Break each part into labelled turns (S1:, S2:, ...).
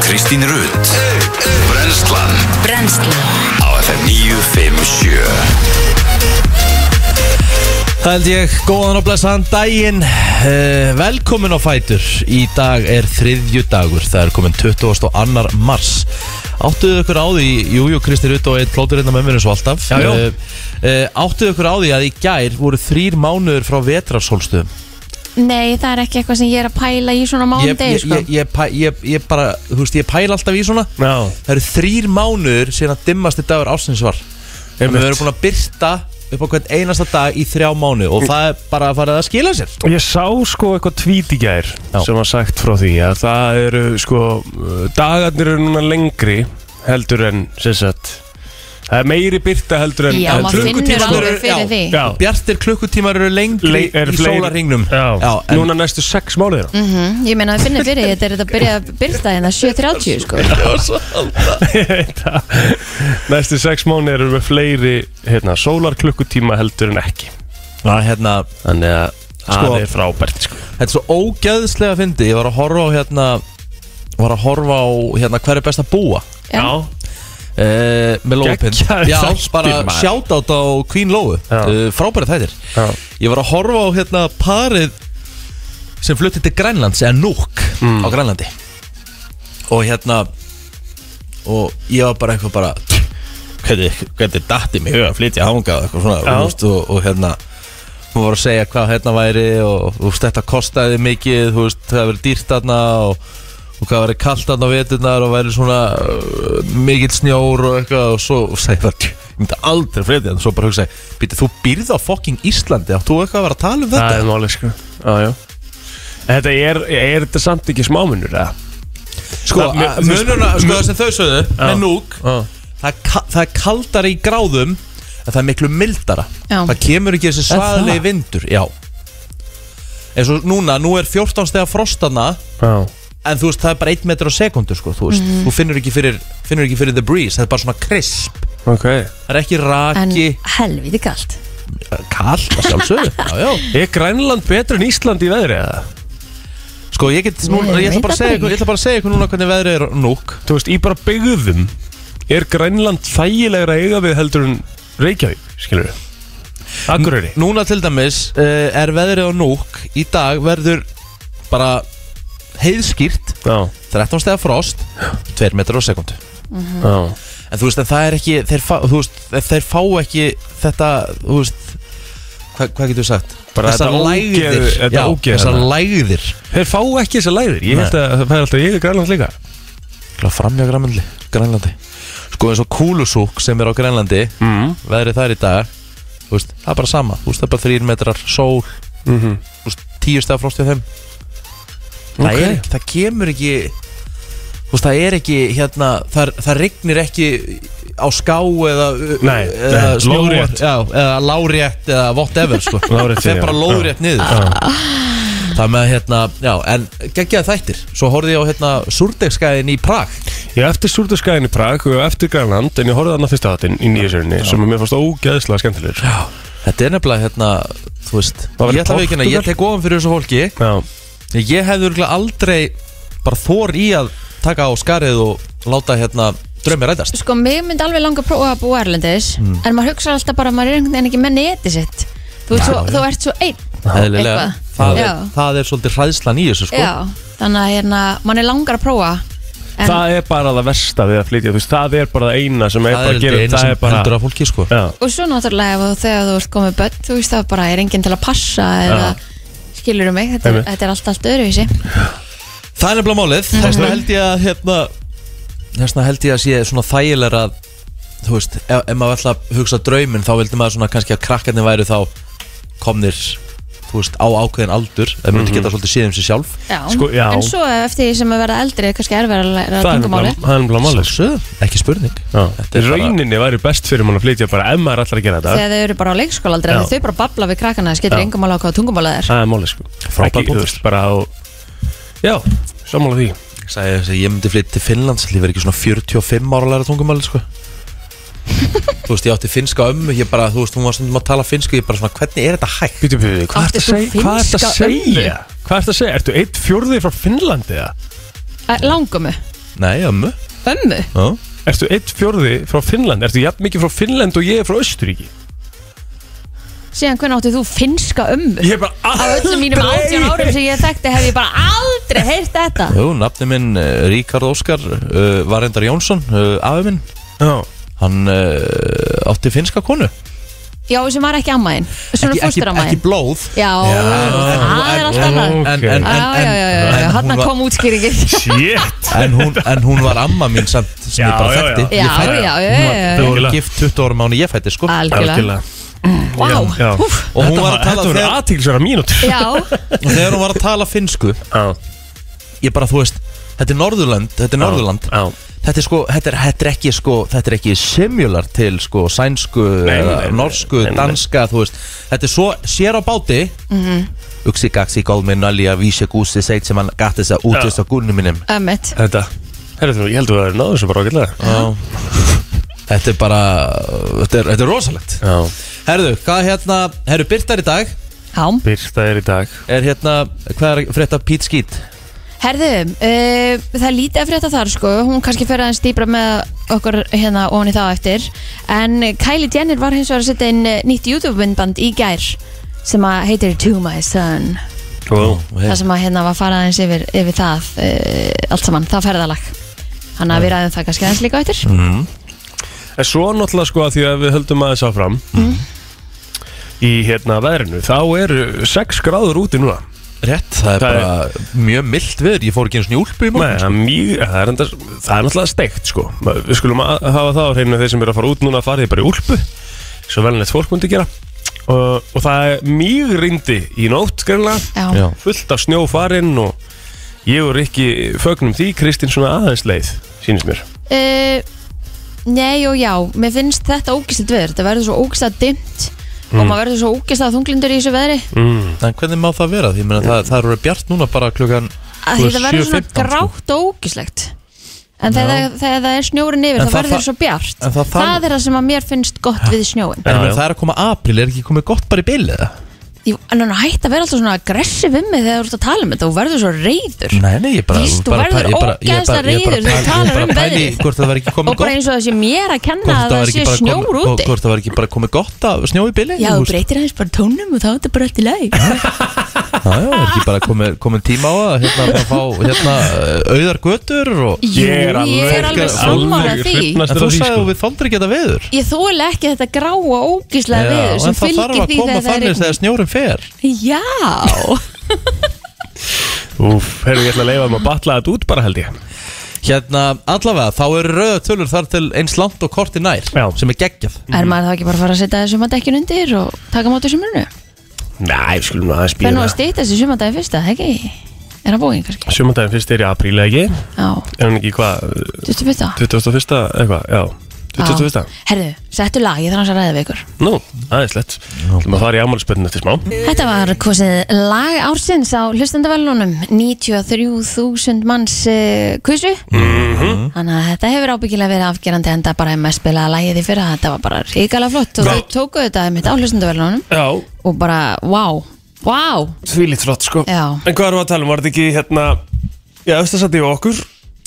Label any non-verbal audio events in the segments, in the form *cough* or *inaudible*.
S1: Kristín Rutt Brenslan Á FM 957
S2: Það held ég, góðan og blessaðan daginn uh, Velkomin á Fætur Í dag er þriðju dagur Það er komin 22. mars Áttuðu ykkur á því Jújú, Kristi Rutt og eitt plótur hérna með mér eins og alltaf
S3: Já, já.
S2: uh, uh, Áttuðu ykkur á því að í gær voru þrýr mánuður frá vetrafsólstöðum
S4: Nei, það er ekki eitthvað sem ég er að pæla í svona
S2: ég,
S4: mándegi,
S2: ég,
S4: sko.
S2: ég, ég, pæ- ég, ég bara, þú veist, ég pæla alltaf í svona
S3: Já,
S2: Það eru þrýr mánuður síðan að dimmasti dagur ásins var Við
S3: Einmitt.
S2: erum búin að byrta upp á hvern einasta dag í þrjá mánu Og það er bara að fara að skila sér
S3: og ég sá sko eitthvað tvít í gær
S2: Já.
S3: sem var sagt frá því að það eru sko uh, dagarnir eru núna lengri heldur en sem sagt það er meiri byrta heldur en
S4: Já,
S3: en
S4: maður finnur
S2: klukkutímarnir
S4: alveg
S2: eru- já,
S4: fyrir því.
S3: Já,
S2: Bjartir klukkutímar eru lengri
S3: Le- eru
S2: í
S3: fleiri-
S2: sólarringnum
S3: Já,
S2: en
S3: núna næstu sex mánuðir
S4: Mm Ég meina að finna fyrir því, þetta er þetta að byrja að byrta en það 7.30, sko.
S3: Ég veit það. *laughs* Næstu sex mánuðir eru við fleiri hérna, sólar klukkutíma heldur en ekki
S2: Ná, hérna,
S3: Þannig að
S2: Sko-
S3: það er frábært sko.
S2: Þetta er svo ógeðslega fyndi Ég var að horfa á hérna Var að horfa á hérna hver er best að búa
S4: Já.
S2: Uh, með lóðupind
S3: Geggjaðir
S2: Já,
S3: þættir,
S2: bara
S3: maður.
S2: sjátátt á Queen Lóu
S3: Já.
S2: uh, Frábæri þættir
S3: Já.
S2: Ég var að horfa á hérna parið sem flutti til Grænlands eða Núk
S3: Mm.
S2: á Grænlandi og hérna og ég var bara eitthvað bara hvernig, hvernig datti mig að flytja hangað eitthvað svona
S3: Já.
S2: og, veist, og, og hérna hún var að segja hvað hérna væri og, og veist, þetta kostaði mikið þú veist, það verið dýrt þarna og, og hvað verið kallt þarna á veturnar og verið svona uh, mikill snjór og eitthvað og svo og segi það ég myndi aldrei flytja þarna svo bara hugsaði, býtti þú býrð á fucking Íslandi átt þú eitthvað að vera að tala um
S3: Það
S2: þetta
S3: er máli sko Já, já Þetta er, er þetta samt ekki smámunur eða?
S2: sko,
S3: það- mér-
S2: að- munurna, sko það sem þau sögðu
S3: Já.
S2: með núk það, er ka- það er kaldara í gráðum en það er miklu mildara
S4: Já.
S2: það kemur ekki þessi
S3: Er það?
S2: svaðlegi vindur já eins og núna, nú er 14 stegar frostana
S3: Já
S2: en þú veist, það er bara 1 metr á sekundu sko, þú, veist,
S4: Mhm.
S2: þú finnur, ekki fyrir, finnur ekki fyrir the breeze það er bara svona krisp
S3: Ok
S2: það er ekki
S4: En
S2: raki,
S4: helviti kallt.
S2: en... kallt að
S4: *laughs*
S2: sjálfsögðu já, já.
S3: Er Grænland betur en Ísland í veðri eða?
S2: sko, ég get núna,
S4: Nei,
S2: ég ætla bara að
S4: veit það
S2: segja
S4: ekki.
S2: ykkur- ég ætla bara að segja ykkur núna hvernig veðrið er á núk
S3: Þú veist, í bara byggðum Er Grænland þægilegra að eiga við heldur en Reykjavík, skilur við Akureyri
S2: Núna til dæmis uh, er veðrið á núk Í dag verður bara heiðskýrt
S3: Já,
S2: 13 stegar frost 2 metrar á sekundu
S3: já
S2: En þú veist, en það er ekki Þeir, fá, þú veist, þeir fá ekki þetta Þú veist Hva, Hvað getur við sagt?
S3: Bara þetta ógeð- þetta
S2: já,
S3: ógeð
S2: Þessar
S3: hérna.
S2: lægðir
S3: Þeir fá ekki þessar læðir Ég held að það fær alltaf ég er Grænland líka
S2: Glæð framjá grænlandi, grænlandi Sko eins og kúlusúk sem er á grænlandi
S3: mm.
S2: Veðrið þar í dag Þú veist, það er bara sama Þú veist, það er bara 3 metrar sól
S3: Mm -hmm.
S2: Þú veist, 10 stegar frost hjá þeim Mhm. það, er, ekki- það kemur ekki þú veist, það er ekki hérna, það, það rignir ekki á ská eða,
S3: Nei,
S2: eða
S3: nei,
S2: snjóar,
S3: lóðrétt.
S2: já, eða lárétt eða whatever *laughs* sko.
S3: Lóðrétt,
S2: það
S3: já.
S2: er bara lórétt niður sko. það með að hérna, já, en geggjaði þættir svo horfði ég á hérna súrdegskæðin í Prag
S3: Ég eftir Súrdurskæðin í Prag og eftir Grænland En ég horfði þarna fyrsta þáttinn í nýjasörinni Sem að mér fannst ógeðslega skemmtilegur
S2: já. þetta er nefnilega hérna, þú veist
S3: Það var í
S2: ég ætla að veikina,
S3: Portúgal.
S2: ég tek ofan fyrir þessu fólki
S3: Já,
S2: ég hefði örugglega aldrei bara þor í að taka á skarið og láta hérna draumi rætast
S4: Sko, mig myndi alveg langa að prófa að búa Erlendis,
S2: Hmm.
S4: en maður hugsa alltaf bara að maður er einhvern veginn ekki með neti sitt. Þú, ert
S2: Já,
S4: svo,
S2: já.
S4: þú ert svo einn.
S2: Eðlilega,
S4: eitthvað.
S2: það er,
S4: Já.
S2: það er svolítið hræðslan í þessu sko
S4: Já, þannig að hérna, mann er langar að prófa. En
S3: það er bara það versta við að flytja Þú veist, það er bara það eina sem er
S2: Það
S3: bara
S2: er
S3: að
S2: þetta
S3: gera
S2: eina sem heldur að fólki sko
S3: Já,
S4: Og svo náttúrulega ef þú, þegar þú ert komið börn, þú veist það bara er enginn til að passa eða skilur um mig, þetta, er-
S3: Einmitt.
S4: þetta er allt, allt öðruvísi.
S2: Það er nefnilega málið, þessna held ég að hérna, þessna held ég að sé svona þægilega að þú veist, ef, ef maður ætla að hugsa drauminn þá vildi maður svona kannski að krakkarnir væru þá komnir, þú veist, á ákveðin aldur, það myndi geta svolítið síðum sér sjálf
S4: Já.
S3: Sko, já.
S4: en svo eftir því sem að verða eldri er kannski erfið að læra
S3: það er
S4: tungumáli.
S3: nefnilega- það er nefnilega málið sko.
S2: Sjálfsögðu, ekki spurning
S3: Já.
S2: Þetta er
S3: Í
S2: bara-
S3: rauninni væri best fyrir mann að flytja bara ef maður allar að gera þetta
S4: Þegar þau eru bara á leikskóla aldrei,
S3: Já.
S4: þau bara babla við krakkana, það skilur
S3: Já.
S4: engum alveg á hvað tungumála það er.
S3: það er málið sko
S2: Frábær
S3: Ekki,
S2: punktur.
S3: þú veist, bara á já, sammála því
S2: Sæði þess að ég myndi flytta til Finnlands Ég verði ekki svona 45 ára að læra tungumáli sko. Þú veist, ég átti finnska ömmu Ég bara, þú veist, hún var stundum að tala finnsku Ég bara svona, hvernig er þetta hægt?
S3: býtu býtu, hvað
S4: Áttu
S3: ertu
S4: þú
S3: að segja hvað ertu að
S4: finnska
S3: segja, hvað ertu að segja, ertu eitt fjórði frá Finnlandi eða?
S4: Langumu,
S2: Nei, ömmu
S4: Ömmu?
S2: Já.
S3: Ertu eitt fjórði frá Finnland? Ertu jafn mikið frá Finnland og ég er frá Östuríki?
S4: Síðan hvernig áttið þú finnska ömmu?
S3: Ég er bara
S4: Á öllum mínum átján árum sem ég þekkti hef ég bara aldrei heyrt þetta
S2: Jú, nafni minn eh, Ríkard Óskar uh, var endar Jónsson, uh, afi minn
S3: Já,
S2: Hann uh, átti finska konu
S4: Já, sem var ekki ammaðin Svona fósturammaðin
S2: blóð
S4: Já, það er allt annað
S3: ok.
S2: En, en, en,
S4: Já, Ah, já, já, já, já,
S2: en,
S4: hann
S2: hún var,
S4: kom útskýringin
S3: shit
S2: en, hún, en hún var amma mín samt sem
S3: Já,
S2: ég bara
S3: já, já.
S2: þekkti
S4: Já,
S2: Ég fæ-
S4: já, já,
S3: var-
S4: já,
S2: Þau
S4: já.
S2: voru
S3: Algjörlega.
S2: gift 20 ára máni ég fætti sko
S4: Algjörlega
S3: Algjörlega
S4: Vá,
S3: Já.
S4: úf
S2: Og hún var að
S3: Þetta
S2: tala
S3: voru
S2: þegar,
S3: aðtílisverða mínútur
S4: Já, *laughs*
S2: þegar hún var að tala finsku
S3: Já,
S2: Ég bara, þú veist, þetta er Norðurland Þetta er Norðurland
S3: Já,
S2: Þetta er sko, þetta er, þetta er ekki sko, þetta er ekki similar til sko sænsku,
S3: Nei,
S2: eða
S3: nei, nei,
S2: norsku,
S3: nei, nei.
S2: danska, þú veist Þetta er svo sér á báti mm
S4: Mhm.
S2: -hmm. Uxi, gaxi, gólmi, nölja, vísi, gúsi, seit sem hann gatt þess að útvist á gúlinu mínum
S4: ömmit
S3: þetta Herri þú, ég held að það er náður sem bara ágætlega
S2: Já Þetta er bara, þetta er, þetta er rosalegt
S3: Já,
S2: Herðu, hvað hérna, herru, Byrtar í dag
S4: Já,
S3: byrsta er í dag
S2: er hérna, hvað er frétta Pete Skeet?
S4: herðu, uh, það er lítið að frétta þar sko Hún kannski fer aðeins dýbra með okkur hérna ofan í þá eftir En Kylie Jenner var hins vegar að setja inn eh, nýtt YouTube-myndband í gær Sem að heitir To My Son
S3: Wow
S4: Það sem að hérna var farað eins yfir, yfir það uh, Allt saman, það ferðalag Þannig að við ræðum það kannski aðeins líka á eftir
S3: En svo náttúrulega sko að því að við höldum aðeins áfram
S2: Mm.
S3: Í hérna veðrinu Þá eru 6 gráður úti núna
S2: Rétt, það er
S3: Það er-
S2: bara mjög mildt viður, ég fór ekki einu svona úlpu í
S3: Nei,
S2: morgun
S3: það, er mjög, það, er enda, það er náttúrulega steikt sko Við skulum að, hafa það á hreinu Þeir sem eru að fara út núna farið bara í úlpu Svo velnett fólk myndi gera Og, og það er mjög rindi í nótt greinlega
S4: Já,
S2: Já.
S3: Fullt af snjófarinn og Ég og Rikki fögnum því Kristinn svona aðeins leið Sýnist mér
S4: Uh, nei og já, mér finnst þetta ógæslega dveður, þetta verður svo ógæslega dimmt og maður verður svo ógæslega þunglindur í þessu veðri
S2: En hvernig má það vera? Því ég meina, það, það eru bjart núna bara klukkan
S4: að
S2: þú
S4: því
S2: veist,
S4: það verður svona
S2: 7:15, sko.
S4: grátt og ógæslegt en þegar, það- þegar það er snjórin yfir
S2: En
S4: þá
S2: það
S4: verður
S2: þa-
S4: svo bjart
S2: en
S4: það,
S2: það þarf-
S4: er það sem að mér finnst gott við snjóin
S2: En
S3: Já,
S2: já,
S3: já.
S2: það er að koma april, er ekki komið gott bara í bylið eða?
S4: Jú, en hann hætti að vera alltaf svona aggressiv um mig þegar þú ert að tala um þetta og verður svo reyður
S2: Nei, nei, ég bara
S4: Víst, þú
S2: bara-
S4: verður
S2: ég bara- ég bara-
S4: ógeðslega
S2: ég bara-
S4: reiður þegar þú
S2: ég
S4: talar
S2: bara
S4: um
S2: pæli
S4: veðrið.
S2: Hvort það var ekki komið
S4: og bara
S2: gott
S4: eins og það sé mér að kenna
S2: Hvort
S4: að það
S2: var ekki
S4: sé
S2: bara
S4: snjór
S2: komið-
S4: úti
S2: Hvort það var ekki bara komið gott að snjó í bylið
S4: Já, þú breytir aðeins bara tónum og þá er þetta bara allt í lagi
S2: Já, já, er ekki bara komið, komið tíma á það hérna, bara fá
S4: *laughs*
S2: hérna, eh, auðar götur og
S4: Jú, ég er alveg sammála því
S2: En þú sagði að við þóndir ekki þetta veður
S4: Ég þóla ekki þetta gráa ógíslega
S2: Já,
S4: veður sem
S2: en það þarf
S4: fylgir
S2: að
S4: því
S2: koma
S4: þegar það er
S2: þannig þegar snjórum fer
S4: rigning.
S2: *laughs*
S4: Já,
S3: Úf, herru, ég ætla að leifa um að batla þetta út bara held ég
S2: Hérna, allavega, þá eru rauða tölur þar til eins langt og korti nær
S3: Já.
S2: sem er geggjað
S4: er maður þá ekki bara að fara að setja sumadekkjun undir og taka mátu sumrunu?
S3: Nei, við skulum aðeins
S4: Fyrir nú
S3: býða
S4: að stýta þessi sumadegi fyrst að, ekki? Er hann búinn kannski?
S3: Sjömandaginn fyrst er í apríl eða ekki
S4: Já,
S3: Er hann ekki hvað,
S4: 21.
S3: 21. eitthvað, já 21.
S4: Já. Herðu, settu lag, ég þarf hans að ræða við ykkur.
S3: Nú, aðeins lett Þú ætlum að fara í ámálspöldin eftir smá
S4: Þetta var kosið lag ársins á hlustandavalunum 93.000 manns uh, kusu Þannig að þetta hefur ábyggilega verið afgerandi en það bara hefði með spilaða lagið í fyrra þetta var bara ríkala flott og
S3: Já.
S4: þau tókuðu þetta mitt á hlustandavalunum
S3: Já,
S4: og bara, wow, wow
S3: þvílít flott sko
S4: Já.
S3: En hvað erum við að tala um, var þetta ekki hérna Já, östasætti og okkur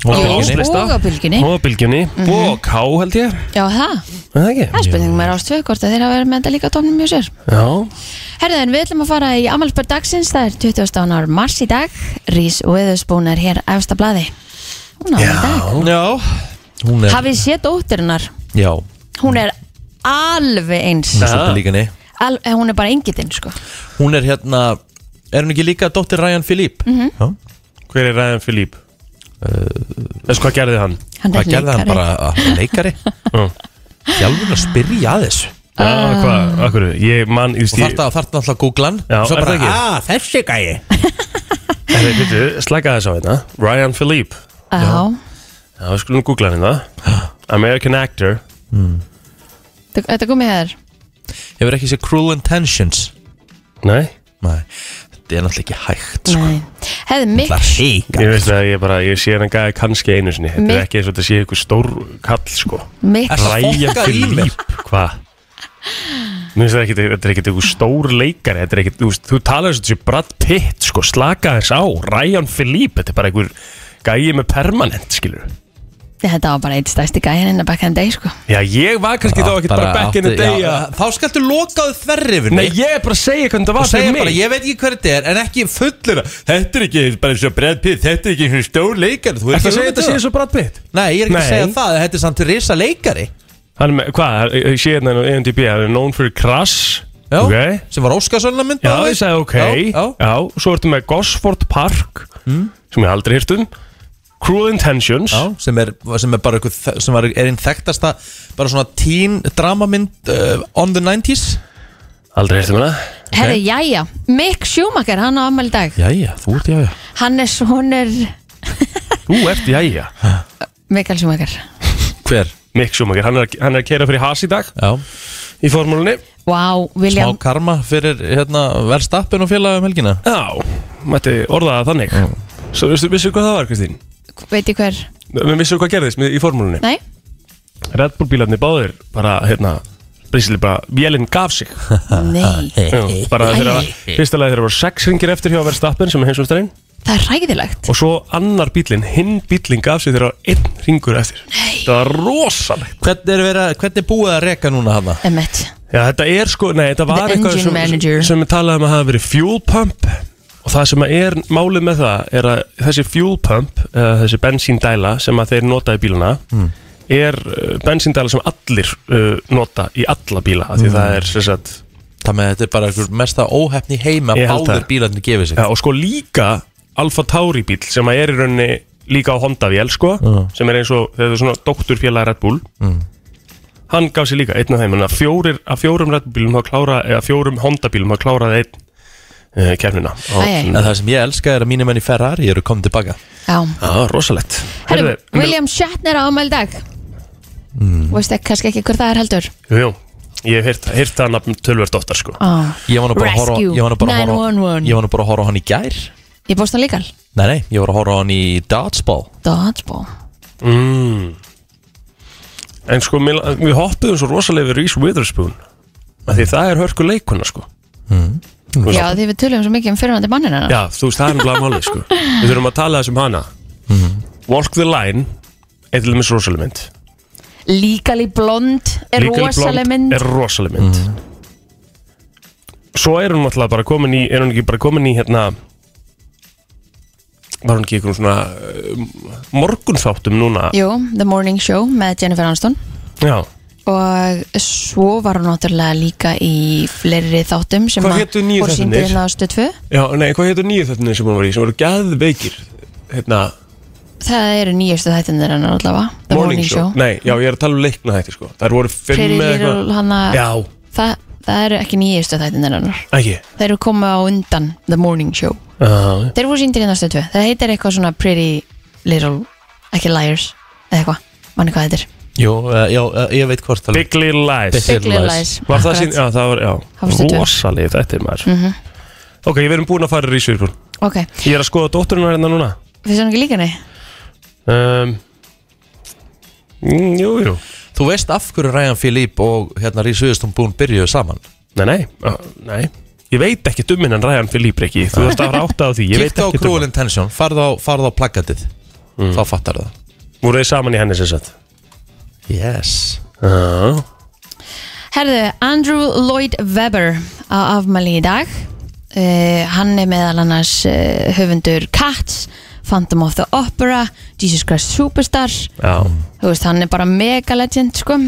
S2: Og
S4: Jú,
S2: á
S3: Ásleista.
S4: og á bylgjunni
S3: Og bylgjunni, og ká held ég
S4: Já, það,
S3: Er Það ekki?
S4: það er spurning með ástöð hvort að þeir hafa verið með þetta líka á tónum mjög sér
S3: Já,
S4: Herðu en við ætlum að fara í amalspörd dagsins það er 20. ánar mars í dag Rís Viðusbún er hér efsta blaði Hún á í dag
S2: Já, hún er
S4: Hafið séð dóttirinnar
S2: Já,
S4: Hún er alveg eins
S2: hún er svolítið líka niður
S4: Al, eh, Hún er bara engitinn sko
S2: Hún er hérna Er hún ekki líka dóttir Ryan Philippe?
S4: Mhm.
S2: Já.
S3: hver er Ræðan Filip? Uh, Þessu hvað gerði hann?
S4: Hann er
S2: Hvað gerði hann
S4: leikari.
S2: bara að hann er
S4: *laughs*
S2: leikari?
S3: Já.
S2: Þjálfur að spyrja að þessu Og
S3: Já,
S4: Ah.
S3: hvað, akkur, ég man Þú
S2: þarf það þarf náttúrulega að googla hann
S3: Já,
S2: og svo
S3: er
S2: bara,
S3: það ekki?
S2: "Ah, þessi gæi
S3: Herri, býttu, slaka þess á hérna Ryan Philippe
S4: Já
S3: Já, við skulum googla hann hérna American actor
S4: Þetta- Þetta komið hér
S2: Hefur ekki sér Cruel Intentions
S3: Nei,
S2: Nei, þetta er náttúrulega ekki hægt sko.
S4: Nei.
S2: Það
S4: Hefði
S2: er
S4: Mick
S2: híka
S3: ég veist að ég bara Ég sé hann gæði kannski einu sinni Þetta
S4: Mig-
S3: er ekki eins og þetta sé ykkur stór kall sko
S4: Mick
S2: Er það
S3: Ryan
S2: fokkað í mér?
S3: Philippe, hvað? Mér finnst það ekki, þetta er ekkert ykkur stór leikari Þetta er ekkert, þú, veist, þú talar þessu Brad Pitt sko Slaka þess á, Ryan Philippe Þetta er bara ykkur gæi með permanent, skilur
S4: Þetta var bara eitt stærsti gæðin innan back in the day sko.
S3: Já, ég var kannski þá ekkert bara back in the day að-
S2: Þá skaltu lokaðu þverrifinu
S3: Nei, ég er bara að segja hvernig það
S2: Og
S3: var
S2: segja
S3: fyrir
S2: bara,
S3: mig
S2: ég veit ekki hver þetta er, en ekki fullur Þetta er ekki bara eins og Brad Pitt, þetta er ekki eins og stór leikari Þú
S3: Ertu að segja
S2: alveg
S3: þetta
S2: með
S3: síðan svo Brad Pitt?
S2: um Nei, ég er ekki að
S3: Nei.
S2: segja það, þetta er samt risa leikari
S3: Hann er með, hvað, ég sé hérna á EMDB, hann er known for Crash
S2: Já,
S3: Ok
S2: sem var Óskarsvölna mynd
S3: Já, ég sagði ok
S2: Já, já.
S3: svo ertu með Gosford Park sem ég aldrei hýrt um Cruel Intentions
S2: Já, sem er, sem er bara einhver, þe- sem var, er einn þekktasta bara svona teen dramamynd uh, on the 90s
S3: Aldrei hýrt um hana
S4: Herri, jæja, Mick Schumacher, hann á ammæli í dag
S2: Jæja, þú ert jájá
S4: Hann er sonur
S3: Ú, eftir, jæja
S4: Michael Schumacher
S2: Hver?
S3: Mick Schumacher, hann er, að- hann er að keira fyrir Haas í dag
S2: Já,
S3: í formúlunni
S4: Wow,
S2: smá
S4: William
S2: karma fyrir hérna, verðstappin og félagum helgina
S3: Já, mætti orða það þannig Svo veistu, vissu hvað það var, Kristín?
S4: Veit ég hver?
S3: Við vissum hvað gerðist með- í formúlunni
S4: Nei?
S3: Red Bull bílarnir báðir bara, hérna, basically bara, vélinn gaf sig
S4: Nei
S3: Já, bara
S4: Æ.
S3: þeirra, fyrsta lagi þeirra voru sex ringir eftir hjá Verstappen sem er heimsumstæðin
S4: Það er ræðilegt
S3: og svo annar bílinn, hinn bílinn gaf sig þeirra einn ringur eftir Nei. það var rosalegt
S2: Hvernig er, vera, hvernig er búið að reka núna hana?
S4: Emmett
S3: Já, þetta er sko, nei, þetta var
S4: The
S3: eitthvað
S4: engine
S3: sem,
S4: manager.
S3: sem við talaði um að hafa verið fuel pump og það sem er málið með það er að þessi fuel pump, uh, þessi bensíndæla sem að þeir nota í bíluna er uh, bensíndæla sem allir uh, nota í alla bíla af því það er sem sagt
S2: Það með þetta er bara einhver mesta óhefni heima
S3: Ég held
S2: báður
S3: það.
S2: bílarnir gefið sig
S3: Já, og sko líka Alfa Tauri bíl sem að er í rauninni líka á Honda vél sko sem er eins og þegar það er svona doktorfélag Red Bull hann gaf sér líka einn af þeim en að fjórir, að fjórum Red Bull bílum hafa klárað eða fjórum Honda bílum hafa klárað einn uh, kefnina
S4: Æ, æ.
S2: En það sem ég elska er að mínir menn í Ferrari eru komið tilbaka
S4: Já
S3: Já, rosalegt
S4: Herri,
S3: Herðu,
S4: William Shatner á ammæli í dag
S3: Mm.
S4: Veist ekki, kannski ekki hver það er heldur
S3: Jú, jú, ég hef heyrt, heyrt það nafn tölvert oftar sko
S4: oh.
S2: Ég var nú bara að horfa
S4: Rescue
S2: Ég var nú bara að horfa
S4: 911.
S2: Ég var nú bara að horfa á hann í gær
S4: Ég bóst hann líka
S2: Nei, nei, ég var að horfa á hann í Dodgeball
S4: Dodgeball
S3: mm. En sko, mér- við hoppuðum svo rosalega við Reese Witherspoon af því það er hörku leikuna sko mm.
S4: Já, því við tölum svo mikið um fyrirvændi mannina
S3: Já, þú veist, það er náttúrulega málið, sko Við þurfum að tala þessum hana Walk the Line er til dæmis rosaleg mynd
S4: Líkali blond er
S3: Legally
S4: rosaleg
S3: Blonde
S4: mynd
S3: Er rosaleg mynd Svo er hún náttúrulega bara komin í Er hún ekki bara komin í, hérna Var hún ekki einhvern svona uh, Morgunþáttum núna
S4: Jú, The Morning Show með Jennifer Aniston
S3: Já
S4: og svo var hún náttúrulega líka í fleiri þáttum sem
S3: Hvað
S4: að
S3: hétu nýju
S4: voru sýndir
S3: þættirnir?
S4: inn á stöðfu
S3: Já, nei, hvað heitur nýju þáttunni sem hún var í sem voru gæðveikir Hérna,
S4: það eru nýjustu þættinir hennar allavega The
S3: Morning Show Nei, já, ég er að tala um leikna þætti, sko Það voru fimm
S4: Pretty
S3: eða
S4: Little
S3: eitthvað-
S4: hana
S3: Já,
S4: það, það eru ekki nýjustu þættinir hennar
S3: ekki
S4: þeir eru komið á undan The Morning Show
S3: Já,
S4: þeir voru sýndir inn á stöðfu það heitir eitthvað svona Pretty Little ekki Liars eða eitthvað manni hvað þetta er
S2: Jú, uh, já, uh, ég veit hvort það
S3: Big Little Lies
S2: Big Little Lies.
S3: Var það sín,
S4: Akkurat.
S3: já það var, já
S4: Það var stundur.
S3: Rosalið þetta er maður Ok, við erum búin að fara í Rísvírbún
S4: ok,
S3: Ég er að skoða dótturinn hérna núna
S4: finnst hann ekki líka nei?
S3: um, mm, Jú, jú
S2: Þú veist af hverju Ryan Philippe og hérna Rís Viðustun búin byrjuðu saman
S3: Nei, nei, ah, nei Ég veit ekki dumminn en Ryan Philippe ekki Þú veist að ráta á því, ég veit
S2: Kíktu á
S3: ekki
S2: Cruel Intention, farð á, farð á plaggatið
S3: Mm.
S2: Þá fattar það
S3: Voru þið saman í henni sem sagt
S2: Yes
S3: Já,
S4: Herðu, Andrew Lloyd Webber á afmæli í dag uh, hann er meðal annars uh, höfundur Cats Phantom of the Opera Jesus Christ Superstar
S3: já
S4: þú veist, hann er bara mega legend sko.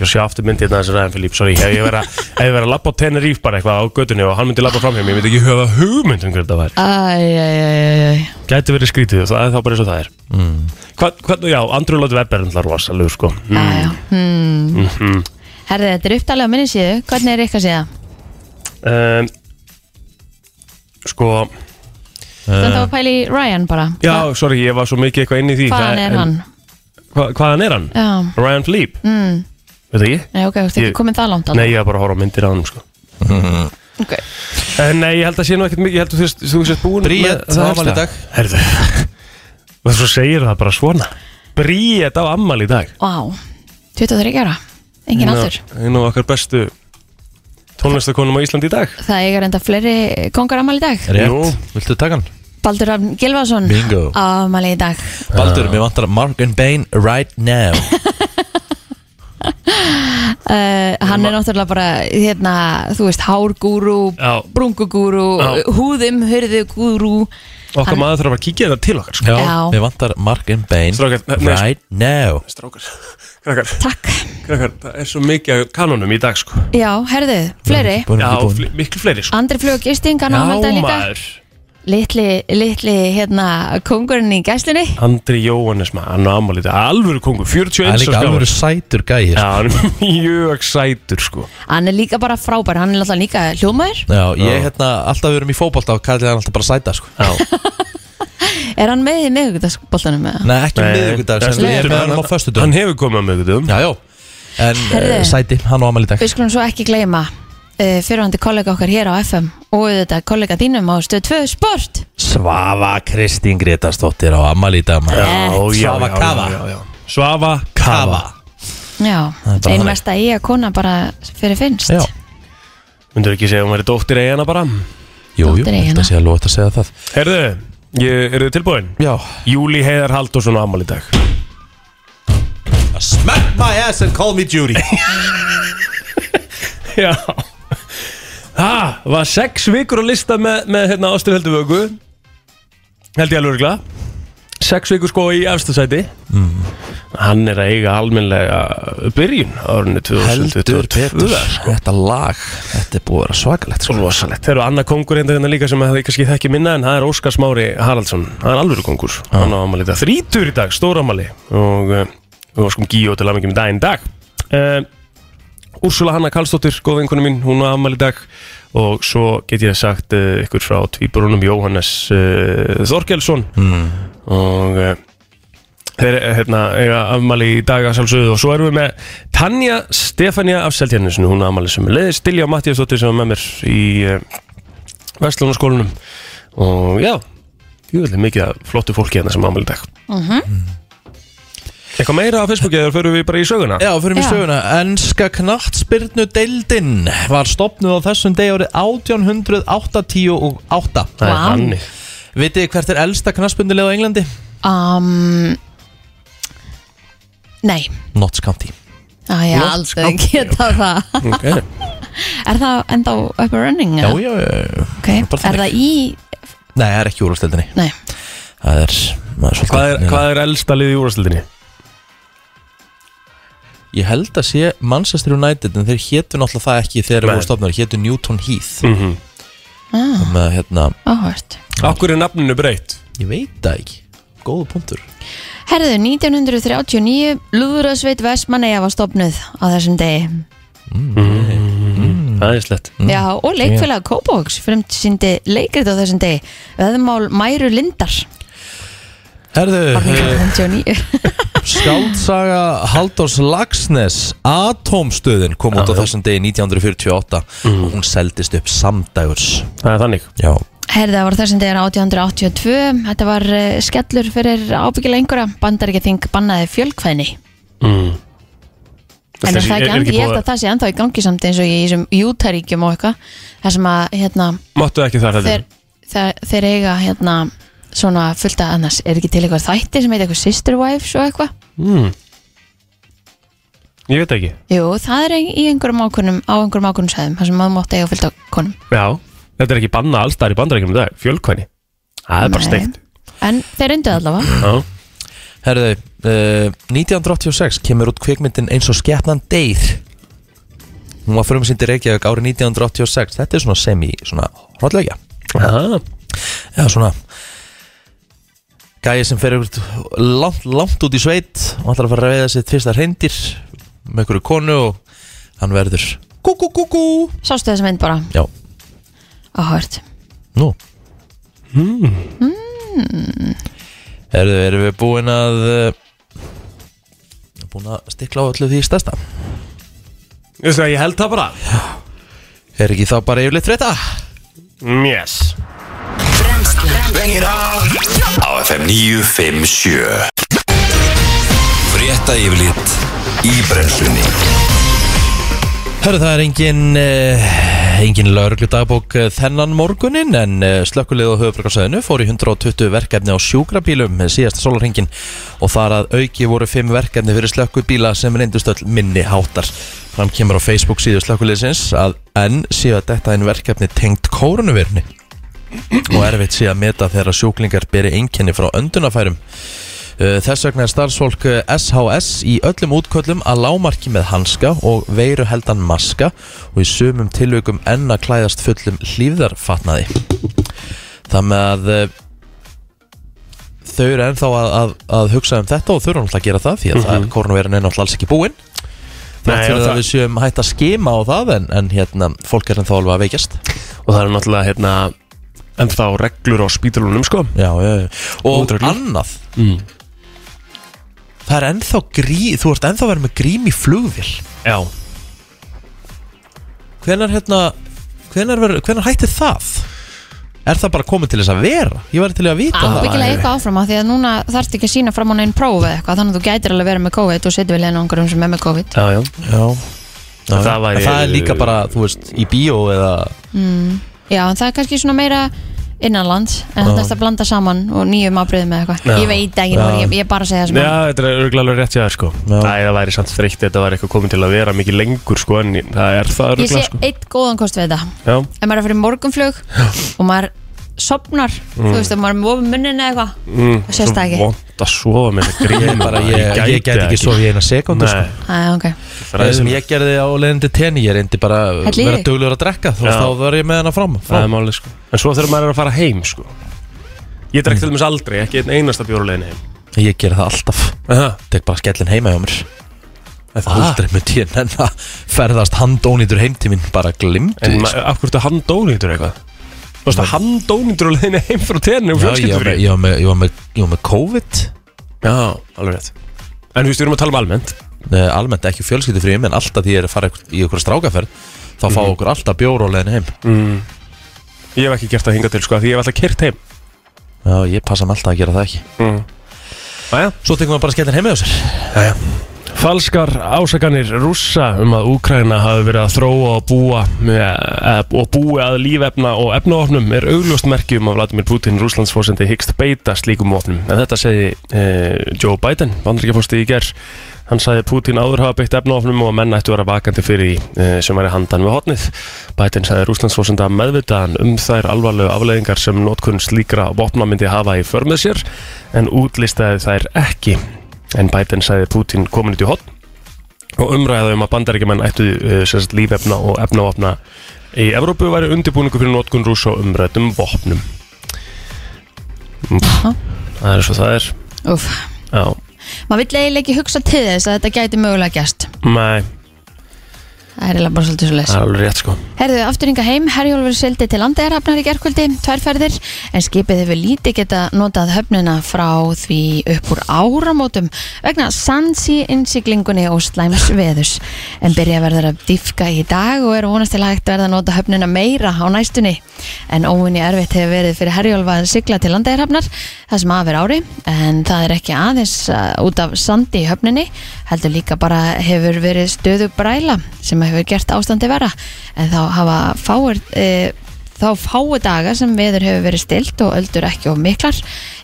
S3: Ég sé aftur myndið þetta þessi Ryan Philippe, sorry Ef ég verið að, ef ég verið að labba á Tenerife bara eitthvað á götunni og hann myndi labba framhjá mér, ég myndi ekki höfa hugmynd um hvernig það var
S4: Æjæjæjæj
S3: Gæti verið skrítið, það er þá bara eins og það er mm. Hvað, hvað, já, Andrew Lloyd Webber er alltaf rosalegur sko mm.
S4: Hmm.
S3: Mhm.
S4: Herðu, þetta er upptalið á minni síðu hvernig er ykkar síða?
S3: um, Sko,
S4: Þannig að það var pæli í Ryan bara
S3: Eh. já, sorry, ég var svo mikið eitthvað inn í því
S4: Hvaðan er hann?
S3: Hva, hvaðan er hann?
S4: Já,
S3: Ryan Philippe? Mm. Veit það ekki?
S4: nei ok, þú ert ekki
S3: Ég-
S4: komin það langt
S3: Nei, ég var bara að horfa á myndir á hann sko
S4: Ok.
S3: En nei, ég held að sé nú ekkert mikið, ég held að þú sést- þú sést búin
S2: Bríet,
S3: með það
S2: afmæli í
S3: helsta.
S2: dag.
S3: Herðu, *laughs* og svo segir það bara svona Bríet á ammali í dag
S4: Vá, 23 ára Engin aldur
S3: Einu af okkar bestu tónlistakonum á Íslandi í dag
S4: Það eiga reynda fleiri kongar afmæli í dag
S2: Rétt,
S3: Jú.
S2: viltu taka hann?
S4: Baldur Rafn Gilvason
S2: Bingo.
S4: Ámali í dag
S2: Baldur, mér vantar Mark and Bane right now
S4: uh, Hann er náttúrulega bara hérna, þú veist, hárgúrú
S3: Já.
S4: brungugúrú,
S3: Já.
S4: húðum hurðugúrú
S3: Okkar maður þarf að fara að kíkja þetta til okkar sko.
S4: Já.
S2: Mér vantar Mark and Bane
S3: Strákar, ne- nei,
S2: right now
S3: Strákar, krakkar,
S4: Takk
S3: krakkar Það er svo mikið af kanonum í dag sko.
S4: Já, herðu, fleiri
S2: Búin,
S3: Já,
S2: búin.
S3: fl miklu fleiri sko.
S4: Andri flug og gisting, hann
S3: Já,
S4: áhaldi líka Litli, litli, hérna, kongurinn í gæslinni
S3: Andri Jóhannes maður, hann á ammali þetta Alvöru kongur,
S2: Það
S3: 41
S2: er
S3: árs
S2: líka
S3: gamall.
S2: alveg sætur gæi
S3: Já,
S2: sko.
S3: hann er mjög sætur sko
S4: Hann er líka bara frábær, hann er alltaf líka hljómaður
S2: Já, ég hérna, alltaf við erum í fótbolta og kallið hann alltaf bara sæta sko.
S4: Er hann með í miðvíkudagsboltanum með
S2: Nei, ekki um
S3: Nei,
S2: miðugudag,
S3: það
S2: sem við erum
S3: stendur-
S2: með hann á föstu
S3: Hann hefur komið með þetta
S2: Já, já En
S4: Herðu.
S2: uh, sæti, hann og Amal í dag
S4: Við skulum svo ekki gleyma uh, fyrirhandi kollega okkar hér á FM og auðvitað kollega þínum á stöð 2 Sport
S2: Svava Kristín Gretastóttir á Amal í dag maður. Svava Kava
S3: Svava Kava
S4: Já,
S2: Það er bara
S4: ein
S2: þannig.
S4: mesta í að kona bara fyrir finnst
S2: Já.
S3: Myndur ekki segja að hún væri dóttir eigana bara
S2: Jú, jú,
S4: Dóttir
S2: ég held
S4: Egina.
S2: að sé að lóta að segja það
S3: Herðu, ég, eru þið tilbúin?
S2: Já
S3: Júli Heiðar Halldórsson á ammali í dag
S2: Smack my ass and call me Judy
S3: Já Ha, var sex vikur á lista með, með hérna Ástrið heldur vöku Held ég alveg örgla Sex vikur sko í efstasæti mm. Hann er að eiga almennlega byrjun árunni 2022
S2: *laughs* Heldur Petur Þetta lag, þetta er búið að vera svakalegt
S3: Svo
S2: sko.
S3: rosalegt. Þeir eru annað kongur hérna hérna líka sem að þið kannski þekki minna en það er Óskar Smári Haraldsson. Það er alveg kongur. Hann á ammali þetta. Þrítur í dag, stór ammali. Og uh, við varum gíó til aðmengjum í daginn í dag. Uh, Úrsula Hanna Karlsdóttir, góð vinkonu mín, hún á ammali í dag. Og svo get ég sagt uh, ykkur frá tvíbrunum Jóhannes uh, Þorkelsson. Og... Uh, Þeir hérna, eiga afmæli í dag að sjálfsögðu og svo erum við með Tanja Stefania af Seltjarnisinu, hún er afmæli sem er leiðist Dilja Mattíasdóttir sem er með mér í uh, Vestlunarskólanum og já, júðlega mikið af flottu fólki hérna sem afmæli í dag
S4: Mhm.
S3: Mm-hmm. Eitthvað meira á Facebooki eða förum við bara í söguna?
S2: Já, fyrir mig
S4: Já.
S2: söguna Enska knattspyrnu deildin var stopnuð á þessum degi árið 1888
S3: Það er
S4: Vá.
S3: hannig
S2: Vitið þið hvert er elsta knattspyrnulega á Englandi?
S4: um, Nei,
S2: Notts County
S4: að ég
S3: Loft
S4: aldrei
S3: skammt,
S4: geta það *laughs*
S3: okay.
S4: Er það enda á up and running?
S2: Já,
S4: eða?
S2: já, já
S4: Ok.
S2: bara
S4: Er
S2: þannig.
S4: það í,
S2: Nei, það er ekki úrlastildinni
S4: nei,
S2: Það er, það er svolítið
S3: hvað, er, hvað er elsta liðið í úrstildinni?
S2: Ég held að sé Manchester United en þeir hétu náttúrulega það ekki þegar þeir
S3: Nei.
S2: voru stofnar, hétu Newton Heath
S3: Mm -hmm.
S4: ah,
S2: með hérna,
S4: áhvert
S3: Akkur er nafninu breytt?
S2: ég veit það ekki góða punktur
S4: Herðu, 1939 Lúðurasveit Vestmanneja var stopnuð á þessum degi
S3: Æðislegt
S4: Já, og leikfélag Kópavóks fyrir síndi leikrit á þessum degi Veðmál Mæru Lindar
S3: Eh.
S2: Herðu, eh,
S4: 1939
S2: skáldsaga Haldors Lagsnes Atomstöðin kom út á þessum degi 1948 og hún seldist upp samdægurs
S3: Það er þannig
S2: Mm. Já,
S4: Herðu, það var þessum degi 1882 Þetta var uh, skellur fyrir ábyggilega einhverja Bandaríkja þing bannaði fjölkvæðni
S3: mm.
S4: En er
S3: Þessi-
S4: það ekki,
S3: er
S4: ekki ég
S3: búið-
S4: held að það sé ennþá í gangi samt eins og í þessum jútaríkjum og eitthvað Það sem að, hérna,
S3: Máttu ekki þar heldur?
S4: þeir, þeir, þeir eiga hérna svona fullt að annars er ekki til eitthvað þætti sem heit eitthvað sister wives og eitthvað
S3: Mm. Ég veit ekki
S4: Jú, það er í einhverjum ákvörnum á einhverjum ákvörnum sæðum þar sem maður mátt eiga fullt af konum
S3: Já Þetta er ekki banna allstar í bandarækjum í dag Fjölkvæni Það er bara
S4: Nei.
S3: steikt
S4: En þeir undu allavega
S3: Já
S2: herðu, uh, 1986 kemur út kvikmyndin eins og skepnan deyr hún var frumsýnd í Reykjavík árið 1986 þetta er svona semi, svona hrótlegja
S3: Já
S2: Já, svona Gæi sem fer ykkur langt, langt út í sveit og ætlar að fara að veiða sitt fyrsta reyndir með ykkur konu og hann verður Kú, kú, kú, kú
S4: Sástu þessi mynd bara
S2: Já,
S4: áhört
S2: nú Erðu, erum við búin að eh, búin að stikla á öllu því stærsta
S3: Ég veist að ég held það bara
S2: Er ekki þá bara yfirleitt frétta?
S3: Mm, Yes
S1: Bengir á Á FM 957 Frétta yfirlit í brennslunni
S2: Hörðu, það er engin uh, Engin lauruglu dagbók þennan morgunin en eh, slökkulið á höfubrakarsæðinu fór í 120 verkefni á sjúkrabílum með síðasta sólarhingin og þar að auki voru 5 verkefni fyrir slökkubíla sem reyndust öll minni háttar. Fram kemur á Facebook síðu slökkuliðsins að enn séu að þetta en verkefni tengt kórunverðni og erfitt sé að meta þegar sjúklingar beri einkenni frá öndunafærum. Uh, Þess vegna er starfsfólk uh, SHS í öllum útköllum að lámarki með hanska og veiru heldan maska og í sumum tilveikum enn að klæðast fullum hlýfðarfatnaði. Það með að uh, þau eru ennþá að, að, að hugsa um þetta og þau eru náttúrulega að gera það því að mm -hmm. koronavirun er náttúrulega alls ekki búinn.
S3: Mhm. Nei,
S2: Þrátt
S3: og
S2: fyrir
S3: það-
S2: að við séum hægt að skima á það en, en hérna, fólk er ennþá alveg að veikjast.
S3: Og það eru náttúrulega hérna ennþá reglur á spítalunum sko
S2: já, já, já. og
S3: Útreglur.
S2: annað það er ennþá grí þú ert ennþá verið með grím í flugvél
S3: Já
S2: hvenar hérna hvenar, ver, hvenar hættir það er það bara komið til þess að vera ég var til í að vita það
S4: Ábyggilega eitthvað áfram á því að núna þarfst ekki að sína fram á neinn prófi eða eitthvað þannig að þú gætir alveg að vera með COVID og setja við leina einhverjum sem er með COVID
S3: Já, já
S2: já, já,
S3: Það
S2: það,
S3: væri-
S2: það er líka bara, þú veist, í bíó eða
S4: Já, en það er kannski svona meira innanlands en það er að blanda saman og nýjum afbröðum eða
S3: Já.
S4: eitthvað Ég veit ekki, nú er ég, ég er bara að segja það sem er.
S3: Já, þetta er örgulega alveg rétt hjá þér sko
S2: Já.
S3: Æ, það væri samt þreytt Þetta væri eitthvað komið til að vera mikið lengur sko En það er það
S4: Ég sé
S3: örgulega sko
S4: eitt góðan kost við þetta
S3: Já,
S4: ef maður er að fyrir morgunflug og maður sopnar þú veist, ef maður er með ofin munnin eða eitthvað
S3: mm,
S4: Það sést það ekki.
S3: Vond að sofa með þetta grín
S2: ég, bara, ég, ég,
S3: gæti
S2: gæti ekki sofið í eina sekundu sko.
S3: Nei,
S4: Æ, ok
S3: það
S2: Það
S3: er
S2: sem
S3: sem
S2: ég gerði á leiðin til tenni, ég reyndi bara að
S4: Hellið í
S2: vera
S4: þig.
S2: duglegur að drekka, þú veist,
S3: Já.
S2: þá var ég með hana fram,
S3: Það er
S2: fram.
S3: málið sko En svo þegar maður er að fara heim sko Ég drekk til dæmis aldrei, ekki einn einasta bjórulegin heim
S2: ég gerði það alltaf
S3: Aha. Ah.
S2: tek bara skellin heima hjá mér Aldrei myndi ég nenn að ferðast handónýtur heim til mín bara sko. glimtu
S3: En ma- af hverju ertu handónýtur eitthvað? Þú veist að handónýtur á leiðinni heim frá tenni
S2: Já, ég
S3: og
S2: var, með,
S3: fjölskyldufrí
S2: ég, var með, ég, var með, ég var með COVID
S3: Já, alveg rétt En þú veist, við erum að tala um almennt
S2: Nei, almennt ekki fjölskyldufrým en alltaf því ég er að fara eitthvað- í einhverja strákaferð þá fá
S3: Mhm.
S2: okkur alltaf bjór á leiðin heim
S3: Ég hef ekki gert það hinga til, sko, af því ég hef alltaf kyrt heim
S2: Já, ég passa mig alltaf að gera það ekki
S3: Æja
S2: Svo tekum við bara skellin heima hjá sér
S3: Falskar ásakanir rússa um að Úkraina hafi verið að þróa og búa eh, og búi að lífefna og efnaofnum er augljóst merki um að Vladimir Putin Rúslandsfósendi hyggst beita slíkum ofnum. En þetta segi eh, Joe Biden, vandrækjafósti í gerð. Hann sagði að Putin áður hafa beitt efnaofnum og að menn ættu að vera vakandi fyrir því eh, sem væri handan við hotnið. Biden sagði Rúslandsfósenda meðvitaðan um þær alvarlegu afleiðingar sem notkunn slíkra vopna myndi hafa í förmið sér en útlistaði þær ekki. En Biden sagði Putin komin út í hotn og umræða um að bandaríkjumenn ættu uh, sérst lífefna og efnavopna í Evrópu væri undirbúningu fyrir notkun rúss og umræðum vopnum. Pff,
S4: Já.
S3: Það er svo það er.
S4: Úf.
S3: Já,
S4: maður vill eiginlega ekki hugsa til þess að þetta gæti mögulega gæst
S3: nei,
S4: það er eiginlega bara svolítið svo leys
S3: það er alveg rétt sko.
S4: Herðu, afturringa heim, Herjólfur sildi til landegarhafnar í gerkvöldi, tværferðir, en skipið hefur lítið geta notað höfnina frá því upp úr áramótum vegna sansi innsiglingunni og slæms veðus. En byrja verður að dýfka í dag og er vonast til að hægt verða að nota höfnina meira á næstunni. En óvinni erfitt hefur verið fyrir Herjólfa að sigla til landegarhafnar það sem af er ári, en það er ekki aðeins uh, út af sandi í höfninni, heldur líka bara hefur verið stöðu bræla sem hefur gert ástandi vera en þá hafa fáir e, þá fáu daga sem veður hefur verið stilt og öldur ekki og miklar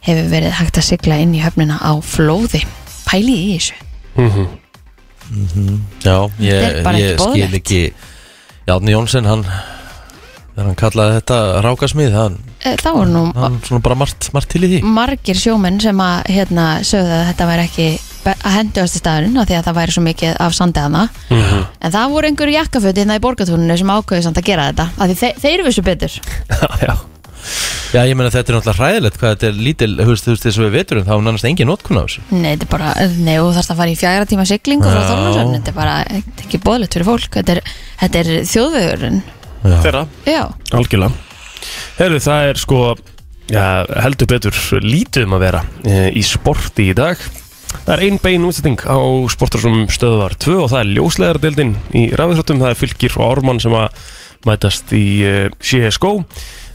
S4: hefur verið hægt að sigla inn í höfnina á flóði pælið í þessu
S3: Mhm,
S2: Já,
S4: Þetta er
S2: ég,
S4: bara
S2: ég
S4: ekki
S2: skil
S4: boðlegt.
S2: ekki Járni Jónsson, hann þegar hann kallaði þetta rákasmið hann,
S4: e, þá voru nú
S2: hann svona bara margt, margt til í því
S4: margir sjómenn sem að hérna sögðu að þetta væri ekki be- að henduast í staðurinn af því að það væri svo mikið af sandiðana
S3: mhm.
S4: en það voru einhverju jakkaföti hérna í borgatúninu sem ákveðu samt að gera þetta af því þe þeir vissu betur
S3: Já, *laughs* já.
S2: Já, ég meina þetta er náttúrulega hræðilegt hvað þetta er lítil, þú veist, þú veist, þess að við veturum þá er nánast engin notkun á þessu
S4: Nei, þetta er bara, nei, þú þarfst að fara í fjagra tíma sigling og frá
S2: Já.
S4: Þornarsson, þetta er bara þetta er ekki bóðlegt fyrir fólk, þetta er, þetta er þjóðvegurinn,
S3: Þeirra,
S4: já,
S3: algjörlega. Herru, það er sko, já, heldur betur lítið um að vera eh, í sporti í dag. Það er ein bein útsetting á sportarsum stöðvar 2 og það er ljósleðardildin í rafþróttum, það er fylgir og ármann sem að mætast í eh, CSGO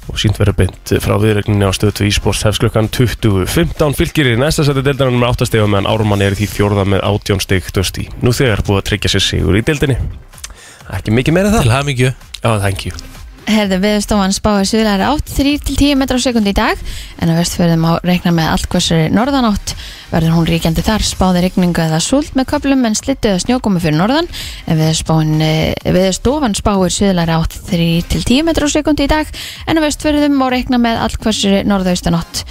S3: og sínt verður beint frá viðregninni á stöðu 2 e-sports hefst klukkan 20.15 fylgir í næsta seti deildarinn með 8 stegum meðan ármann er í því fjórða með 18 steg dösti. Nú þegar er búið að tryggja sér sigur í deildinni Ekki mikið meira en það
S2: Til hamingju
S3: Já, thank you
S4: Herðu viðstofan spáir suðlæri átt 3-10 metrar á sekundi í dag en á vestfjörðum á reikna með allt hversari norðanátt verður hún ríkjandi þar spáði rigningu eða súld með köplum en slittu eða snjókomi fyrir norðan en viðstofan, viðstofan spáir suðlæri átt 3-10 metrar á sekundi í dag en á vestfjörðum á reikna með allt hversari norðaustanátt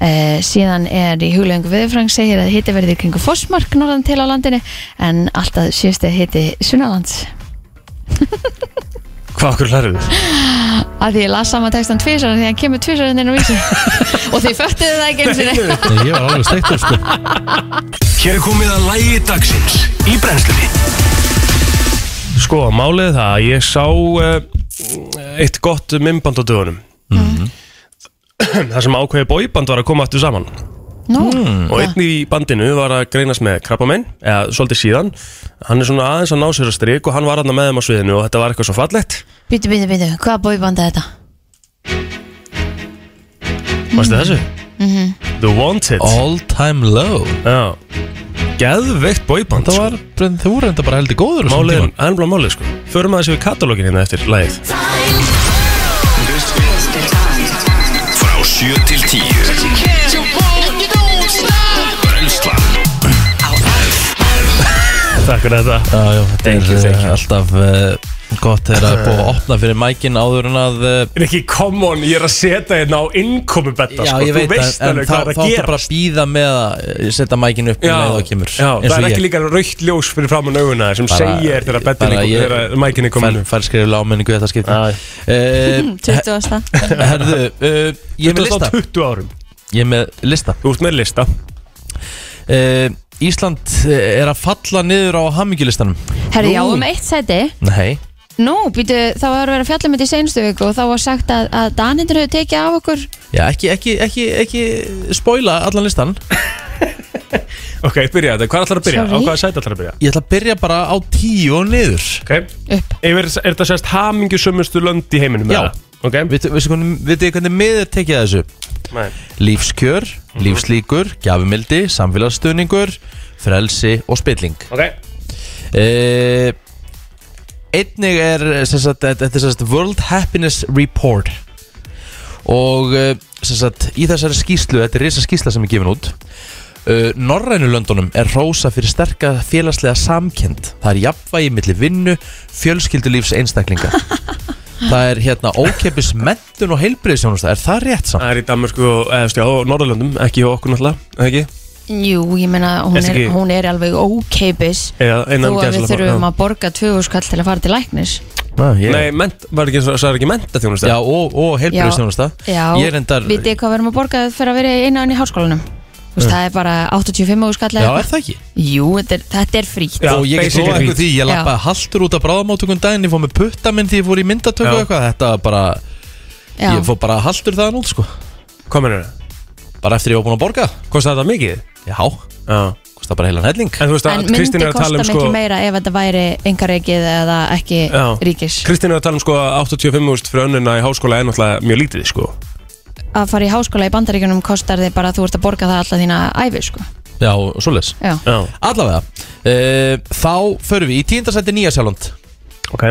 S4: Eh, síðan er í huglegungu viðfrang segir að hiti verður kringu fósmark norðan til á landinu en alltaf síðusti hiti sunnalands
S3: Hvað okkur lærðu þið?
S4: að því ég las saman textan tvisar því hann kemur tvisar inn á vísi og því föttuðu það ekki einu sinni
S2: Nei, Ég var alveg steiktur sko
S5: Hér er komið að lægi dagsins í brennslunni
S3: Sko, málið er það að Ég sá uh, eitt gott minnband á dögunum Það sem ákveði bóiband var að koma aftur saman
S4: Nú,
S3: Og einn í bandinu var að greinast með krabbamenn Eða svolítið síðan Hann er svona aðeins að ná sér að strik Og hann var aðna með þeim á sviðinu Og þetta var eitthvað svo fallegt
S4: býtu, býtu, býtu, hvaða bóiband er þetta?
S3: Varstu þessu? The Wanted
S2: All time low
S3: Já Geðveikt sko. bóiband
S2: Það var, þú var enda bara heldur góður á þessum
S3: Málið,
S2: tíma.
S3: hann blá málið sko Förum að þessu við katalógin hérna eftir lagið
S1: Frá 7 til 10 Brennslan
S3: Takk fyrir þetta
S2: Já, já, þetta er
S3: Thank you, thank you.
S2: eh, alltaf uh, gott þegar að búa *laughs* að opna fyrir mækin áður en að uh,
S3: En ekki, come on, ég er að setja hérna á innkomubetta
S2: Já,
S3: sko.
S2: ég veit
S3: Þú
S2: það,
S3: veist
S2: en
S3: alveg
S2: þá
S3: hvað
S2: þá
S3: er að
S2: áttu
S3: gera
S2: bara að býða með að eh, setja mækin upp um leið og kemur
S3: já, það er ekki líka raukt ljós fyrir framann auguna sem segir þegar bettin ykkur, þegar mækinni komin
S2: Fær skrifið láminningu þetta
S3: Já.
S2: skipti
S4: 20 ásta
S2: Eh, Herðu, eh, ég er með
S3: Þetta
S2: lista
S3: á 20 árum
S2: Ég er með lista
S3: Þú ert með lista
S2: Eh, Ísland eh, er að falla niður á hamingjulistanum
S4: Herri, já, um eitt sæti
S2: Nei
S4: Nú, býtu, það var að vera fjallum þetta í seinustu viku og þá var sagt að, að Danindur hefur tekið af okkur
S2: Já, ekki, ekki, ekki, ekki spoila allan listan
S3: Ok, byrja þetta, hvað ætlar að byrja?
S4: Sorry.
S3: Á hvaða sæti ætlar að byrja?
S2: Ég ætla að byrja bara á tíu og niður
S3: Ok,
S4: upp
S3: Yfir, er þetta sérst hamingju sömustu lönd í heiminum?
S2: Já.
S3: eða? Ok,
S2: Vitið veistu hvernig- vitið þið hvernig miður tekið að þessu?
S3: Nei.
S2: Lífskjör, lífslíkur, gjafumildi, samfélagsstöningur, frelsi og spilling
S3: ok
S2: e, Einnig er, sem sagt, þetta þetta er sem sagt World Happiness Report Og eh, sem sagt, í þessari skýslu, þetta er risa skýsla sem er gefin út Uh, Norrænu löndunum er rósa fyrir sterka félagslega samkend Það er jafnvægi milli vinnu, fjölskyldulífs
S4: *laughs*
S2: einstaklinga Það er hérna ókeppis mentun og heilbriðsjónusta Er það rétt samt?
S3: Það er í Danmarku og, eða, stjá, og Norðurlöndum, ekki hjá okkur náttúrulega, eða ekki?
S4: Jú, ég meina, hún
S3: Ertu
S4: er,
S3: ekki-
S4: hún er alveg ókeipis
S3: Eða
S4: Þú
S3: innan
S4: að við
S3: gæsalappa,
S4: þurfum
S3: já.
S4: að borga 20 skall til að fara til læknis
S2: Ah, ég...
S3: Nei, ment, var ekki, það er ekki menta þjónustu?
S2: Já, og, og heilbriðsjónusta
S4: Já,
S2: Ég er endar
S4: vitið hvað við erum að borga fyrir að vera einu enn í háskólanum Þú veist, það er bara 85 skall
S2: Já, er það ekki?
S4: Jú, þetta er, þetta er frítt
S3: Já,
S2: og ég get
S3: basically
S2: lofa ykkur
S3: fínt.
S2: því, ég
S4: Já.
S2: lappaði haldur út af bráðamáttökun daginn, ég fór með putta minn því ég fór í myndatöku
S3: Já.
S2: og eitthvað, þetta var bara,
S4: Já.
S2: ég fór bara haldur þaðan út sko,
S3: Hvað mennur það?
S2: bara eftir ég var búinn að borga,
S3: Kostar þetta mikið?
S2: já, kostar
S3: Já
S2: bara heilan helling.
S3: En þú veist
S4: En
S3: að
S4: myndi
S3: Kristín er að
S4: kosta
S3: tala um
S4: miklu
S3: sko
S4: meira ef þetta væri engareikið eða ekki
S3: Já.
S4: ríkis
S3: Kristín er að tala um sko að 85.000 fyrir önnuna í háskóla er náttúrulega mjög lítið sko
S4: Að fara í háskóla í bandaríkjunum kostar þið bara að þú ert að borga það alla þína æfi sko.
S2: Já, svoleiðis.
S4: Já.
S3: Já,
S2: Allavega, uh, þá förum við í tíndasætti Nýja Sjálfland,
S3: ok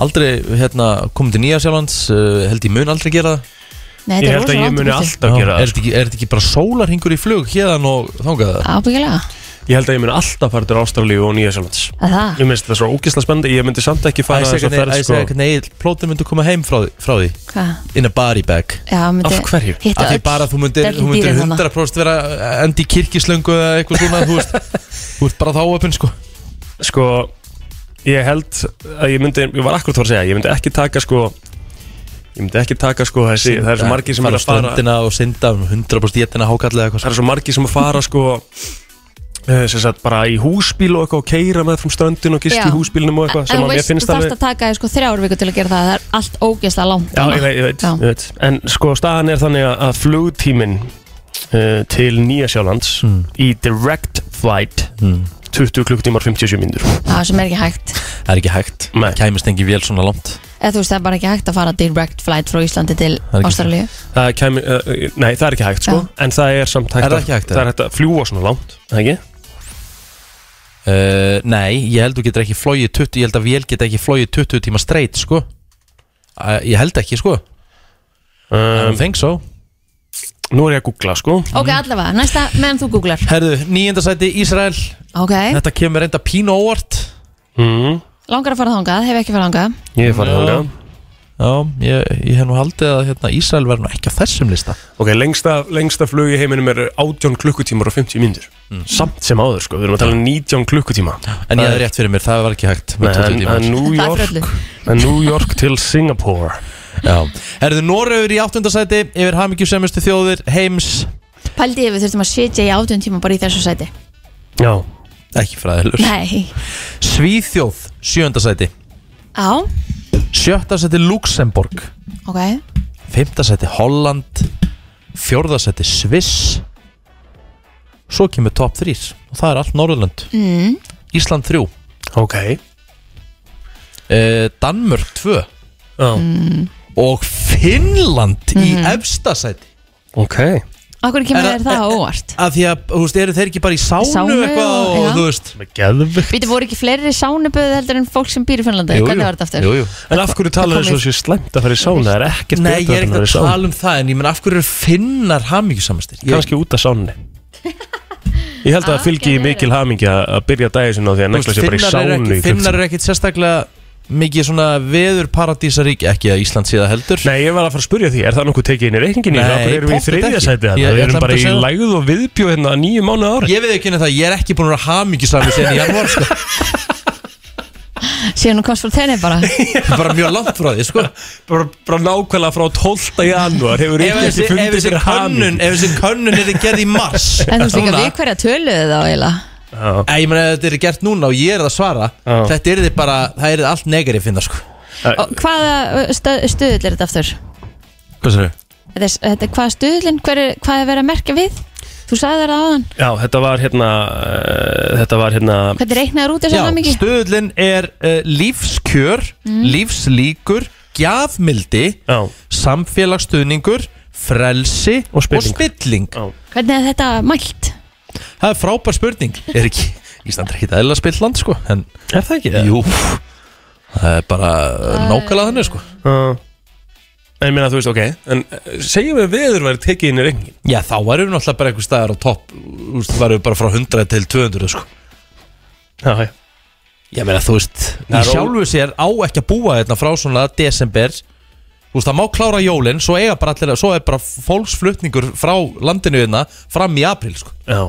S2: aldrei hérna komið til Nýja Sjálflands, uh, held ég mun aldrei gera það.
S4: Nei, þetta
S3: Ég
S4: er
S3: held að
S4: rosalega
S3: ég
S4: langt
S3: muni
S4: í burtu.
S3: alltaf gera
S2: er
S3: það sko.
S2: þetta ekki, er þetta ekki bara sólarhingur í flug hérðan og þangað?
S4: Ábyggilega,
S3: sko. Ég held að ég muni alltaf fara til Ástralíu og Nýja Sjálflands
S4: að það
S3: Ég minnst þetta svo ógisla spennandi Ég myndi samt ekki fara þess að ferð
S2: Æsir
S3: sko
S2: ekki, nei, plótið myndi koma heim frá, því- frá því,
S4: Hvað?
S2: in a body bag.
S4: Já, myndi
S3: Af hverju?
S4: Hitta
S2: að því
S4: öll
S2: bara þú myndir, þú
S4: Berlín
S2: myndir
S4: dýrin þarna.
S2: 100% vera endi kirkislöngu eða eitthvað svona þú veist, þú veist bara þá öpun sko
S3: Sko, ég held að ég myndi Ég var akkur að fara að segja Ég myndi ekki taka sko Ég myndi ekki taka sko þessi Það er svo margir sem er að fara
S2: ströndina og synda um 100% jetina hákallið eða eitthvað
S3: það er svo margi sem að fara sko eh, sem sagt bara í húsbíl og eitthvað og keira með frá ströndin og gist
S4: Já.
S3: í húsbílnum og eitthvað sem
S4: En
S3: að
S4: þú
S3: mér
S4: veist, þú
S3: finnst
S4: þarfst
S3: alveg
S4: að taka þér, sko, þrjár viku til að gera það Það er allt ógeðslega langt
S3: Já,
S4: þarna.
S3: ég veit, ég veit,
S4: Já.
S3: ég veit En sko staðan er þannig að- að flugtímin uh, til Nýja Sjálands í direct flight 20 klukkutímar 57 mínútur
S4: Já, sem er ekki hægt
S2: það er ekki hægt,
S3: Nei.
S2: kæmist engi vél svona langt
S4: Eða þú veist, það er bara ekki hægt að fara direct flight frá Íslandi til
S2: er ekki-
S4: Ástralíu
S3: Það kæmi, uh, nei það er ekki hægt sko En það er samt hægt,
S2: Er það
S3: að-
S2: ekki hægt,
S3: það
S2: eða?
S3: er hægt að fljúa svona langt er það Ekki?
S2: Uh, nei, ég held þú getur ekki flóið 20 Ég held að vél geta ekki flóið 20 tíma straight sko. uh, Ég held ekki sko um,
S3: um,
S2: Think so
S3: Nú er ég að googla sko
S4: Ok, allavega, næsta meðan þú googlar
S2: Herðu, nýjöndasæti Ísrael
S4: Ok,
S2: Þetta kemur reynda pínu óvart
S3: mm,
S4: langar að fara þangað, hef ekki fara þangað
S3: Ég er farið
S2: Já.
S3: þangað
S2: Já, ég, ég hef nú haldið að hérna, Ísrael verður nú ekki á þessum lista
S3: Ok, lengsta, lengsta flug í heiminum er 18 klukkutímar og 50 mínútur
S2: Mm.
S3: Samt sem áður sko, við erum að tala um 19 klukkutíma
S2: En ég hef rétt fyrir mér, það var ekki hægt með
S3: Nei,
S2: 20
S3: en,
S2: tíma.
S3: en, New
S4: Það er
S3: York,
S4: fyrir öllu.
S3: en New York til Singapore
S2: Já. Herðu, Noregur í áttundasæti Yfir hamingjusemustu þjóðir, heims
S4: Pældi ég við þurftum að sitja í átjón tíma bara í þessu sæti
S3: Já,
S2: Ekki fræðilur
S4: Nei,
S2: Svíþjóð, sjöndasæti
S4: á,
S2: Sjöttasæti Luxemborg
S4: ok
S2: Fymtasæti Holland Fjórðasæti Sviss Svo kemur top 3 Og það er allt Norðurlönd
S4: mm.
S2: Ísland 3
S3: ok
S2: eh, Danmörk 2
S3: Já.
S2: Og Finnland í
S4: Mhm.
S2: efstasæti
S3: Ok
S4: Akkur kemur
S2: Er það-
S4: þér það á óvart
S2: Af því að, þú veist, eru þeir ekki bara í sánu,
S4: Sánu
S2: eitthvað
S4: og-
S2: og,
S4: já.
S2: þú veist
S3: Með geðvig
S4: Býtu, voru ekki fleiri sánuböð heldur en fólk sem býr í Finnlandi Hvernig var þetta aftur?
S2: Jú, jú
S3: En af hverju talar þessu þessu slæmt að fara í sána? Það er ekkert
S2: Nei, ég
S3: betra
S2: er
S3: en
S2: ekkert
S3: að fara í
S2: að
S3: sána
S2: tala um það En ég menn, af hverju eru finnar hamingjusamastir? Ég,
S3: Kanski út af sánni Ég held að það fylgi í mikil hamingi að byrja dagið sinna á því að
S2: þú veist,
S3: negla sér bara í
S2: finnar eru
S3: sánu
S2: ekki- Finnar eru ekkert sérstaklega mikið svona veðurparadísarík Ekki að Ísland sé það heldur
S3: Nei, ég var að fara að spurja því, er það nokkuð tekið inn í reikningin í
S2: Nei,
S3: það? Akkur erum við í
S2: pottþétt
S3: þriðja
S2: ekki.
S3: sæti
S2: Ég-
S3: þetta?
S2: ég
S3: Við
S2: ætla
S3: erum bara
S2: bara að
S3: í
S2: segja það.
S3: lægð og viðbjóð hérna nýju mánuð ári.
S2: Ég veið ekki henni það, ég er ekki búin að hafa mikið saman síðan í janúar, sko.
S4: Síðan hún komst frá tenni
S2: *laughs*
S4: bara
S2: Það er bara mjög langt frá því, sko.
S3: Bara, bara nákvæmlega frá 12. janúar hefur
S2: Ef
S3: Rikki
S2: þessi,
S3: ekki
S2: ef
S3: fundið
S2: þessi
S3: fyrir
S2: könnun,
S3: hamingju.
S2: ef þessi könnun er gerð í mars.
S4: En þú veist líka
S2: núna-
S4: við hverja töluðu þá eiginlega
S3: Já.
S2: Nei, ég meina, ef þetta er gert núna og ég er það að svara,
S3: Já.
S2: þetta er þið bara, það er þið allt negri finna, sko.
S4: Og Hvaða stöð, stöðull er þetta aftur?
S2: Hvað sér þau?
S4: Þetta er, þetta er hvaða stöðullin, hver er, hvað er verið að merkja við? Þú sagði þér það áðan,
S3: Já, þetta var hérna, uh, þetta var hérna,
S4: hvernig reiknaður út þessu
S2: Já,
S4: hamingi?
S2: stöðlinn er uh, lífskjör, lífslíkur, gjafmildi,
S3: já,
S2: samfélagsstuðningur, frelsi
S3: Og spilling. já.
S4: Hvernig er þetta mælt?
S2: Það er frábær spurning. Er ekki, Ísland er ekki eðla spilt land, sko, en
S3: Er það ekki?
S2: Jú Það er bara nákvæmlega þannig sko
S3: Uh, en ég meina, þú veist, ok, en eh, segjum við að veður væri tekið inn í reikningin.
S2: Já þá erum við náttúrulega bara einhver staðar á topp Þú veist, Það erum við bara frá 100 til 200 sko
S3: Já, já.
S2: Ég meina þú veist
S3: Það
S2: Í
S3: er ó-
S2: sjálfu sér á ekki að búa hérna frá svona desember Þú veist það má klára jólin Svo, eiga bara allir, svo er bara fólksflutningur frá landinu hérna Fram í april sko
S3: Já.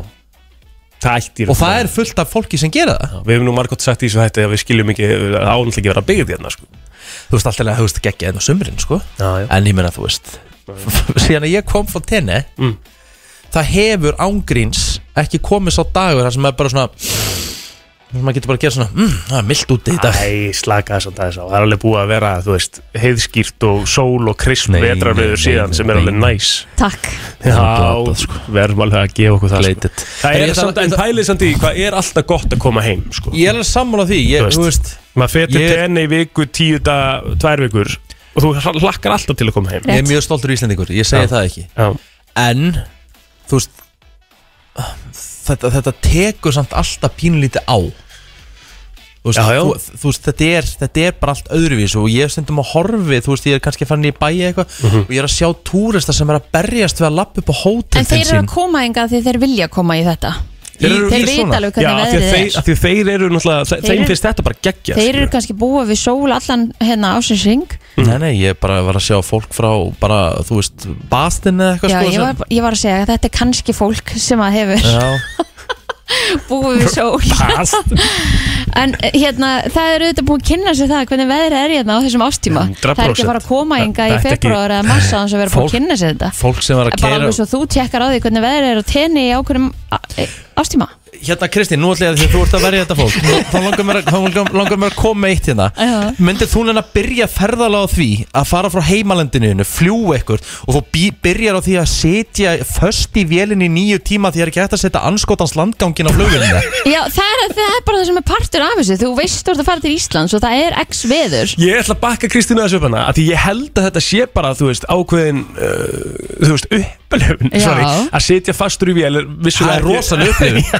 S3: Það ætti í
S2: Og það
S3: raun.
S2: er fullt af fólki sem gera það
S3: Við hefum nú margótt sagt í þessu hætti að við skiljum ekki, ánaldi ekki að vera byggð hérna, sko.
S2: Þú veist alltaf að þú veist geggja hérna á sumrin sko
S3: Já,
S2: En ég meina þú veist *laughs* Síðan að ég kom frá tenni
S3: Mm.
S2: Það hefur ángríns ekki komið sá dagur Það sem er bara svona sem maður getur bara að gera svona mm, Það er mildt úti í dag
S3: Æ, slaka þess að það er sá Það er alveg búið að vera, þú veist, heiðskýrt og sól og krisp
S2: Nei, nei,
S3: vetrarveður
S2: nei,
S3: síðan
S2: nei,
S3: sem er alveg
S2: nei.
S3: næs
S4: Takk.
S3: Já,
S2: glatað, sko.
S3: verðum alveg að gefa okkur það sko.
S2: Gleitit
S3: Það
S2: En
S3: er
S2: ég
S3: samt,
S2: þarf-
S3: en pælið samt í hvað er alltaf gott að koma heim, sko
S2: Ég er alveg sammála því ég,
S3: Þú
S2: Þú veist
S3: Maður fer til
S2: Ég-
S3: tenni í viku, tíu dag, tvær vikur og þú hlakkar alltaf til að koma heim
S4: Rétt.
S2: Ég er mjög stoltur íslendingur Ég segi
S3: Já.
S2: það ekki
S3: Já,
S2: En Þú veist Þetta, þetta tekur samt alltaf pínlítið á Þú veist,
S3: Já, já.
S2: Þú, þú veist þetta, er, þetta er bara allt öðruvís og ég er stundum að horfi þú veist ég er kannski fann í bæi eitthvað
S3: Mhm.
S2: og ég er að sjá túrista sem er að berjast við að lappa upp á hótel
S4: En þeir eru að koma enga því þeir vilja koma í þetta.
S2: Þeir eru-
S4: þeir
S2: þeir
S4: vita
S2: svona.
S4: alveg
S3: Já
S4: hvernig
S3: af því að
S4: veðrið
S3: þeir-
S4: er.
S3: af því að þeir eru náttúrulega þe-
S4: Þeir
S3: Þeim
S4: eru-
S3: finnst þetta bara geggja
S4: Þeir eru kannski búa við sól allan hérna ásins ring.
S2: Nei, nei, ég bara var að sjá fólk frá bara, þú veist, bastin eða eitthvað
S4: Já,
S2: sko,
S4: ég
S2: sem-
S4: var, ég var að segja að þetta er kannski fólk sem að hefur
S2: Já,
S4: *laughs* búið við sól.
S3: *laughs*
S4: En eh, hérna, það eru auðvitað búin að kynna sér það hvernig veðrið er hérna á þessum ástíma. Það er ekki
S3: 100%.
S4: bara að koma enga í
S3: Þetta er ekki-
S4: februar eða massa þannig að vera búin
S2: Fólk-
S4: að kynna sér þetta.
S2: fólk sem var að
S4: Bara
S2: keira
S4: alveg svo þú tekkar á því hvernig veðrið er á tenni í ákveðum á- eh, ástíma.
S2: Hérna Kristín, nú ætla ég að því að þú ert að verja þetta fólk Nú- Þá langar mér, að- þá langar- langar mér að koma með eitt hérna
S4: Já.
S2: Myndir þú neina byrja ferðalega á því að fara frá heimalendinu fljú ekkert og þú bí- byrjar á því að setja föst í vélinni í nýju tíma því það er ekki hægt að setja anskotans landgangin á flugvélinni
S3: *laughs*
S4: Já, það er, það er bara það sem er partur af þessu Þú veist þú ert að fara til Íslands og það er x veður
S3: Ég ætla að bakka Kristínu þessu upp hana að því ég held að þetta sé bara, þú veist, ákveðin uh, þú veist, upp, upplifun
S4: Já.
S3: sorry, að sitja fastur í vél er
S2: Það
S3: vissulega
S2: er
S3: ekki-
S2: rosalega
S3: *laughs*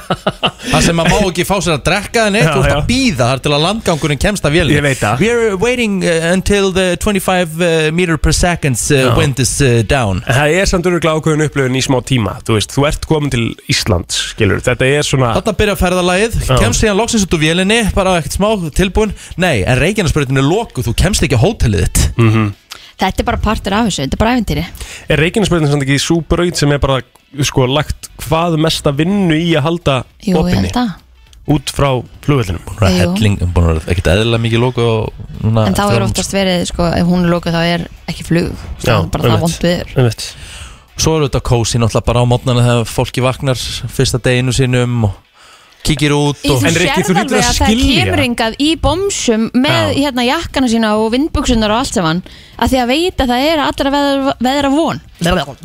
S4: *laughs*
S2: upplifun Það sem maður má ekki fá sér að drekka en eitt
S3: Já,
S2: Þú ert að
S3: já.
S2: býða þar til að landgangurinn kemst að vélni
S3: Ég veit það.
S2: We are waiting uh, until the 25 uh, meter per second uh,
S3: Já.
S2: wind is uh, down
S3: En það er samt öruglega ákveðin upplifun í smá tíma Þú veist, þú ert komin til Íslands, skilur Þetta er svona
S2: Þarna byrja ferðalagið, kemst síðan loksins út úr vélinni bara ekkert smá tilbúin Nei, en Reykjanesbreytinu er lokuð, þú kemst ekki á hótelið þitt
S4: Þetta er bara partur af þessu, þetta er bara æventýri
S3: Er Reykjanesbreytin samt ekki sú braut sem er bara sko lagt hvað mesta vinnu í að halda
S4: Jú, ég
S3: opinni
S4: held að
S3: út frá flugvellinum
S2: Búin að
S4: Jú.
S2: helling, um búin að vera ekkert eðlilega mikið lokuð og
S3: Ah,
S2: núna
S4: En þá er
S2: þrjár-
S4: oftast verið, sko, ef hún er lokuð þá er ekki flug Það er bara það
S3: einmitt.
S4: vond viður
S3: Einmitt.
S2: Svo eru þetta kósi náttúrulega bara á mótnana þegar fólki vaknar fyrsta deginu sínum og kíkir út
S4: Í
S2: og
S4: þú
S3: En Rikki, þú
S4: sérð
S3: hlýtur
S4: alveg að
S3: að
S4: það
S3: skilja.
S4: kemur hingað í bómsum með
S3: Já.
S4: hérna jakkana sína og vindbuksunar og allt saman að því að veita að það er allra veðra, veðra von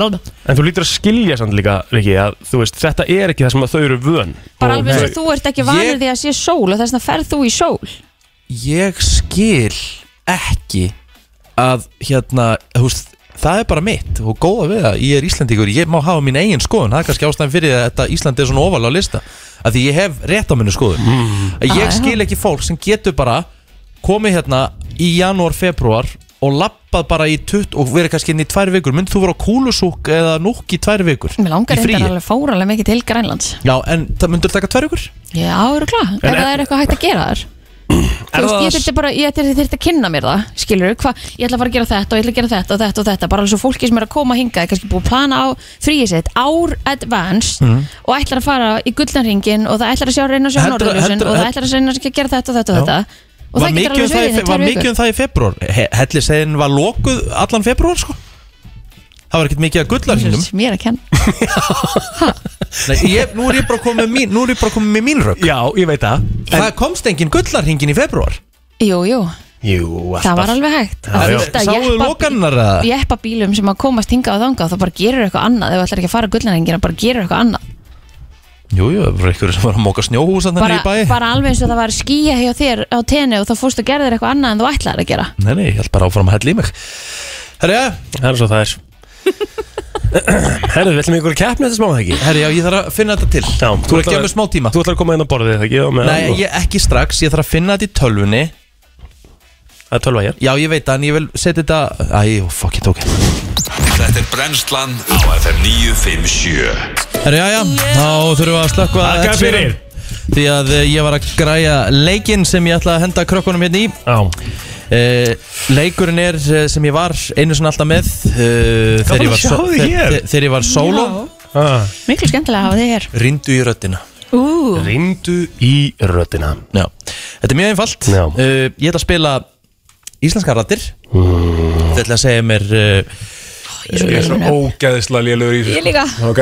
S3: En þú lítur að skilja samt líka, Riki, að þú veist, þetta er ekki það sem að þau eru vön
S4: bara alveg eins
S3: nei.
S4: og þú ert ekki vanur
S2: Ég-
S4: því að sé sól og þess vegna ferð þú í sól
S2: ég skil ekki að hérna, þú veist, það er bara mitt og góða við það, ég er Íslandíkur, ég má hafa mín eigin skoðun, það er kannski ástæðan fyrir því að þetta Íslandi er svona ofalega á lista, að því ég hef rétt á minni skoðun, að
S4: Ah,
S2: ég
S4: já.
S2: skil ekki fólk sem getur bara komið hérna í janúar, februar og lappað bara í tutt og verið kannski inn í tvær vikur, mynd þú vera á kúlusúk eða núk í tvær vikur,
S4: Mér langar
S2: í fríi?
S4: reyndar alveg fáralega mikið til Grænlands
S2: Já, en það myndur taka tvær vikur?
S4: Já, eru klá, ef
S3: er-
S4: það er eitthvað hægt að gera
S2: *clears throat*
S4: þar Þú veist, ég þurfti bara, ég þurfti, þurfti að kynna mér það, skilur hvað, ég ætla að fara að gera þetta og ég ætla að gera þetta og þetta og þetta, bara alveg svo fólki sem er að koma hinga er kannski búið að plana á fríið sitt ár advanced
S2: Mhm.
S4: og ætlar að fara í gullanringin og það ætlar að sjá reyna að sjá
S2: Heldurðu-
S4: norðurljósin
S2: heldurðu-
S4: og það ætlar að reyna að gera þetta og þetta og þetta og
S2: Var
S4: það getur
S2: mikið, um
S4: alveg
S2: það, í
S4: verið
S2: fe- var
S4: í tvær
S2: mikið um
S4: vikur
S2: það í februar Hellisegin var lokuð allan februar sko um Það var ekkert mikið að gullar hinnum
S4: Sem ég er að kenna
S2: Nú er ég bara komið með mín, nú er ég bara komið með mín rögg
S3: Já, ég veit það
S2: Það komst engin gullarhingin í februar
S4: Jú, jú,
S3: Jú,
S4: það var alveg hægt
S3: Já,
S4: Það
S3: já.
S4: þurfti að
S2: Sáuðu
S4: jeppa-
S2: lokanirnar eða?
S4: jeppa bílum sem að komast hingað og þangað þá bara gerir eitthvað annað, ef þú ætlar ekki að fara gullanringina bara gerir eitthvað annað
S2: Jú, jú, það var einhverju sem var að móka snjóhús Þannig
S4: bara,
S2: í bæ
S4: bara alveg eins og það var skýja hjá þér á tenni og þá fórst að gera þér eitthvað annað en þú ætlaðir að gera
S2: Nei, nei, ég held bara áfram að hella í mig Herri, ja,
S3: Það er svo það er Herðu, við ætlum ykkur að keppna þetta smá það ekki
S2: herri, já, ég þarf að finna þetta til
S3: Já,
S2: Þú er ekki að með smá tíma
S3: Þú ætlar að koma inn á borðið þetta ekki? og með
S2: Nei,
S3: og-
S2: ég, ekki strax, ég þarf að finna þetta í tölvunni
S3: Það er tölva hér
S2: Já, ég veit það, en ég vil setja þetta Æ, fuck it, ok
S1: Þetta er brennslan á FM 957
S2: Herri, já, já, þá þurfum við að slökkva
S3: Þakka
S2: Ed Sheeran.
S3: fyrir.
S2: Því að eh, ég var að græja leikinn sem ég ætla að henda krökkunum hérna í
S3: Já
S2: uh, Leikurinn er eh, sem ég var einu sinni alltaf með uh,
S3: Gaman
S2: þegar, ég
S3: að
S2: var
S3: sjá
S2: so-
S3: þig
S2: þe-
S3: hér.
S2: þe- þegar ég var solo
S3: ah.
S4: Miklu skemmtilega að hafa þig hér
S2: Rindu í röddina
S4: Ú,
S3: Rindu í röddina
S2: já. Þetta er mjög einfalt
S3: Já.
S2: uh, Ég ætla að spila íslenska rættir mm. Þetta ætla að segja mér uh,
S5: Ég er svo ógæðislega lélugur í þessu sko.
S4: Ég líka.
S5: Ok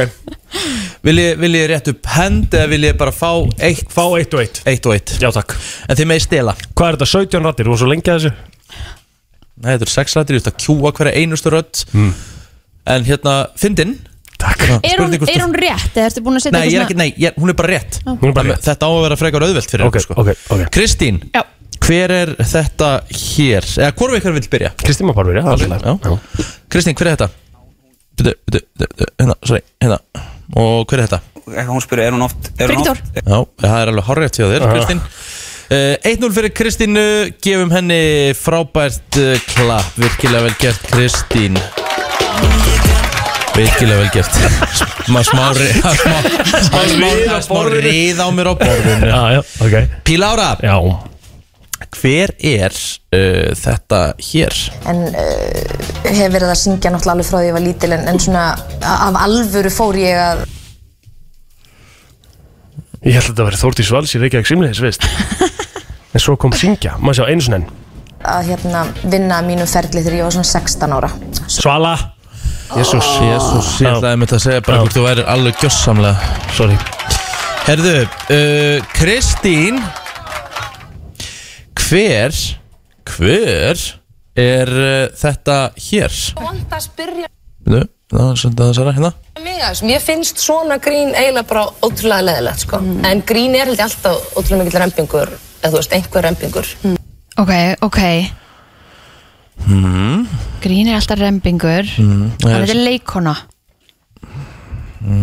S2: vil, ég, vil ég rétt upp hend eða vil ég bara fá eitt,
S3: Fá eitt og eitt
S2: eitt og eitt
S3: Já takk
S2: En þið meði stela
S3: Hvað er þetta, 17 rattir? Þú var svo lengi að þessu?
S2: Nei, þetta er sex rættir, ég ætla að kjúa hverja einustu rödd
S3: Hmm.
S2: En hérna, fyndin
S3: Takk
S4: er hún,
S2: Spurning hvort
S4: er
S2: þú-
S4: hún rétt eða ertu búin að setja
S2: Nei, ég er ekki, nei ég, hún er bara rétt
S3: Hún er bara rétt.
S2: Þetta á að vera frekar auðvelt fyrir
S3: Ok,
S2: ykkur,
S3: ok, ok.
S2: Kristín,
S4: Já.
S2: hver er þetta hér? Eða hvort við ykkur vil byrja?
S3: Kristín var bara verið, alveg
S2: Já. Kristín, hver er þetta? Bíddu, bíddu, bíddu, Hérna, sorry, hérna Og hver er þetta?
S6: Ef hún spyrir, er hún oft er hún
S4: Viktor,
S6: oft-
S2: Já, það er alveg horrið til þér,
S3: Já.
S2: Kristín Uh, 1-0 fyrir Kristínu, gefum henni frábært uh, klapp, virkilega vel gert Kristín Virkilega vel gert *laughs* Smá, smá, ri- *laughs* smá, smá, smá,
S3: rið
S2: smá,
S3: á
S2: smá
S3: borðinu.
S2: rið á mér á borðinu
S3: Já, já, ok
S2: Pílára,
S3: Já
S2: hver er uh, þetta hér?
S7: en uh, hef verið að syngja náttúrulega alveg frá því ég var lítil en, en svona af alvöru fór ég að
S3: Ég held að þetta verið Þórtís Vals í Reykjavík Simliðis, veist En svo kom Syngja, maður sjá einu svona enn
S7: að hérna, vinna að mínum ferli þegar ég var svona 16 ára
S3: Svala Jésús,
S2: Jésús, ég
S3: Já.
S2: ætlaði myndi að segja bara
S3: Já.
S2: hvort þú væri alveg gjössamlega
S3: sorry
S2: Herðu, uh, Kristín Hver Hver er uh, þetta hér?
S8: vant að spyrja
S2: Þú, það er svolítið að særa hérna
S8: mig að þessu. Mér finnst svona grín eiginlega bara ótrúlega leðilegt, sko. En grín er held ég alltaf ótrúlega mikill rempingur, eða þú veist, einhver rempingur.
S4: ok, ok
S2: Mhm.
S4: Grín er alltaf rembingur mm.
S2: það er-
S4: Þetta er leikona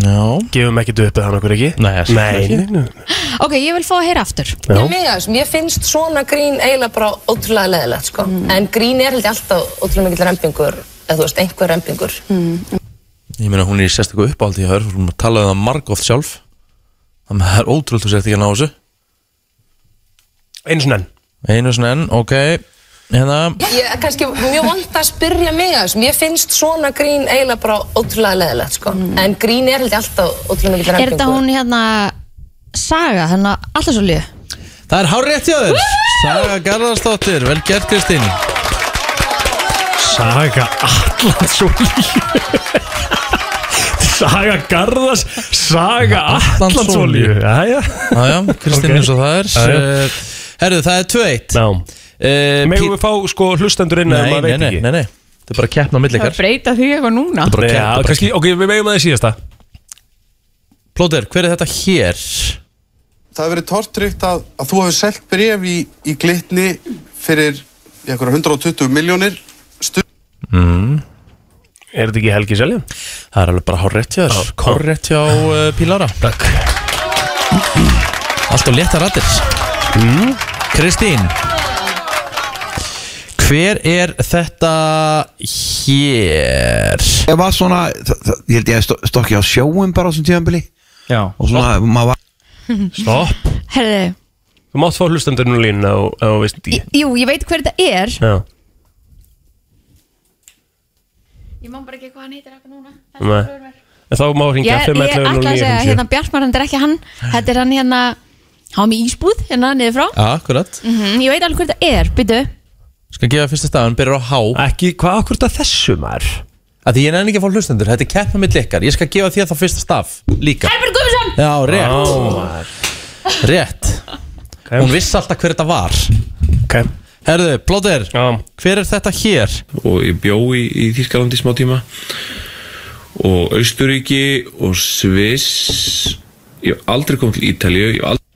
S2: Já
S3: Gefum ekki upp eða hann okkur ekki
S2: Nei, það er
S3: nei,
S2: ekki.
S3: nei, nei.
S4: Ok, ég vil fá að heyra aftur
S3: Já.
S9: Ég, með, þessu, ég finnst svona grín eiginlega bara ótrúlega leðilegt sko. en grín er held ég alltaf ótrúlega mikill rempingur eða þú veist, einhver rempingur
S2: Ég meina hún er í sérstakku uppáldi í hör Hún talaði um það margóft sjálf Þannig að það er ótrúld þú sért ekki að ná þessu
S3: Einu svona enn
S2: Einu svona enn, ok Hérna
S9: Ég er kannski mjög vond að spyrja mig að þessum, ég finnst svona grín eiginlega bara ótrúlega leðilegt sko. en grín er held ég alltaf ótrúlega sko.
S4: Mm.
S9: mikill
S4: Er
S9: rempingur
S4: þetta hún hérna Saga, hérna alltaf svo líu
S2: Það er hár rétt hjá þér Saga Garðarsdóttir, vel gert Kristín
S3: Saga Allandsólíu Saga Garðas Saga
S2: Atlantsolíu.
S3: Allandsólíu Jæja
S2: Jájá, Kristín
S3: Ok.
S2: eins og það er
S3: Já, já.
S2: Eh, Herðu, það er 2-1
S3: Ná
S2: Eh,
S3: Megum
S2: Pí-
S3: við fá sko hlustendur inn ef
S2: Nei,
S3: maður
S2: nei,
S3: veit
S2: nei,
S3: ekki?
S2: nei, nei Það er bara að keppna á milli
S10: Það
S2: ykkar
S10: breyta því eitthvað núna
S2: Bara að
S3: Já,
S2: keppna, bara
S3: kannski, ok, við megum að það síðasta
S2: Plóter, hver er þetta hér?
S11: Það hefur verið tortrygt að, að þú hefur selgt bref í, í glitni fyrir í einhverja 120 miljónir
S3: Er þetta ekki Helgi Seljan?
S2: Það er alveg bara hárrétt hjá þér Hárrétt hjá uh, Pílára Takk Allt og létta rættir
S3: Mm.
S2: Kristín Hver er þetta hér?
S12: Ég var svona, þa- þa- ég held ég að sto- stokki á sjóum bara á þessum tíðanbili
S3: Já
S12: og svona, maður var
S3: Stopp
S4: Herðu,
S3: Þú mátt fá hlustendur inn á línuna og, og veist
S4: í-
S3: ekki
S4: jú, ég veit hver þetta er
S3: Já
S4: Ég má bara ekki hvað hann heitir akkur núna
S3: Nei. En þá má
S4: Ég,
S3: hringja
S4: ég
S3: 511
S4: ætla að segja,
S3: 0957.
S4: hérna Bjartmar, hann er ekki hann Þetta er hann hérna, hann var með ísbúð hérna niður frá
S2: Akkurat
S4: Ég veit alveg hver þetta er, byttu
S2: Skal gefa fyrsta stafan, byrjar á H
S3: Ekki, hvað akkur þetta þessu maður?
S2: að Því ég nefn ekki að fá hlustendur, þetta er keppna mitt ykkar Ég skal gefa þér þá fyrsta staf líka
S4: Herbjörn Guðmundsson!
S2: Já, rétt,
S3: Ó,
S2: rétt Hún vissi alltaf hver þetta var
S3: ok
S2: Herðu, Plóter,
S3: Já,
S2: hver er þetta hér?
S1: og ég bjó í, í Þýskalandi smá tíma og Austuríki og Sviss ég hef aldrei komið til Ítalíu ég hef aldrei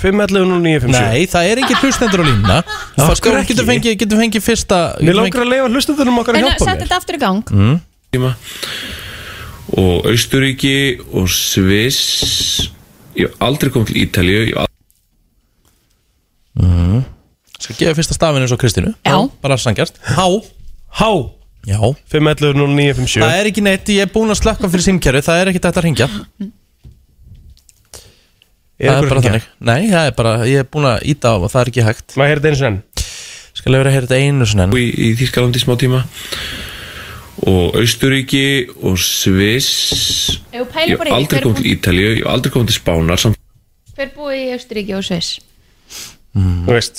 S2: Nei, það er ekki hlustendur á línuna Það
S3: af
S2: sko
S3: hverju
S2: getur
S3: ekki?
S2: fengið, getur fengið fyrsta
S3: Mér
S2: getur
S3: langar að leifa hlustendunum okkar að
S4: Sett
S3: hjálpa mér
S4: uh, þetta aftur í gang
S1: tíma og Austuríki og Sviss ég hef aldrei komið til Ítalíu ég hef aldrei
S2: fengið- Skal gefa fyrsta stafinu eins og Kristínu
S4: Já.
S2: Bara sangjast Há
S3: Há,
S2: Já
S3: 511-0957
S2: Það er ekki neitt, ég er búinn að slökka fyrir símkjæru Það er ekki þetta að ringja
S3: Er
S2: Það
S3: ykkur
S2: er bara
S3: hringja?
S2: þannig Nei, það er bara, ég er búinn að íta á og það er ekki hægt
S3: Maður heyrði eins og enn
S2: Skal ég vera að heyra þetta einu svona enn
S1: búið í Þýskalandi smá tíma og Austuríki og Sviss
S4: Ef þú
S1: ég
S4: pælir
S1: hef
S4: bara í
S1: aldrei
S4: hver,
S1: komið til Ítalíu ég hef aldrei komið til Spánar samt
S4: hver búið í Austuríki og Sviss
S2: Mm.
S3: Þú veist,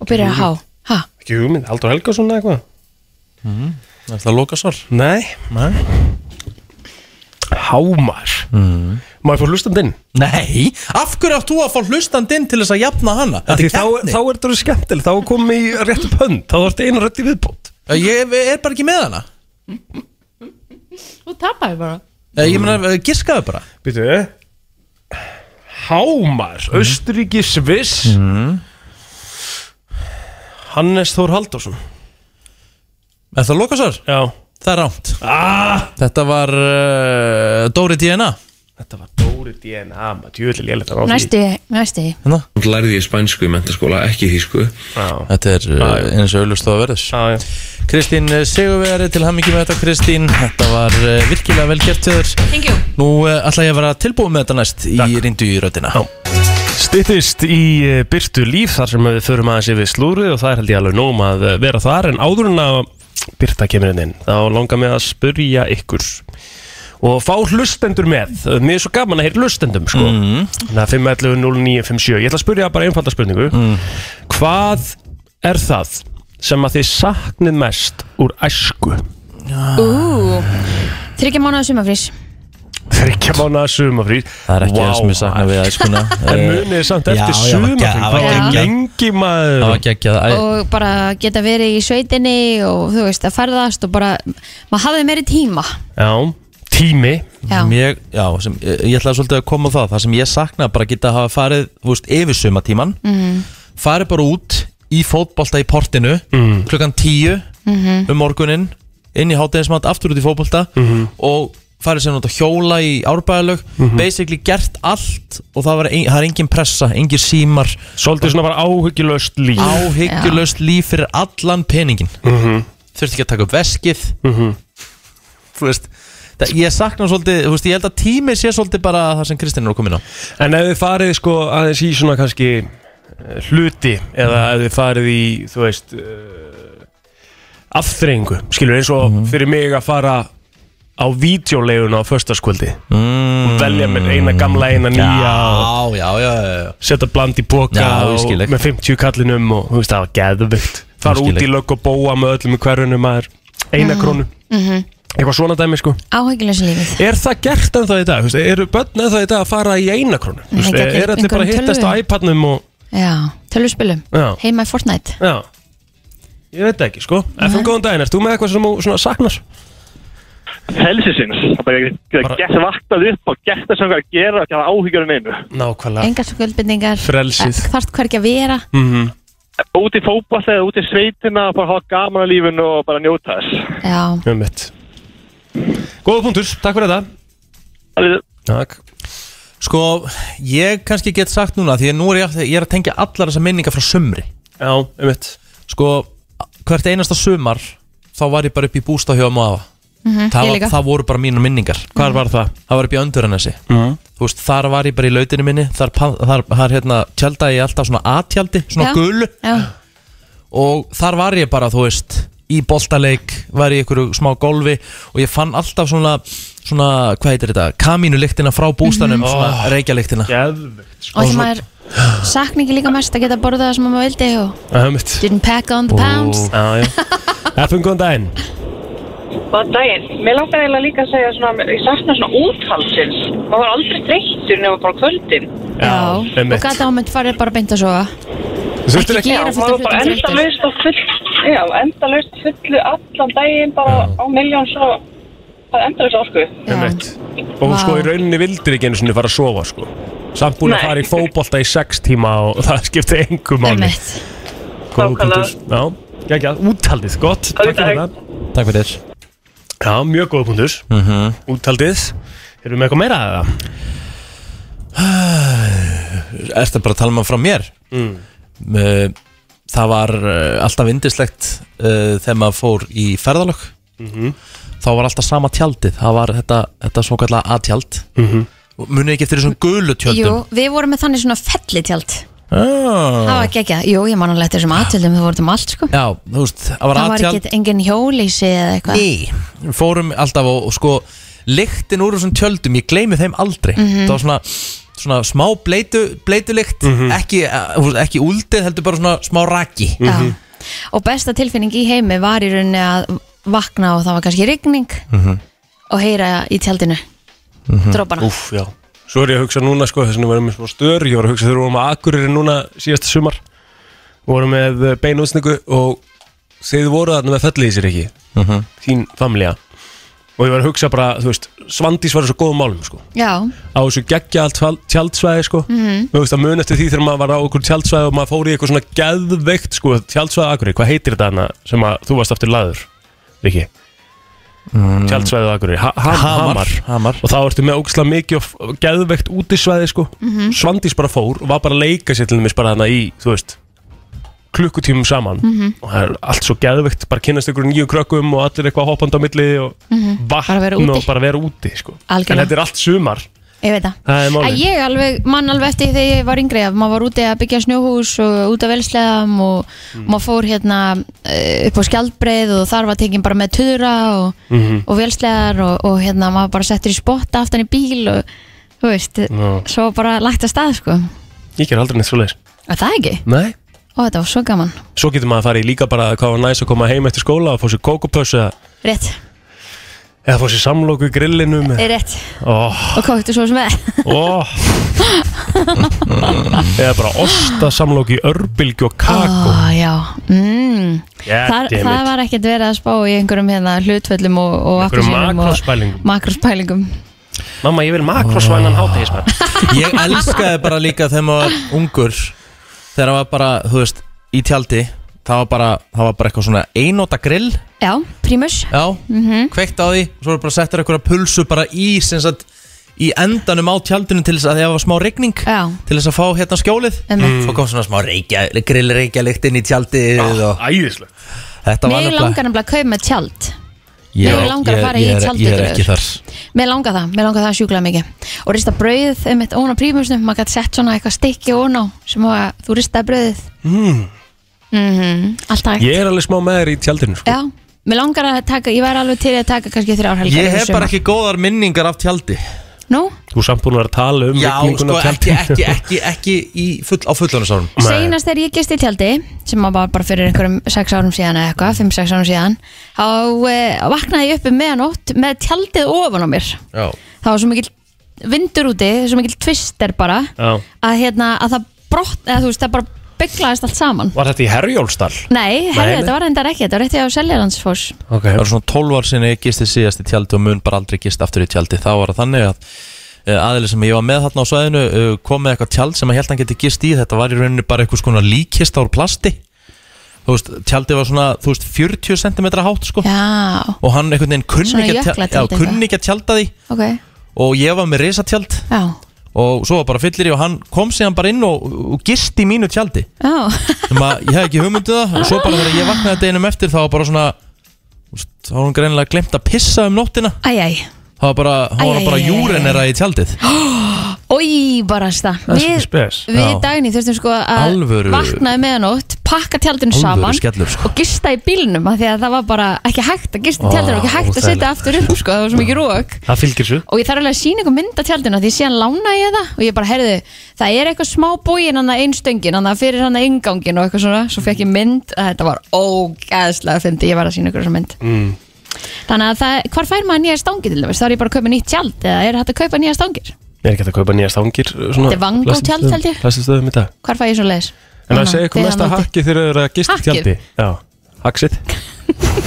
S4: og byrjar að há ha.
S3: ekki hugmynd, Haldur Helgason eða eitthvað
S2: Er það lokasvar?
S3: Nei,
S2: Nei
S3: Hámar mm. Maður fór hlustendinn
S2: Nei, af hverju átt þú að fá hlustandinn til þess að jafna hana? Þetta
S3: Því
S2: er
S3: þá,
S2: keppni
S3: þá er þetta skemmtileg, þá er komið í rétt upp hönd Þá þarfst einu rödd í viðbót
S2: Ég er bara ekki með hana
S10: Þú tapaði bara
S2: Ég meina, giskaðu bara
S3: Býtu Hámar,
S2: Mm.
S3: Östuríki, Sviss Hannes Þór Halldórsson
S2: Er það lokasvar?
S3: Já
S2: Það er rámt
S3: ah,
S2: Þetta var uh, Dóri DNA
S3: Þetta var Dóri DNA, maður tjóðilega lélega það var því.
S4: næsti, næsti
S2: Hérna.
S1: lærði ég spænsku í mentaskóla, ekki þýsku
S3: Ah. Já, Ah.
S2: Þetta er uh, eins og auðlust að verðus
S3: já, já
S2: Kristín uh, Sigurveri til hammingi með þetta Kristín Þetta var uh, virkilega vel gert til þér
S4: Thank you
S2: Nú uh, ætla ég að vera tilbúið með þetta næst í rindu í röddina
S3: Stittist í eh, Byrtu líf þar sem við förum aðeins yfir slúrið og það er held ég alveg nóg að eh, vera þar en áður en að Byrta kemur inn inn þá langar mig að spurja ykkur og fá hlustendur með mér er svo gaman að heyra hlustendum sko.
S2: Mhm.
S3: þannig að 511 0957 ég ætla að spurja bara einfalda spurningu
S2: Mhm.
S3: hvað er það sem að þið saknið mest úr æsku
S4: Tryggja mánuða sumafrís
S3: þryggja mánu að sumafrýr
S2: Það er ekki það sem ég sakna við æskuna
S3: *laughs* en
S2: Eh,
S3: munið þið samt
S2: Já,
S3: eftir
S2: já, var
S3: sumafrýr
S2: gegg-
S3: það
S2: var
S3: var
S2: geggjað.
S3: lengi maður
S2: Það var geggjað Æ,
S4: og bara geta verið í sveitinni og þú veist að ferðast og bara maður hafði meiri tíma
S3: Já, tími
S4: Já,
S2: Mjög, já, sem, ég, ég ætlaði svolítið að koma á það Það sem ég sakna bara að geta að hafa farið þú veist, yfir
S4: Mhm.
S2: sumatíman mm. Farið bara út í fótbolta í portinu klukkan tíu
S4: Mhm.
S2: um morguninn inn í hátæðismat, aftur út í fótbolta og farið sem nátt að hjóla í árbæðalög basically gert allt og það, var ein, það er engin pressa, engin símar
S3: Svolítið svona bara áhyggjulöst líf
S2: Áhyggjulöst líf fyrir allan peningin
S3: Mhm.
S2: Þurfti ekki að taka upp veskið Þú veist það, Ég sakna svolítið, þú veist, ég held að tími sé svolítið bara það sem Kristinn er að koma inn á
S3: En ef þið farið sko aðeins í svona kannski eh, hluti eða ef þið farið í, þú veist uh, afþreyingu, skilur eins og
S2: Mhm.
S3: fyrir mig að fara á vídeoleiguna á föstaskvöldi
S2: mm.
S3: og velja mér eina gamla, eina nýja
S2: og já, já, já, já.
S3: setja bland í boka
S2: Já, ég
S3: og
S2: skil ekki.
S3: með 50 kallinum og þú veist það var geðvögt fara
S2: Ég skil Mm.
S3: út í
S2: ekki.
S3: lögg og bóa með öllum í hverjunum maður, eina
S4: Mhm.
S3: krónu
S4: Mhm.
S3: eitthvað svona dæmi sko
S4: Áhyggjulösa lífið
S3: Er það gert ennþá í dag? Þú veist, Eru börn ennþá í dag að fara í eina krónu? Þú veist,
S4: Nei, ekki
S3: Er allir bara að
S4: einhverjum
S3: hittast á
S4: tölvum.
S3: iPadnum og
S4: Já, tölvuspilum
S3: Já.
S4: Heima í Fortnite
S3: Já Ég veit það ekki sko FM góðan daginn, ert þú með eitthvað sem þú svona saknar?
S13: helsisins að bara geta gett vaktað upp og gett þess að hvað að gera og ekki hafa áhyggjur um einu
S3: Nákvæmlega
S4: Engar svo guldbindingar
S3: Frelsið.
S4: Þarft hvergi að vera
S3: mm -hmm.
S13: Úti í fótball eða úti í sveitina og bara hafa gaman að lífinu og bara njóta þess
S4: Já
S3: Ummitt Góða punktur, takk fyrir
S13: þetta
S3: Takk
S2: Sko, ég kannski get sagt núna því að nú er ég, ég er að tengja allar þessar minningar frá sumri
S3: Já, einmitt
S2: Sko, hvert einasta sumar þá var ég bara upp í bústað hjá maður
S3: Mhm,
S2: það,
S3: ég
S2: var,
S3: líka.
S2: það voru bara mínu minningar
S3: Hvar var það?
S2: Það var upp í Önduranessi
S3: Mhm.
S2: Þú veist, þar var ég bara í lautinu minni Þar, pan- þar, þar hérna, tjaldaði ég alltaf svona A-tjaldi Svona
S4: Já.
S2: gulu
S4: Já
S2: og þar var ég bara, þú veist í boltaleik, var í einhverju smá golfi og ég fann alltaf svona svona, hvað heitir þetta, kamínulyktina frá bústanum,
S4: Mhm.
S2: svona
S3: Ó,
S2: reykjalyktina
S3: Geðvikt
S4: Og það maður sakna ekki líka mest að geta borðað það sem maður vildi og
S3: Ummitt
S4: didn't pack on the pounds
S3: Já, já FM góðan daginn
S9: Góðan daginn. Mér langar eiginlega líka að segja svona, ég sakna svona úthalsins. Maður var aldrei dreyttur nema bara á kvöldin.
S4: Já,
S3: einmitt.
S4: og gata ámynd farið bara beint að sofa
S3: Þú þurftir
S4: Ekki
S3: ekki-
S4: gera
S9: Já,
S4: fullt
S9: maður
S4: af
S9: var bara
S4: hlutum þreyttur.
S9: endalaust á fullu, já, endalaust á fullu allan daginn bara á miljón svo, bara endalaust orku.
S3: Ummitt Og
S9: Vá.
S3: sko í rauninni vildir ekki einu sinni fara að sofa sko Samt búin að
S9: Nei.
S3: fara í fótbolta í sex tíma og *laughs* það skipti engu máli Góða punktur Já, geggjað, úthaldið, gott Takk fyrir það
S2: Takk fyrir þér
S3: Já, mjög góða punktur
S2: Mhm.
S3: Úthaldið Erum við með eitthvað meira að það?
S2: Ertu bara að tala maður frá mér?
S3: Mm.
S2: Uh, Það var uh, alltaf indislegt uh, þegar maður fór í ferðalög
S3: Mhm.
S2: þá var alltaf sama tjaldið það var þetta, þetta svo kallega A-tjald
S3: Mhm.
S2: Og munið ekki eftir þessum gulu tjöldum
S4: Jú, við vorum með þannig svona fellitjald
S2: ah.
S4: Það var gekkja, jú, ég man alveg eftir þessum aðtjöldum við vorum um allt sko
S2: Já, þú veist, það var
S4: Það var
S2: aðtjald
S4: ekki engin hjólísi eða eitthvað
S2: Nei, við fórum alltaf og, og sko Lyktin úr þessum tjöldum, ég gleymi þeim aldrei
S4: Mhm.
S2: Það var svona, svona smá bleitu, bleitulykt ekki, eh, þú veist, ekki úldið, heldur bara svona smá raki
S4: Já. Og besta tilfinning í heimi var í rauninni að vakna og það var kannski rigning og heyra í tjaldinu Dropana.
S3: Úf, já Svo er ég að hugsa núna sko, þess að við erum með smá stör Ég var að hugsa þegar við vorum að Akureyri núna síðasta sumar Við vorum með beinu útsningu og þeir voru þarna með fellið í sér ekki
S2: Mhm.
S3: Þín familja Og ég var að hugsa bara, þú veist, Svandís var í svo góðum málum sko
S4: Já,
S3: Á þessu geggja allt tjaldsvæði sko
S4: Mhm.
S3: Þú veist að mun eftir því þegar maður var á okkur tjaldsvæði og maður fór í eitthvað svona geðveikt sko Tjaldsvæði á Akureyri, hvað heitir þetta hana sem að þú varst aftur laður, Viki?
S2: mm.
S3: tjaldsvæðið á Akureyri ha ha
S2: Hamar,
S3: hamar. og þá ertu með ógislega mikið og f- geðveikt útisvæði sko
S2: Mhm.
S3: Svandís bara fór og var bara að leika sér til þess bara hana í, þú veist klukkutímum saman
S4: Mhm.
S3: og það er allt svo geðveikt, bara kynnast ykkur nýju krökkum og allir eitthvað hoppandi á milli og
S4: Mhm.
S3: vatn
S4: Bara vera
S3: og
S4: úti.
S3: bara vera úti sko. en
S4: Algjörlega.
S3: þetta er allt sumar
S4: ég veit það
S3: það er
S4: Að
S3: málið
S4: ég alveg, mann alveg eftir því þegar ég var yngri að maður var úti að byggja snjóhús og út af velsleðam og
S3: Mm.
S4: maður fór hérna eh, upp á skjaldbreið og þar var tekin bara með töðra og,
S3: Mhm.
S4: og velsleðar og, og hérna maður bara settur í spotta aftan í bíl og þú veist,
S3: Já.
S4: svo bara lagt að stað sko,
S3: ég ger aldrei neitt svo leiðis
S4: að það ekki
S3: Nei.
S4: og þetta var svo gaman,
S3: svo getur maður að fara í líka bara hvað var næs að koma heim eftir skóla og fá sér kókopöss eða,
S4: rétt,
S3: eða fá sér samlóku í grillinum eða-
S4: rétt
S3: Ó,
S4: og kóktu svo sem með
S3: ó Oh. eða bara ostasamlók í örbylgi og kakó
S4: Ó, já mm.
S3: Yeah,
S4: Þar,
S3: damn
S4: Oh, Það
S3: it.
S4: var ekkert verið að spá í einhverjum hérna hlutvöllum og, og
S3: Einhverjum
S4: appelsínum
S3: makróspælingum.
S4: og makrospælingum
S3: Mamma, ég vil makrosvænan hátegismann
S2: Ég elskaði bara líka þegar maður var ungur Þegar maður var bara, þú veist, í tjaldi það var bara, það var bara eitthvað svona einóta grill
S4: Já, prímus
S2: Já,
S4: Mhm.
S2: kveikt á því Svo er bara settur eitthvað pulsu bara í sem sagt, Í endanum á tjaldinu til þess að það var smá rigning
S4: Já.
S2: Til þess að fá hérna skjólið
S4: Einmitt.
S2: Svo kom svona smá reykja, grill reykjalikt inn í tjaldið og...
S3: Æðislegt
S2: Þetta var
S4: Mér
S2: nefnilega
S4: langar nefnilega að kaupa með tjald
S2: Ég-
S4: mig langar að
S2: ég-
S4: fara
S2: ég
S4: í
S2: er-
S4: tjaldið,
S2: Ég er ekki
S4: Guður.
S2: þar
S4: Mér langar það, mér langar það sjúklega mikið Og rista brauðið um eitt óna prímusnum Maður gæti sett svona eitthvað stykki ón á Sem að þú ristaði brauðið
S3: mm.
S2: Hmm.
S4: mm Alltaf
S3: Ég er alveg smá með þér í tjaldinu sko.
S4: Já, mér langar að taka, ég væri alveg til í að taka kannski þrjár helgar
S2: Ég
S4: yfir
S2: hef
S4: sumar.
S2: bara ekki góðar minningar af tjaldi
S4: Nú,
S3: Þú er samt búin að vera að tala um
S2: Já,
S3: rigninguna
S2: sko,
S3: á
S2: ekki,
S3: tjaldinu.
S2: ekki,
S3: *laughs*
S2: ekki, ekki í full, á fullunasárum
S4: seinast þegar ég gist í tjaldi sem að var bara fyrir einhverjum 6 árum síðan eða eitthvað, 5-6 árum síðan þá eh, vaknaði ég uppi meðanótt með tjaldið ofan á mér
S2: Já,
S4: það var svo mikill vindur úti svo mikill tvister bara
S3: Já.
S4: að, hérna, að það brott, eða þú veist, það bara bygglaðist allt saman
S3: Var þetta í Herjólfsdal?
S4: Nei, herri,
S2: Nei, nei.
S4: þetta var reyndar ekki, þetta var rétti á Seljalandsfoss
S2: Okay. Það var svona 12 ár sinni ég gisti síðast í tjaldi og mun bara aldrei gist aftur í tjaldi. Þá var það þannig að eh, aðili sem ég var með þarna á svæðinu eh, kom með eitthvað tjald sem að held hann geti gist í. Þetta var í rauninni bara eitthvað svona líkist úr plasti. Þú veist, tjaldið var svona, þú veist, 40 cm hátt sko.
S4: Já.
S2: Og hann einhvern veginn kunni
S4: Svona
S2: ekki að tjal-
S4: jöklatjald
S2: já,
S4: eitthvað.
S2: kunni ekki að tjalda því
S4: Ok,
S2: og ég var með risatjald
S4: já,
S2: og svo var bara fyllir í og hann kom síðan bara inn og, og gist í mínu tjaldi
S4: já *laughs*
S2: sem að ég hef ekki hugmyndið það og svo bara þegar ég vaknaði deginum eftir þá var bara svona þú veist, þá var hún greinilega glemt að pissa um nóttina
S4: Æj, æj
S2: þá var bara, þá var
S4: Æ, æ,
S2: hún bara
S4: æ, æ, æ.
S2: júrenera í tjaldið
S4: Ói, barasta
S2: Það er svolítið spes.
S4: við
S2: Já.
S4: dagni þurftum sko að
S2: Alvöru-
S4: vaknaði meðanótt pakka tjaldinu
S2: Alvöru
S4: saman
S2: skellur, sko.
S4: og gista í bílnum af því að það var bara ekki hægt að gista í
S3: Ó,
S4: tjaldinu og ekki hægt að setja
S3: óþægilegt.
S4: aftur upp sko, það var svo mikið rók
S3: Það fylgir svo
S4: og ég þarf alveg að sína eitthvað mynd af tjaldinu af því síðan lána ég það og ég bara heyrðu það er eitthvað smá bógin hann að einstöngin hann að fyrir hann að ingangin og eitthvað svona svo fekk ég mynd að þetta var ógæðslega fyndi ég var að sína ykkur þessa mynd
S3: mm.
S4: þannig að það, hvar fær maður nýja stangi til þess þá er ég bara að kaupa nýtt tjald eða er hægt að kaupa nýja stangir
S3: Ég er ekki hægt að kaupa nýja stangir
S4: Þetta er Van Gogh tjald, held ég.
S3: Læstu stöðum í dag
S4: hvar fær ég svo
S3: En það segja eitthvað mesta
S4: Núna,
S3: hakki þegar þau eru að gista í
S4: Hakkið?
S3: tjaldi Já, *laughs* haksið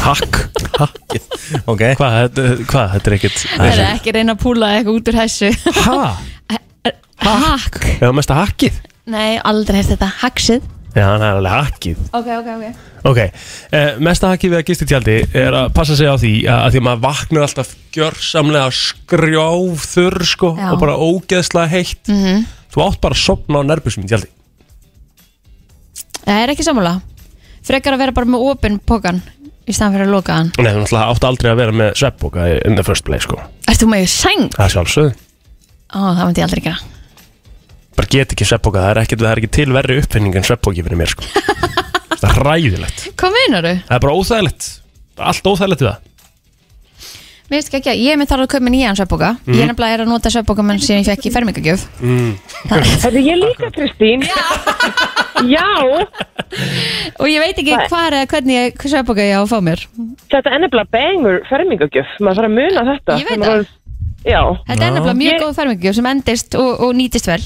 S3: Hakk Hakkið Ok Hvað, þetta, hvað, þetta er ekkit
S4: Það er ekki að reyna að púla eitthvað út úr
S3: *laughs*
S4: þessu
S3: Hæ?
S4: Hakk?
S3: Já, mesta hakkið
S4: Nei, aldrei hefði þetta Haksið
S3: Já, það er alveg hakkið
S4: Ok, ok, ok
S3: Ok, eh, mesta hakið við að gista í tjaldi er að passa sig á því að, að því að maður vaknar alltaf gjörsamlega skrjáfþur sko
S4: Já.
S3: og bara ógeðslega heitt
S4: Mhm.
S3: Þú átt bara að sopna á nærbusum í tjaldi
S4: Það er ekki sammála Frekar að vera bara með opinn pokan Í staðan fyrir að loka hann
S3: Nei, þú náttúrulega átt aldrei að vera með sveppboka in the first place sko
S4: Ert þú með sæng?
S3: Það er sjálfsögð,
S4: Ó, það myndi ég aldrei gera
S3: bara get ekki sveppboka, það er ekkert, það er ekki til verri uppfinning en sveppboki fyrir mér sko Það er ræðilegt,
S4: Hvað meinaru?
S3: það er bara óþægilegt, Það er allt óþægilegt við það
S4: Mér veist ekki að ég er með þar að kaupa nýjan sveppoka Ég er
S3: Mhm.
S4: nefnilega er að nota sveppoka menn sem ég fekk í fermingagjöf
S3: mm.
S4: Þetta ég líka Kristín Já Og ég veit ekki
S9: Það-
S4: hvar eða hvernig sveppoka ég á að fá mér
S9: Þetta er nefnilega bengur fermingagjöf, maður þarf að muna þetta.
S4: Ég veit
S9: Þegar maður- Já.
S4: Þetta er nefnilega mjög góð fermingagjöf sem endist og, og nýtist vel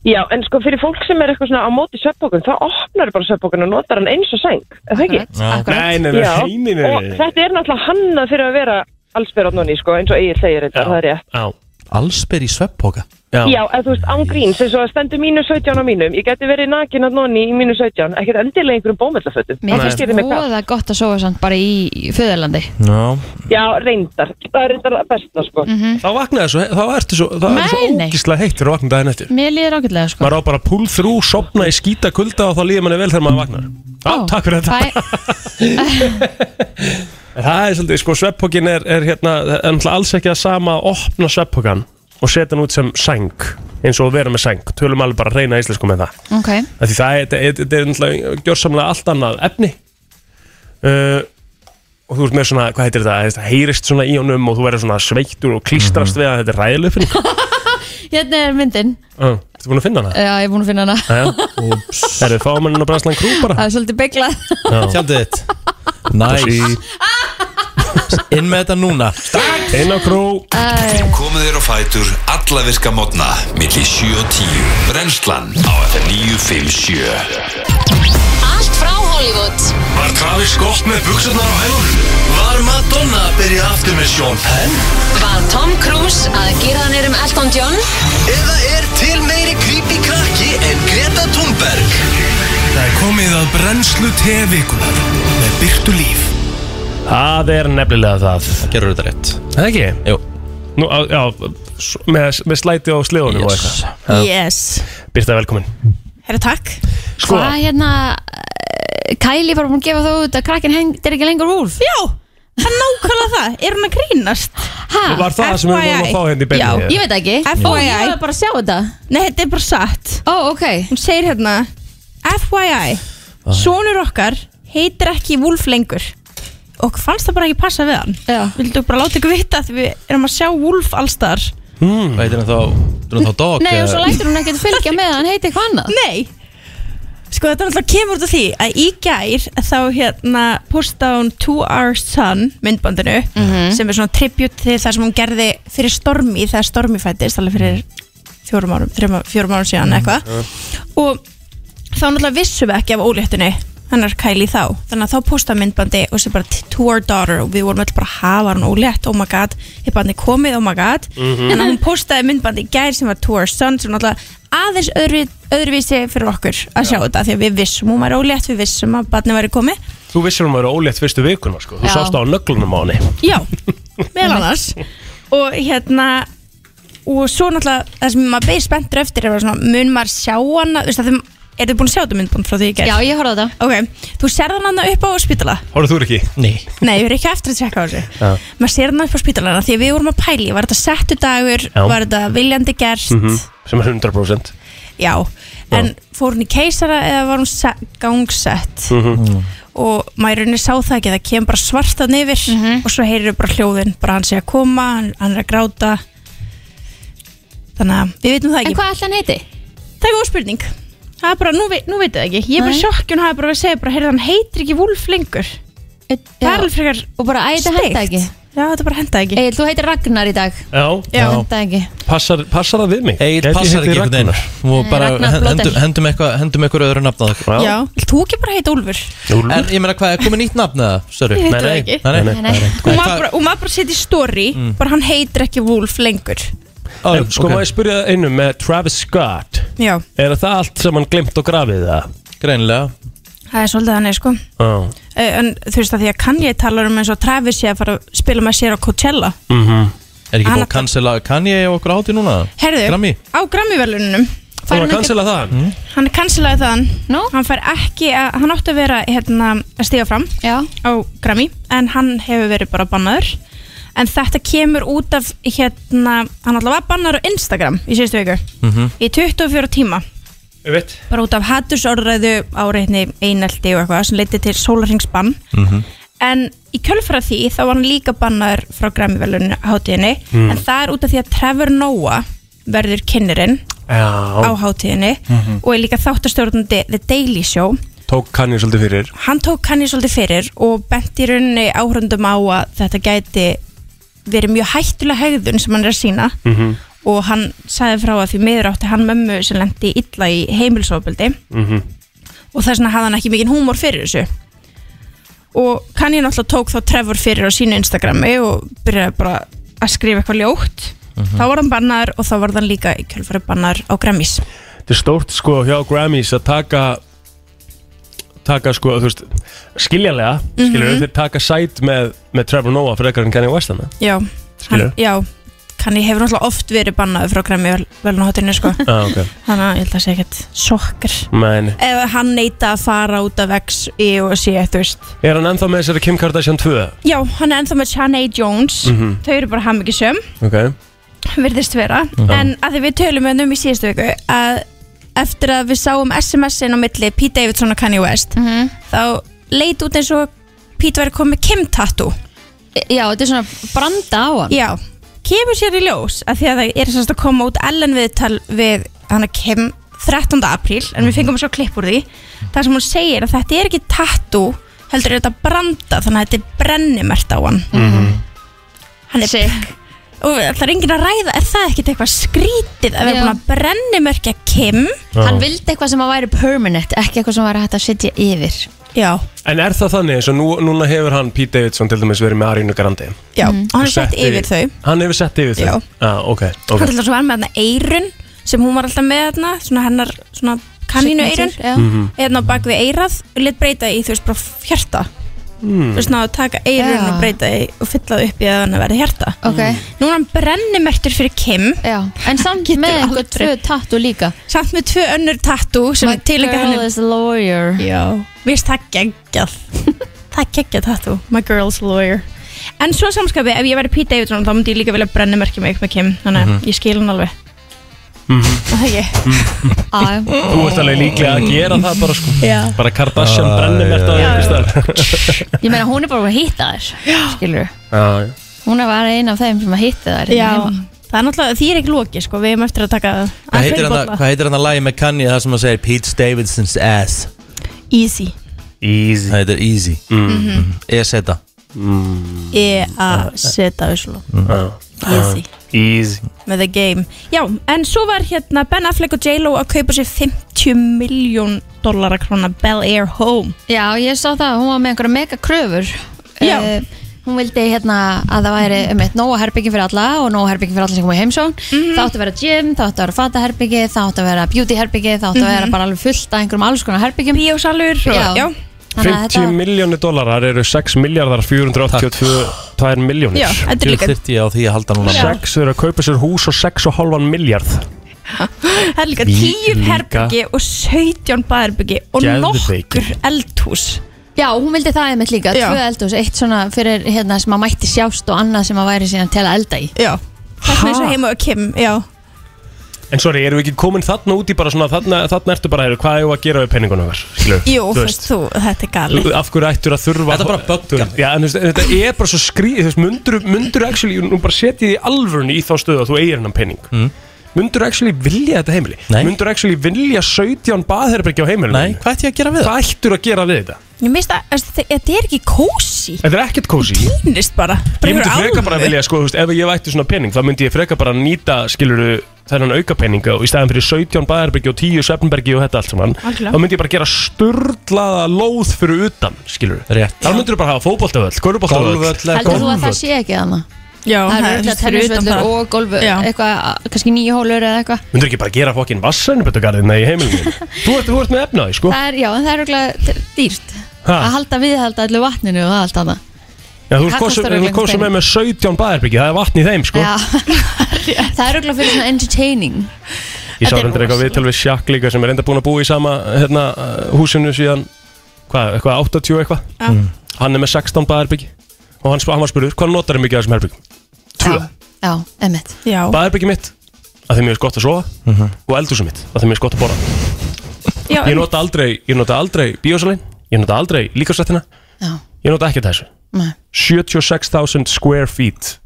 S9: Já, en sko fyrir fólk sem er eitthvað svona á móti sveppbókun, þá opnar bara sveppbókun og notar hann eins og seng, er það ekki?
S3: Nei, nei, nei,
S9: Já,
S3: *laughs* nei, nei, nei,
S9: og
S3: nei.
S9: þetta er náttúrulega hannað fyrir að vera allsbyr á nonni, sko, eins og eigin segir þetta, það er rétt.
S3: Já
S2: Allsber í sveppoka
S9: Já, Já eða þú veist, án gríns, eins og að stendur mínu 17 á mínum, ég geti verið nakin að nonni í mínu 17, ekkert endilega í einhverjum bómöllafötum.
S4: Mér finnst voða gott að sofa samt bara í föðurlandi
S2: no.
S9: Já, reyndar, það er reyndar það besta, sko.
S10: Mhm.
S3: Þá vaknaði svo, þá ertu svo, það er svo
S4: Nei, nei.
S3: ógislega heitt fyrir að vakna daginn eftir
S4: Mér líður ágætlega sko
S3: maður á bara að pull through, sopna í skýta kulda og þá líður manni vel þegar maður vagnar Já, takk fyrir þetta
S4: Bye.
S3: En Það er svolítið, sko, svepphókin er, er hérna, það er náttúrulega alls ekki að sama að opna svepphókan og setja hann út sem sæng eins og að vera með sæng, tölum alveg bara að reyna íslensku með það
S4: Ok
S3: Af Því það er, þetta er- þetta er náttúrulega gjörsamlega allt annað efni uh, og þú ert með svona, hvað heitir þetta, þetta heyrist svona í honum og þú verður svona sveittur og klístrast
S10: Mhm.
S3: við að þetta er ræðileg
S10: *laughs*
S3: fyrir
S4: Hérna er myndin
S3: Þú ert búin að finna hana?
S4: Já, ég er búin að finna hana
S3: Það eru fámennin og brænslan krú bara
S4: Það er svolítið bygglað
S2: Tjaldið þitt Nice Inn með þetta núna
S3: Inn á krú
S1: Komið þér á fætur alla virka mótna milli 7 og 10 Brennslan á FM 957
S14: Allt frá Hollywood
S1: Var Travis gott með buksunar á hælunum? Var Madonna að byrja aftur með Sean Penn?
S14: Var Tom Cruise að gera hann erum Elton John? Eða er til meiri creepy krakki en Greta Thunberg?
S1: Það er komið að
S15: Brennslu tevikunar með Byrtu Líf
S3: Það er nefnilega það Það gerur þetta rétt Það ekki? Jú Nú, á, já, s- með, með slæti á sleðunum og eitthvað
S10: Yes
S3: Byrta, velkomin
S10: Herra, takk
S3: Sko.
S4: Hvað hérna eh, Kylie var búin að gefa það út að krakkin hengdir ekki lengur úr
S10: Já, það er nákvæmlega það Er hann að grínast?
S4: Ha?
S3: Var það það sem við vorum að fá hérna í beinni?
S10: Já,
S4: Ég veit ekki Ó,
S10: FYI
S4: Ég var bara að sjá þetta
S10: Nei, þetta er bara satt
S4: Ó, oh, ok
S10: Hún segir hérna FYI Sónur okkar heitir ekki Wolf lengur Og fannst það bara ekki passa við hann Já Vildu bara láta ykkur vita Því við erum að sjá Wolf allstar
S2: Hmm. Hvað heitir hann þá? Heitir hann þá dog?
S4: Nei, og
S2: eða-
S4: svo lætur hún ekkert fylgja með að hann heiti eitthvað annað
S10: Nei Sko þetta er alltaf kemur út af því að í gær þá hérna posta hún To Our Sun myndbandinu sem er svona tribute til það sem hún gerði fyrir Stormi þegar Stormi fættist alveg fyrir fjórum árum, þrema, fjórum árum síðan eitthvað og þá náttúrulega vissum við ekki af óléttunni hennar Kylie þá þannig að þá posta myndbandi og sem bara To Our Daughter og við vorum alltaf bara hafa hann ólétt oh my god, hefur barni komið oh my god
S9: Mhm.
S10: en að hún postaði myndbandi í gær sem var To Our Son sem náttúrulega aðeins öðru, öðruvísi fyrir okkur að sjá þetta því að við vissum hún var ólétt, við vissum að barni væri komið
S3: Þú vissir hún að vera ólétt fyrstu vikuna, sko Þú
S10: Já.
S3: sást á nöglunum á henni
S10: Já, *laughs* meðal annars Og hérna Og svo náttúrulega það sem maður beir spenntur eftir er bara svona, mun maður sjá hana Þú veist að þeim, er þið búin að sjá þetta myndbund frá því ég gerð?
S4: Já, ég horfði á þetta
S10: Ok, þú serðan hana upp á spítala
S3: Hóruð þú ekki? Nei
S10: Nei, ég er ekki eftir að tjekka á þessu
S3: Já
S10: Maður sér hana upp á spítalana því að við vorum að pæli Var þetta settu dagur,
S3: Já.
S10: var þetta viljandi gerst
S3: Mhm. Sem er 100%
S10: Já, en fór hún í keisara eða var hún se- gangsett
S3: Mhm.
S10: og maður í rauninni sá það ekki það kemur bara svartan yfir og svo heyrir bara hljóðin, bara hann sé að koma hann, hann er að gráta þannig að við veitum það ekki
S4: En hvað ætla hann heiti?
S10: Það er góð spurning það er bara, nú, veit- nú veit ég það ekki, ég er bara
S4: Nei.
S10: sjokkjum það er bara að segja, bara, heyrðu hann heitir ekki Wolf lengur það er alveg frekar
S4: Og bara, æ, þetta henda ekki
S10: Já, þetta bara henda ekki
S4: Egil, þú heitir Ragnar í dag
S3: Já,
S4: Henda ekki
S3: Passar, passar það við mig?
S2: Egil
S3: Gæti ég
S2: passar
S3: heitið
S2: ekki einhvern veginn
S3: Ragnar?
S2: og bara
S10: Ragnar
S2: hen-
S10: Blóter.
S2: hendum, hendum eitthvað hendum eitthvað öðru nafn á það
S10: Já, vilt þú ekki bara heita Úlfur?
S2: en ég meina hvað er komið nýtt nafn eða Sörri
S10: Ég veit Nei, það nei. ekki.
S2: nei,
S10: Nei,
S2: nei, nei,
S10: Og maður bara, og maður bara setja í story
S3: Mm.
S10: bara hann heitir ekki Wolf lengur
S3: En, Sko
S2: ok.
S3: maður spyrja það einu með Travis Scott
S10: Já,
S3: Er það allt sem hann glemt og grafið það?
S2: Greinilega
S10: það er svolítið þannig sko
S3: Já
S10: Eh, En þú veist að því að Kanye talar um eins og Travis sé að fara að spila með sér á Coachella
S3: mm -hmm.
S2: er ekki
S10: Hann
S2: búin að cancela Kanye og okkur átti núna
S10: Herðu,
S2: Grammy
S10: á Grammy-verlunum
S2: Búin að cancela
S3: það
S10: Hann er cancelaði þaðan no. Hann fær ekki, að, hann átti að vera hérna, að stíga fram
S4: Já.
S10: á Grammy En hann hefur verið bara bannaður En þetta kemur út af hérna, hann alltaf var bannaður á Instagram í síðustu viku
S3: Mhm.
S10: Í 24 tíma
S3: Ég veit
S10: Bara út af hattusorðræðu á reyni einelti og eitthvað sem leiti til sólarhengsbann En í kjölfara því þá var hann líka bannaður frá Grammy-velunni hátíðinni
S9: Mm.
S10: en það er út af því að Trevor Noah verður kynnerinn á
S3: Já
S10: hátíðinni
S3: Mhm.
S10: og er líka þáttastjórnandi The Daily Show
S3: Tók kann ég svolítið fyrir
S10: hann tók hann í svolítið fyrir og bent í rauninni áhrundum á að þetta gæti verið mjög hættulega hegðun sem hann er að sína
S9: Mhm.
S10: og hann sagði frá að því miður átti hann mömmu sem lendi illa í heimilsofbildi
S9: Mhm.
S10: og þess vegna hafði hann ekki mikinn húmor fyrir þessu og Kanye náttúrulega tók þá Trevor fyrir á sínu Instagrami og byrjaði bara að skrifa eitthvað ljótt
S3: Mhm.
S10: þá var hann bannar og þá var hann líka í kjölfari bannar á Grammys
S3: Þetta er stórt sko hjá Grammys að taka taka sko, þú veist skiljanlega,
S10: Mhm.
S3: skilur þeir taka sæt með, með Trevor Noah fyrir ekkert en Kanye West hana
S10: já,
S3: Skilurðu?
S10: já Kanye hefur náttúrulega oft verið bannaði frá Grammy velunahotinu sko
S3: Já, ok
S10: *laughs* þannig að ég held að það sé ekkert sokkar
S3: Men,
S10: ef hann neyta að fara út af X í og sé, þú veist
S3: er hann ennþá með þessari Kim Kardashian 2?
S10: já, hann er ennþá með Shanae Jones
S3: Mhm.
S10: þau eru bara hamingisum,
S3: Ok
S10: virðist vera
S3: Já.
S10: en að því við tölum við um í síðustu viku að eftir að við sáum SMS-in á milli Pete Davidson og Kanye West þá leit út eins og Pete væri komið Kim tattoo
S4: E, Já, þetta er svona branda á hann
S10: Já, kemur sér í ljós að því að það er semst að koma út Ellen viðtal við hann að kem 13. apríl en við fengum að sjá klipp úr því þar sem hún segir að þetta er ekki tattoo heldur er þetta branda þannig að þetta er brennimert á hann hann er pikk og það er enginn að ræða er það ekkert eitthvað skrítið að við
S4: Já.
S10: erum búin að brennimörkja Kim
S3: Já.
S4: Hann vildi eitthvað sem að væri permanent Ekki eitthvað sem væri hægt að setja yfir
S10: Já,
S3: En er það þannig eins og nú, núna hefur hann Pete Davidson til dæmis verið með Arínu Grandi
S10: já,
S4: Mhm.
S10: og hann er sett yfir þau
S3: Hann hefur sett yfir þau?
S10: Já.
S3: ah, ok,
S10: Hann
S3: ok
S10: til þess að var með þarna eirun sem hún var alltaf með þarna, svona hennar svona kannínu eirun
S4: Signature, já.
S3: Mhm.
S10: eða hérna á bak við eirað og let breyta í þú veist bara hjarta
S3: Mm.
S2: Hmm.
S10: þú veist náðu að taka eirun
S4: Já.
S10: og breyta í og fylla það upp í að hann verði hjarta
S4: Ok.
S10: Nú er hann brennimertur fyrir Kim
S4: Já, en samt með einhver tvö tattoo líka
S10: Samt með tvö önnur tattoo sem
S4: My
S10: er tilhengjað
S4: girl
S10: henni.
S4: is a lawyer
S10: Já, mér finnst það
S4: *laughs*
S10: geggjað Það er geggjað tattoo, my girl's lawyer En svo samskapi, ef ég væri Pete Davidson þá myndi ég líka vilja brenna merkja mig með Kim Þannig að
S3: Mhm.
S10: ég skil hann alveg
S2: Mhm.
S10: Er Það ekki Á,
S3: Þú ert alveg líklega að gera það bara sko
S10: Já.
S3: Bara Kardashian
S2: Ah,
S3: brennir mert á
S2: já,
S3: einhverstað
S4: *laughs* Ég meina hún er bara að hitta þær Skilur
S3: Já, já
S4: Hún er bara ein af þeim sem að hitta þær
S10: Já, það er náttúrulega, því er ekki lokið sko, við erum eftir að taka
S2: Hvað heitir hann að- hvað heitir hann að lagi með Kanye það sem að segja Pete Davidson's ass
S10: Easy,
S3: Easy Mm-hmm.
S2: Það heitir easy Mm-hmm. E
S10: Mhm.
S2: E-seta
S10: E E-A-Z-A-U-S-L-O
S3: Mm.
S10: Easy.
S3: Easy
S10: með The Game Já, en svo var hérna Ben Affleck og J-Lo að kaupa sér 50 miljón dólar að krona Bel Air Home
S4: Já, ég sá það, hún var með einhverja mega kröfur Já Hún vildi hérna að það væri um eitt nóga herbyggi fyrir alla og nóga herbyggi fyrir alla sem komið heimsón
S10: Mhm.
S4: mm. Það átti að vera gym, það átti að vera fataherbyggi, það átti að vera beautyherbyggi, það átti að vera
S10: Mhm.
S4: bara alveg fullt af einhverjum alls konar herbyggjum
S10: Bíósalur
S4: og- Já. já. Þannig að
S3: 50 miljónir dólarar eru 6 miljardar 482 miljónir
S10: Já, þetta er líka- Djöfull
S2: ég á því að halda núna
S3: 6 eru að kaupa sér hús og 6,5 miljard
S10: Það er líka
S3: Lí-
S10: 10
S3: líka.
S10: herbyggi og 17 baðherbyggi og
S3: Geðveik.
S10: nokkur eldhús
S4: Já, hún vildi það einmitt líka,
S10: Já.
S4: tvö eldhús, eitt svona fyrir hérna sem að mætti sjást og annað sem að væri síðan til að elda í
S10: Já, þess með þess að heima og Kim, já
S3: En sorry, erum við ekki komin þarna út í bara svona þarna, þarna ertu bara, heyrðu, hvað eigum við að gera við penningunum þar? Skilu,
S10: Jú, veist þú, þetta er gali
S3: af hverju ættur að þurfa Þetta er bara bögga Já, en þú veist, þetta er bara svo skrýð Þú veist, mundur, mundur actually, nú bara setjið í alvörun í þá stöðu að þú eigir hennan penning mm. Mundur actually vilja þetta heimili Nei. Mundur actually vilja 17 baðherbergi á heimilinu Nei,
S2: hvað ætti ég að gera við
S3: það? Hvað ættur að gera við þetta?
S10: Ég minnst að að þe- þetta er ekki kósi
S3: Þetta er ekkert kósi
S10: Týnist bara,
S3: Ég
S10: bara
S3: myndi
S10: einhver
S3: freka bara
S10: álfur.
S3: vilja, sko, þú veist, ef ég vætti svona pening þá myndi ég freka bara nýta, skiluru, þennan aukapeninga og í staðan fyrir 17 baðherbergi og 10 svefnbergi og þetta allt saman
S10: Algjörlega.
S3: þá myndi ég bara gera sturdlaða lóð fyrir utan, skiluru
S2: Rétt
S3: Þá myndir þú bara hafa fótboltavöll, golfbóltavöll
S4: Heldur þú að það sé ekki þannig?
S10: Já,
S4: það
S10: það
S4: eru
S10: er
S4: öll að
S10: fyrir utan
S4: tennisvöllur
S10: það.
S4: og golfu,
S10: Já.
S4: eitthvað, kannski nýju hólur eða eitthvað
S3: Myndir ekki bara gera fokkin vassanubetugarðina í
S4: *laughs*
S3: heimilinu þú, ert, þú ert með efnaði, sko
S4: Það er, já, en það er örugglega dýrt
S3: Ha?
S4: að halda viðhalda allir vatninu og það allt annað
S3: Já, þú
S4: það
S3: ert
S4: kostar
S3: kostur,
S4: örugglega
S3: kostur með
S4: pening.
S3: með 17 baðherbyggi, það er vatn í þeim, sko
S4: *laughs* Já, það er örugglega fyrir svona entertaining
S3: Ég sá
S4: Þetta er
S3: reyndar eitthvað viðtal við Sjakk líka sem er enda búin að búa í sama hérna, uh, húsinu síðan hvað, eitthvað 80 eitthvað
S10: Já. Mm.
S3: Hann er með 16 baðherbyggi og hann, sp- hann var spurður, hvað notar þið mikið af þessum herbyggum? Tvö,
S4: Já, emmitt
S10: Já,
S3: baðherbyggi mitt að þeim er gott að sofa
S4: Mhm.
S3: og eldhúsum mitt að þeim er gott að borða
S10: Já,
S3: Ég nota aldrei, ég nota aldrei bíósalinn, ég nota aldrei líkasrættina
S4: Já.
S3: Ég nota ekkert þessu
S4: Nei.
S3: 76.000 square feet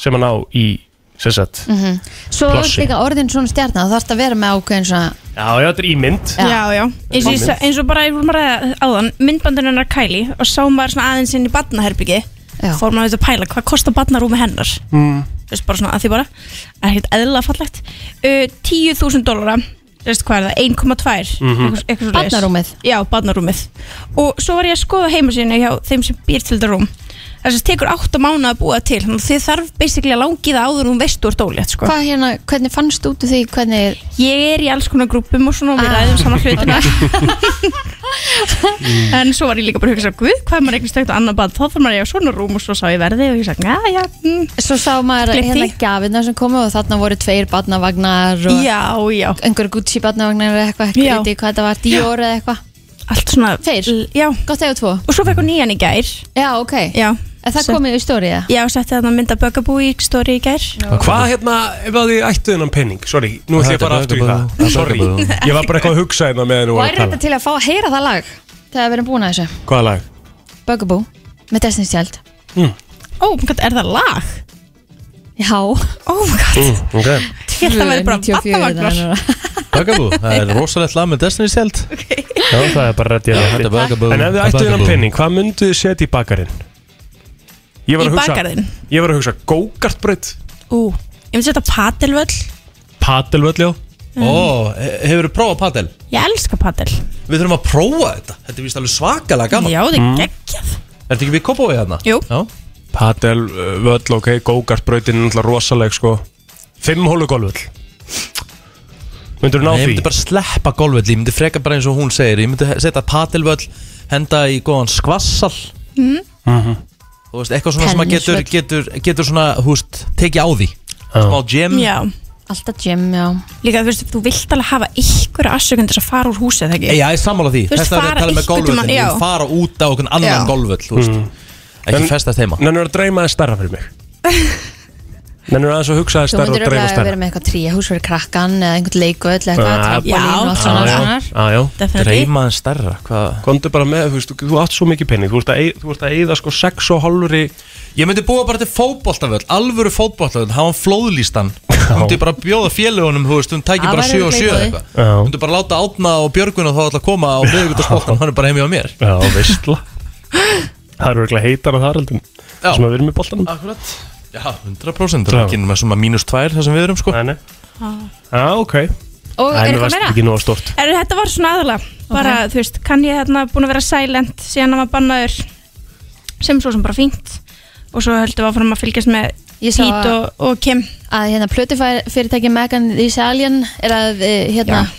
S3: sem hann á í, sem sagt
S10: Mhm.
S4: mm Svo er
S3: Plássi.
S4: líka orðin svona stjarnar þá þarfst að vera með ákveðin svona
S3: Já, já, þetta er ímynd
S10: Já, já, eins og, ég sa-
S3: Ímynd.
S10: eins og bara ég vorum að ræða áðan, myndbandinu hennar Kylie og sá maður svona aðeins inn í badnaherbyggi fór maður auðvitað að pæla hvað kostar badnarúmi hennar
S3: Mm.
S10: þú veist bara svona að því bara er ekkert eðlilega fallegt uh, 10.000 dólara, þú veist hvað er það 1,2
S4: Mhm.
S10: eitthvað- eitthvað svoleiðis.
S4: Barnarúmið?
S10: Já, badnarúmið og svo var ég að skoða heimasíðinu hjá þeim sem býr til þetta rúm þess að tekur 8 mánuð að búa til þannig að þið þarf basically að langi það áður um veist úr dólið sko.
S4: Hvað hérna, hvernig fannst út úr því, hvernig
S10: Ég er í alls konar grúpum og svona og við ræðum saman hlutina *laughs* En svo var ég líka bara að hugsa Guð, hvað er maður eignast eitt og annað bad Þá þarf maður að ég á svona rúm og svo sá ég verði og ég sagði, já, já mm.
S4: Svo sá maður hérna gafirna sem komu og þarna voru tveir badnavagnar og
S10: Já, já
S4: einhver Gucci badnavagnar eða eitthvað, ekki
S10: Já.
S4: veit ég hvað þetta var, Dior eða eitthvað
S10: Allt svona
S4: Tveir,
S10: já.
S4: gott eða tvo
S10: Og svo fekk hún nýjan í gær
S4: Já, ok
S10: Já
S4: En það
S10: Sem-
S4: komið í stóri eða?
S10: Já, setti þarna mynd að bögabú í stóri í gær
S3: Hvað hérna, ef að þið ættu þennan penning Sorry, nú ætlum ég bara aftur í það Sorry, ég var bara eitthvað að hugsa hérna meðan þú
S4: Væri
S3: voru að
S4: þetta til að fá að heyra það lag þegar við erum búin að þessu?
S3: tala Hvaða lag?
S4: Bugaboo með Destiny's Child
S3: Mm.
S10: Ó, oh, er það lag?
S4: Já Ó,
S10: oh,
S3: Mm, ok
S10: *laughs* Ég held að væri bara barnavagnar.
S2: Bugaboo, það er rosalegt lag með Destiny's Child
S3: Já, það er bara rétt ég
S2: Já, þetta er Bugaboo.
S3: En ef þið ættu þennan
S2: Bugaboo.
S3: penning, hvað mynduð þið setja í bakarinn? Ég var
S10: Í
S3: að hugsa
S10: bakarinn?
S3: Ég var að hugsa go-kartbraut
S10: Ú, ég myndi setja padelvöll
S3: Padelvöll, já
S10: Mm.
S2: Ó, he- hefurðu prófað padel?
S10: Ég elska padel
S2: Við þurfum að prófa þetta Þetta er vist alveg svakalega gaman
S10: Já, það er mm.
S2: Mm.
S10: geggjað
S2: Er þetta ekki við kopóið hérna?
S10: Jú.
S2: Já.
S3: uh, Padelvöll, ok, go-kartbrautin er náttúrulega rosaleg sko Fimm hólu golvöll Myndur þú ná
S2: Nei, Ég
S3: því?
S2: myndi bara sleppa golfvelli, ég myndi freka bara eins og hún segir Ég myndi he- setja patilvöll, henda í góðan skvassal
S10: Mm.
S3: Mhm.
S2: Þú veist, eitthvað svona sem að getur,
S4: Tennisvöll.
S2: getur, getur svona, hú veist, tekið á því Smá gym
S10: Já
S4: Alltaf gym, já
S10: Líka þú veist, þú vilt alveg hafa ykkur afsökun til þess að fara úr húsið, þegar
S2: Ég, ég er sammála því,
S10: Þú veist,
S2: þess að ég
S10: fara
S2: er að tala með
S10: einhvern tímann,
S2: golfvöllin Ég
S10: já.
S2: vil fara út á okkur
S10: Já.
S2: annan golfvöll, þú veist
S3: Mhm.
S2: Ekki festast heima
S3: Nennur að dreyma það stærra fyrir mig Nennur aðeins að hugsa það
S4: Þú
S3: stærra
S4: myndir
S3: og dreyma
S4: örugglega að
S3: stærra
S4: vera með eitthvað tríahús fyrir krakkan eða einhvern leiku eða eitthvað
S3: Ah,
S4: trampolin og allt svona
S3: já,
S4: svona.
S3: já, já.
S4: Definitely. Dreyma
S2: þeim stærra
S3: Kondu bara með, þú veist, þú- þú átt svo mikið penning Þú ert að, eig- þú ert að eyða sko 6 og hálfri
S2: Ég myndi búa bara til fótboltavöll, alvöru fótboltavöll, hafa hann flóðlýstan Myndi bara bjóða félagunum, þú veist, hún tæki
S3: Það
S2: bara
S3: væri
S2: 7 og 7
S3: leiboði.
S2: eitthvað Myndi bara láta átna og björgun og þá alltaf koma á miðvíkutarspoltan, hann er bara heimi á mér
S3: Já,
S10: *laughs*
S3: veistla Það eru eiginlega heitar að það er heldur sem að við erum í boltanum
S2: Akkurat Já, 100% Það er ekki með svona mínus 2 þar sem við erum, sko
S3: Nei, nei Já, ok
S10: Ah. Og
S3: Nei,
S10: er
S3: mér
S10: eitthvað
S3: varst
S10: meira?
S3: Ekki nóg stort
S10: Er, þetta var svona aðalega, bara, þú veist, kann ég þarna búin að vera silent síðan að maður bannaður sem svo sem bara fínt og svo höldum við áfram að fylgjast með
S4: sá
S10: Pít
S4: að-
S10: og, og Kim
S4: að hérna plötufyrirtæki Megan Thee Stallion er að eh, hérna,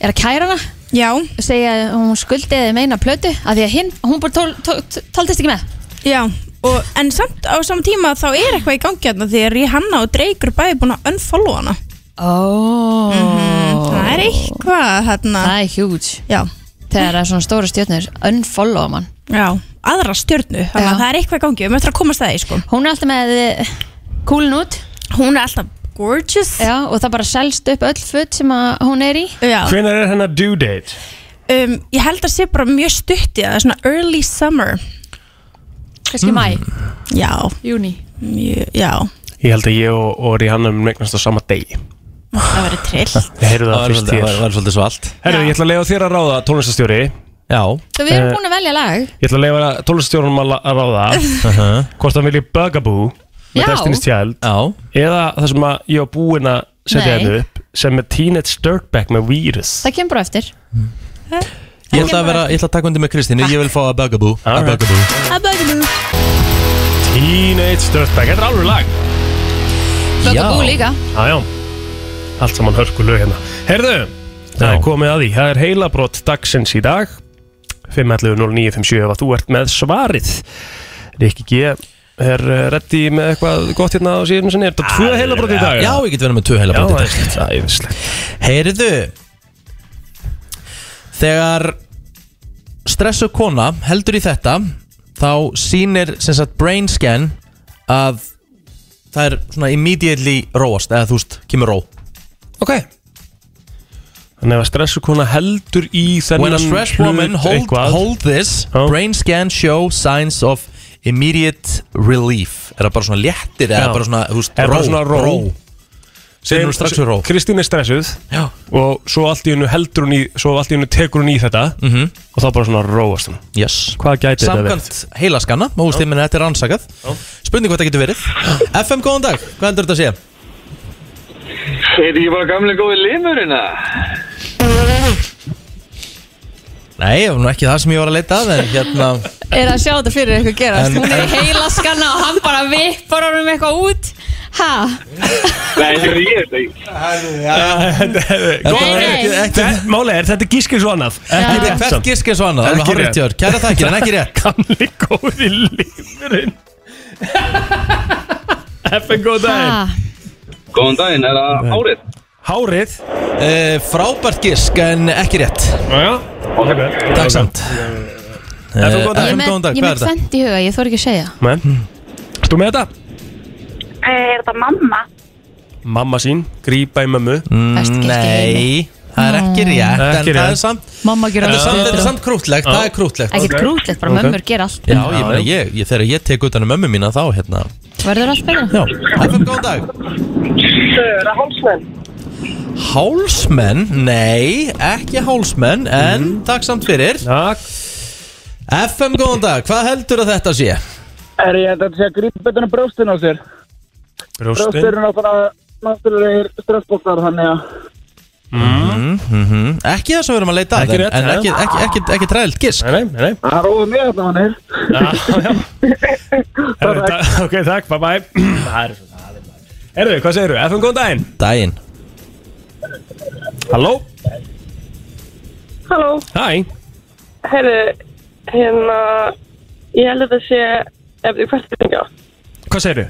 S4: er að kæra hana
S10: Já.
S4: segja að hún skuldiði meina plötu að því að hinn, hún bara tól, tól, tól, taldist ekki með
S10: Já, og, en samt á saman tíma þá er eitthvað í gangi hérna því að Rihanna og Drake eru bæði búin að unfollow hana
S4: oh.
S10: Það er eitthvað hérna
S4: það er huge
S10: Já.
S4: þegar það er svona stóra stjórnur unfollow mann
S10: Já, aðra stjörnu þannig að það er eitthvað í gangi, við möttum að komast það í sko
S4: Hún er alltaf með kúlin út
S10: Hún er alltaf gorgeous
S4: Já, og það bara selst upp öll föt sem að hún er í
S10: Já.
S3: Hvenær er hennar due date?
S10: um, Ég held að sé bara mjög stutt í það, svona early summer
S2: Mm.
S4: Kannski mæ
S10: Já,
S4: Júni
S10: mjög, já
S3: Ég held að ég og, og Rihanna mun eignast á sama degi
S10: Það verður trill *laughs*
S3: Ég heyrði það
S2: Það væri
S3: fyrst
S2: svolítið-
S3: hér
S2: það væri svolítið svalt
S3: Herru, ég ætla að leiða þér að ráða tónlistastjóri
S2: Já
S4: Svo við
S2: Eh.
S4: erum búin að velja lag
S3: Ég ætla að leiða tónlistastjórnum að la- að ráða Hvort það vilji Bugaboo
S4: Já.
S3: með Destiny's Child Já. eða það sem að ég var búinn að setja
S4: Nei.
S3: hennu upp sem er Teenage Dirtbag með Virus
S4: Það kemur bara eftir
S2: Ég ætla að vera, ég ætla að taka undir með Kristínu, ég vil fá að Bugaboo Að Bugaboo
S4: Það bæði nú
S3: Teenage Dirtbag, þetta er alveg lag
S4: Bögabú líka
S3: Já, já, allt saman hörku lög hérna Herðu, það er komið að því Það er heilabrott dagsins í dag 5.11.09.57 ef að þú ert með svarið Rikki G er eh, reddi með eitthvað gott hérna á síðan sinni Er þetta tvö heilabrott í dag?
S2: Já, ég get verið með tvö heilabrot
S3: Já,
S2: í dag
S3: Það er vislegt
S2: Heyrðu Þegar stressu kona heldur í þetta þá sýnir sem sagt brain scan að það er svona immediately róast eða þú veist, kemur ró Ok
S3: Þannig ef að stressu kona heldur í
S2: When
S3: þennan
S2: a stressed woman
S3: hlut
S2: hold,
S3: eitthvað-
S2: hold this brain scan show signs of immediate relief er það bara svona léttir eða
S3: Já.
S2: bara svona, þú veist,
S3: Er bara svona ró.
S2: Segjum hún strax í ró.
S3: Kristín er stressuð
S2: Já.
S3: og svo allt í hennu heldur hún í svo allt í hennu tekur hún í þetta
S2: Mhm.
S3: og þá bara svona róast hún
S2: yes.
S3: Hvað gæti þetta verið?
S2: Samkvæmt heilaskanna, maður úrst þeim en þetta er rannsakað Spurning hvað það
S3: *gasps*
S2: getur verið FM, góðan dag, hvað heldur þetta að sé?
S16: Er ég bara gamlega góði limurinn
S2: Nei, það var nú ekki það sem ég var að leita að En *laughs* hérna,
S4: er að sjá þetta fyrir eitthvað gerast
S2: En-
S4: hún er
S2: en-
S4: í heila skanna og hann bara vippar honum eitthvað út ha?
S16: Nei, þetta er ég þetta ekki
S3: Málega er þetta gískir svo annað
S2: Þetta er hvert gísk eins og annað, alveg hárrétt hjá þér. Kærar þakkir, en ekki *laughs* rétt.
S3: Gamli góði limurinn FN góð
S4: Ha?
S3: daginn
S16: Góðan daginn, er það hárið?
S3: Hárið
S2: uh, Frábært gísk, en ekki rétt
S3: Jæja, ok
S2: Takk samt
S3: FM góðan
S2: um
S4: ég með,
S3: daginn
S4: ég með sent í huga, ég þór ekki að segja
S3: Men, Ertu með þetta?
S9: Eh, Er þetta mamma?
S3: Mamma sín, grípa í mömmu
S2: Best gísk í heimi. Mm, það er ekki rétt En
S3: Ekki
S2: það
S3: rétt.
S2: er samt
S4: mamma
S2: Þetta
S4: gerur
S2: er samt, þetta er samt krútlegt, það er krútlegt
S4: ekkert krútlegt, bara
S2: Eh, Ok.
S4: mömmur ger allt
S2: Já, ég meina, ég, ég, þegar ég tek utan um mömmu mína þá, hérna
S4: verður allt betra
S2: Já, FM, góðan dag
S9: Er það hálsmenn?
S2: Hálsmenn, nei, ekki hálsmenn En takk samt fyrir
S3: Takk
S2: FM, góðan dag, hvað heldur að þetta sé?
S16: Er ég þetta að segja grípetunum brjóstin á sér? Brjóstin eru náttúrulega náttúrulegir stressbóttar þannig að
S2: Mm -hmm. Ekki það sem við erum að leita að
S16: Ekki
S2: en-
S16: rétt,
S2: En
S16: já.
S2: ekki, ekki, ekki, ekki træðilt gisk
S3: Nei, nei
S16: Það róði mig þetta mannir
S3: Herru, ta- Ok, takk, bye bye Það er svo það er maður. Herru, hvað segirðu? FM góðan daginn
S2: Daginn
S3: Halló?
S9: Halló,
S3: Hæ?
S9: heyrðu, hérna, ég held að það sé, ef því Eh, hvert er ég að ringja?
S3: Hvað segirðu?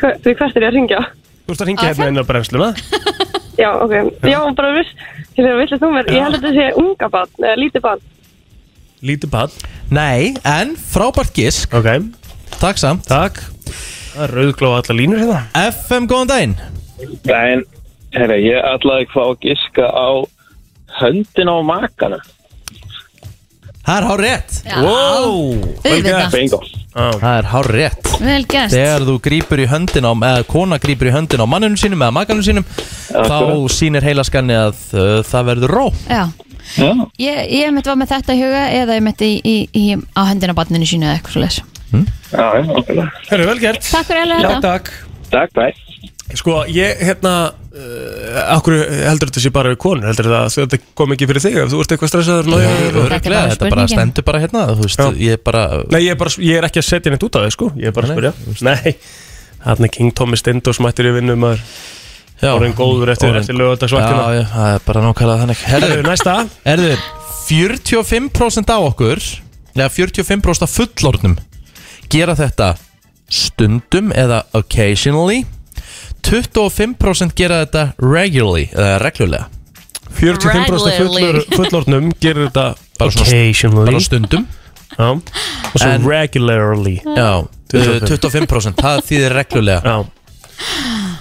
S9: Hva- Því hvert er ég að ringja?
S3: Þú ert að
S9: Ah,
S3: ringja hérna inn á brennsluna
S9: Já, ok, já, bara viss, hérna, villið þú mér, ég held að það sé unga barn, eða lítið barn.
S3: Lítið bad
S2: Nei, en frábært gisk
S3: Ok
S2: Takk samt
S3: Takk Það er rauðglóð allar línur hérna
S2: FM, góðan daginn
S12: En, herra, ég ætlaði hvað að giska á höndin á makana.
S2: Það er hár rétt
S12: Já. Wow,
S4: vel Auðvitað. gert.
S2: Bingo Það er hár rétt
S4: Vel gert.
S2: Þegar þú grýpur í höndin á, eða kona grýpur í höndin á mannunum sínum eða makanum sínum
S4: akkurat.
S2: þá sýnir heilaskanni að uh, það verður ró
S4: Já,
S2: Já
S4: ég, ég mitt var með þetta í huga eða ég mitt í, í, í, á hendina barninu sínu eða eitthvað svoleiðis.
S12: Já, já, okkurlega.
S3: Herru, vel gert
S4: Takk fyrir alveg
S9: hérna.
S4: þetta.
S3: takk Takk, bæ Sko, ég, hérna, uh, akkur heldur þetta sé bara við konur, heldur þetta að þetta kom ekki fyrir þig, ef þú ert eitthvað stressaður og
S2: Nei,
S3: nájaður og-
S2: örugglega, þetta bara stendur bara hérna þú veist, ég bara
S3: Nei, ég er, bara, ég er ekki að setja neitt út af þig, sko, ég er bara að spyrja Nei, hann er King Tommy Stendos mættir í vinnum maður
S2: Já
S3: Orðin góður eftir,
S2: Orðinn-
S3: eftir lögadagsvaktina
S2: Já, já, það er bara nákvæmlega þannig
S3: Herðu, næsta
S2: Herðu, 45% á okkur eða 45% af fullornum gera þetta stundum eða occasionally 25% gera þetta regularly eða reglulega
S3: 45% fullur, fullornum gerir þetta occasionally
S2: bara stundum
S3: Já, og svo
S2: En-
S3: regularly
S2: Já, eh, 25% það þýðir reglulega
S3: Já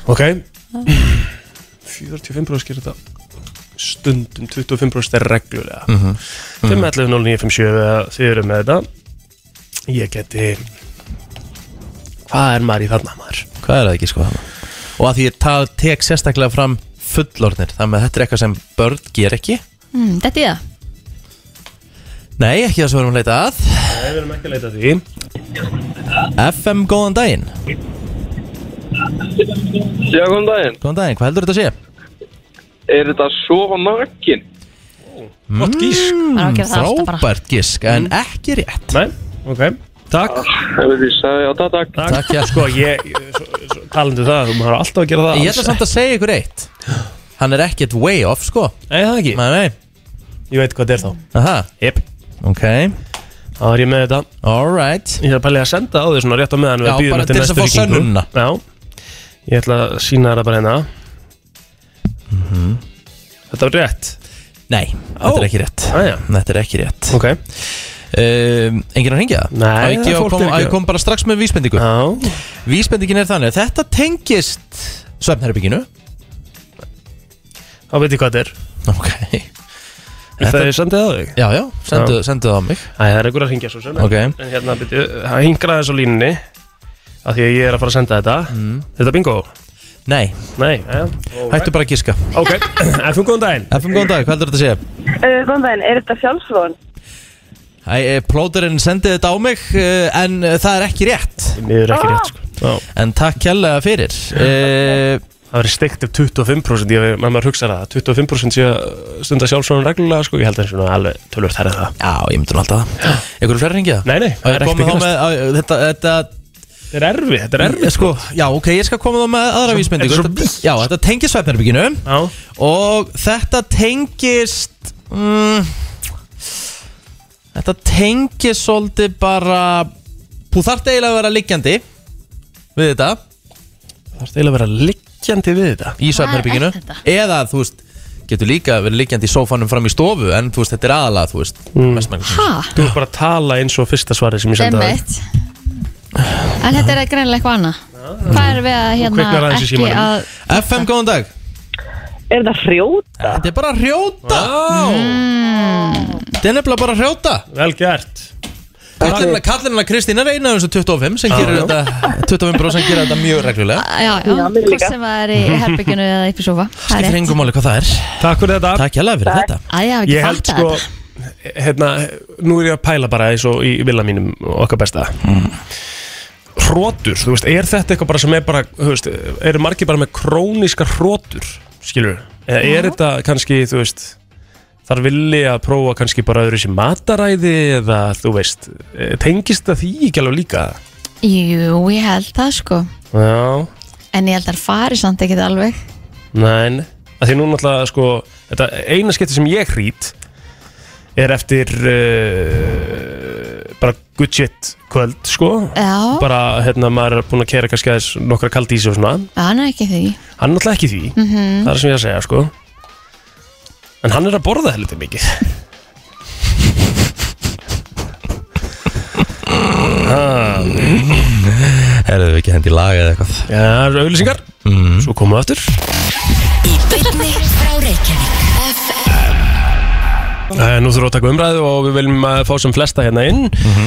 S3: Ok 45% gerir þetta stundum 25% er reglulega
S2: Mhm.
S3: 511 0957 eða þið eru með þetta ég geti hvað er maður í þarna maður
S2: Hvað er það ekki sko þannig? Og að því ég ta- tek sérstaklega fram fullornir Þannig að þetta er eitthvað sem börn ger ekki
S4: Mm, þetta er það.
S2: Nei, ekki það sem við erum að leita að
S3: Nei, við erum ekki að leita að því
S2: FM, góðan daginn
S12: Já, góðan daginn.
S2: Góðan daginn, hvað heldur þetta að sé?
S12: Er þetta svo nakin?
S3: Gott gísk
S12: Maður á að gera Mm, það alltaf bara.
S2: Mm,
S12: Mm.
S2: Frábært gísk, en ekki rétt
S3: Nei, ok, takk
S12: Hefur því sagði, já, takk, takk.
S2: Takk, já.
S3: Sko, ég, svo, svo, talandi um það, maður er alltaf að gera það
S2: Ég ætla samt að segja ykkur eitt Hann er ekkert way off sko
S3: Nei, það ekki
S2: Nei, nei
S3: Ég veit hvað þetta er
S2: þá Aha
S3: Jep
S2: Ok
S3: Þá er ég með þetta
S2: Alright
S3: Ég ætla að pæli að senda á því svona rétt á meðan við
S2: Já,
S3: býðum
S2: bara
S3: eftir
S2: til þess að
S3: næstu
S2: fá
S3: hringingu.
S2: sönnunina.
S3: Já Ég ætla að sína þetta bara hérna
S2: Mhm.
S3: Þetta var rétt
S2: Nei, þetta er ekki rétt
S3: Aja.
S2: Þetta er ekki rétt
S3: Ok
S2: um, Engin að ringja
S3: Nei,
S2: Á ekki
S3: það
S2: að
S3: fólk
S2: kom,
S3: er ekki
S2: að
S3: að-
S2: kom bara strax með vísbendingu
S3: Já
S2: Vísbendingin er þannig að Þetta tengist Svefnherbygginu
S3: Þá veit ég hvað þetta er
S2: Ok
S3: Þetta... Það er sendið á þig
S2: Já, já, sendu, sendu það á mig
S3: Æ, það er einhver að ringja svo sem
S2: Ok.
S3: En hérna, byrju, það hingraði þessu línni Af því að ég er að fara að senda þetta
S2: Mhm.
S3: mm. Er þetta bingo?
S2: Nei
S3: Nei, já
S2: Hættu bara að gíska
S3: Ok, FM góðan daginn
S2: FM góðan dag, hvað heldur þetta að segja?
S9: Uh, góðan daginn, er þetta sjálfsvon?
S2: Æ, eh, plóterinn sendið þetta á mig eh, en eh, það er ekki rétt
S3: Mér er ekki rétt sko Já.
S2: En takk kjærlega fyrir e...
S3: Það verður steikt upp 25% ég, maður maður hugsa það, 25% sé að stunda sjálfsvonum reglulega sko, ég held að það er alveg tölvöld þærrið það
S2: Já, ég myndi nú alltaf það Ekkur fleiri ringið það?
S3: Nei, nei, það
S2: það
S3: er
S2: er
S3: ekkert
S2: ekki
S3: að
S2: með, á, eh, Þetta, þetta
S3: Þetta er erfið, þetta er erfið
S2: sko, Já, ok, ég skal koma þá með aðra vísbendingu
S3: þetta er svo
S2: Þetta- Já, þetta tengist svefnherbygginu Og þetta tengist mm, Þetta tengist svolítið bara Þú þarft eiginlega að vera liggjandi Við þetta Þú
S3: þarft eiginlega að vera liggjandi við þetta
S2: Í svefnherbygginu
S4: Hvað er þetta?
S2: Eða, þú veist, getur líka verið liggjandi í sófanum fram í stofu En, þú veist, þetta er aðalega, þú veist
S3: Mm.
S2: mestmegnis.
S4: Ha,
S3: Þú er bara að tala eins og fyrsta svari sem ég senda það
S4: einmitt. En þetta er greinilega eitthvað annað. Hvað er við að hérna ekki að...
S2: FM, góðan dag
S9: Er þetta frjóta?
S2: Þetta er bara að hrjóta Þetta er nefnilega bara að hrjóta
S3: Vel gert
S2: Kallin kallinn hennar Kristín er eina af þessu 25 sem
S3: Já,
S2: gerir
S3: já.
S2: þetta 25% gerir þetta mjög reglulega
S4: Já, já,
S9: Já, mér
S4: hvort
S9: líka.
S4: sem það er í herbygginu eða upp í sofa. Það er
S2: Skiptir
S4: rétt.
S2: engum máli hvað það er
S3: Takk fyrir þetta
S2: Takk hérlega fyrir þetta
S4: Æ, ég hef ekki
S3: Ég held
S4: fattað
S3: sko
S4: þetta.
S3: hérna, nú er ég að pæla bara eins og í villa mínum okkar besta Hrótur, þú veist, er þetta eitthvað bara sem er bara, þú veist, eru margir bara með króníska hrótur, skilur eða er þetta kannski, þú veist þar villi að prófa kannski bara öðru sem mataræði eða, þú veist eh, tengist það því ekki alveg líka
S4: Jú, ég held það sko.
S3: Já,
S4: En ég held að það fari samt ekkit alveg.
S3: næn að því nú náttúrulega sko, þetta eina skipti sem ég hrít er eftir uh, bara good shit kvöld sko
S4: Já.
S3: bara hérna maður er búin að kera kannski aðeins nokkra kaldi í sig og svona
S4: hann er ekki því
S3: hann er náttúrulega ekki því
S4: Mhm.
S3: það er sem ég er að segja sko en hann er að borða heldur mikið
S2: Ah. Herðu við ekki hendi í lag eða eitthvað Mhm.
S3: Já, það eru auðlýsingar mm. Svo komum við aftur
S14: Í byrni frá Reykjavík FM
S3: Eh, Nú þurfum við að taka umræðu og við viljum að fá sem flesta hérna inn
S2: Mhm.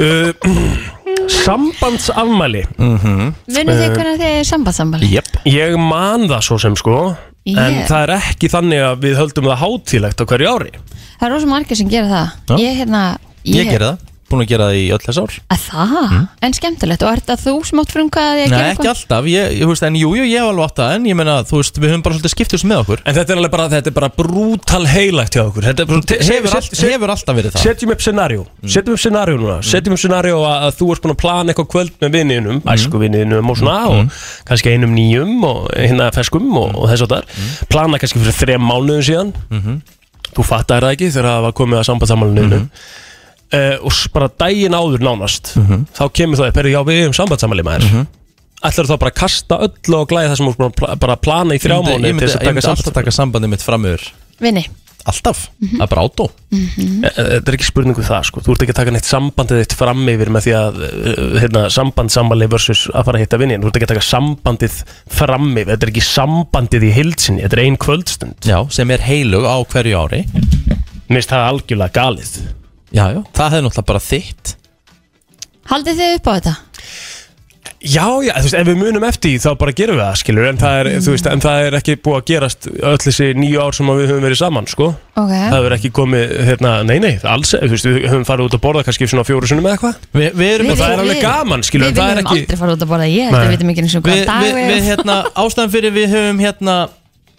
S3: uh, *clears throat* Sambandsafmæli
S4: Munið þið
S3: Eh,
S4: hvernig þið er sambandsammal?
S2: Yep.
S3: Ég man það svo sem sko En
S4: Ég-
S3: það er ekki þannig að við höldum það hátílegt á hverju ári
S4: Það er rosa margir sem gera það Ég hérna
S2: Ég gera það, búin að gera það í öll þess ár
S4: Að það? En skemmtilegt, og er þetta þú sem átt frum hvað að ég
S2: Nei,
S4: gera
S2: ekki alltaf, ég, ég, þú veist, en jú, jú, ég hef alveg átt það En ég meina, þú veist, við höfum bara svolítið skiptist með okkur
S3: En þetta er alveg bara, þetta er bara brútal heilagt hjá okkur Þetta er bara,
S2: Hefur allt- hefur alltaf verið það. Mm.
S3: Setjum upp scenarió, setjum upp scenarió núna Setjum upp scenarió að, að þú ert búin að plana eitthvað kvöld með vinninum
S2: Mm.
S3: Æsku vinninum og svona Og kannski einum nýjum og hérna feskum og,
S2: Mm.
S3: og þess og þar Plana kannski fyrir þrem mánuðum síðan
S2: Mhm.
S3: Þú fattar það ekki þegar það var komið að sambandsamælinu mm Og s- bara daginn áður nánast
S2: Mhm.
S3: Þá kemur það upp, "Heyrðu, já við erum sambandsamæli maður mm Ætlar þá bara að kasta öllu og glæði það sem þú ert búin að pla- bara plana í þrjá
S2: Ég myndi- Ég
S3: mánuði til
S2: myndi,
S3: þess að
S2: ég
S3: taka
S2: myndi alltaf
S3: sambandsafmæli?
S2: taka sambandið mitt fram yfir
S4: Vinni
S2: Alltaf, það er bara átó
S3: E- e- Þetta er ekki spurningu það sko, þú ert ekki að taka neitt sambandið þitt fram yfir með því að uh, hérna, sambandsammali versus að fara að hitta vinnin, þú ert ekki að taka sambandið fram yfir, þetta er ekki sambandið í hildsinni, þetta er ein kvöldstund
S2: Já, sem er heilug á hverju ári
S3: Mist það algjörlega galið
S2: Já, já, það hefði náttúrulega bara þitt
S4: Haldið þið upp á þetta?
S3: Já, já, þú veist, ef við munum eftir því þá bara gerum við það, skilur, en það er, þú veist, en það er ekki búið að gerast öll þessi nýju ár sem að við höfum verið saman, sko
S4: Ok.
S3: Það hefur ekki komið, hérna, nei, nei, alls, þú veist, við höfum farið út að borða kannski svona fjóru sunnum eða eitthvað
S2: Vi, Við erum
S3: Og það er alveg gaman, skilur, en
S4: Við
S3: það
S4: viljum
S3: er ekki
S4: aldrei fara út að borða Ég held
S3: Nei.
S4: að við vitum ekki eins og
S2: við,
S4: hvað dag
S2: við, við
S4: *laughs*
S2: hérna, ástæðan fyrir við höfum hérna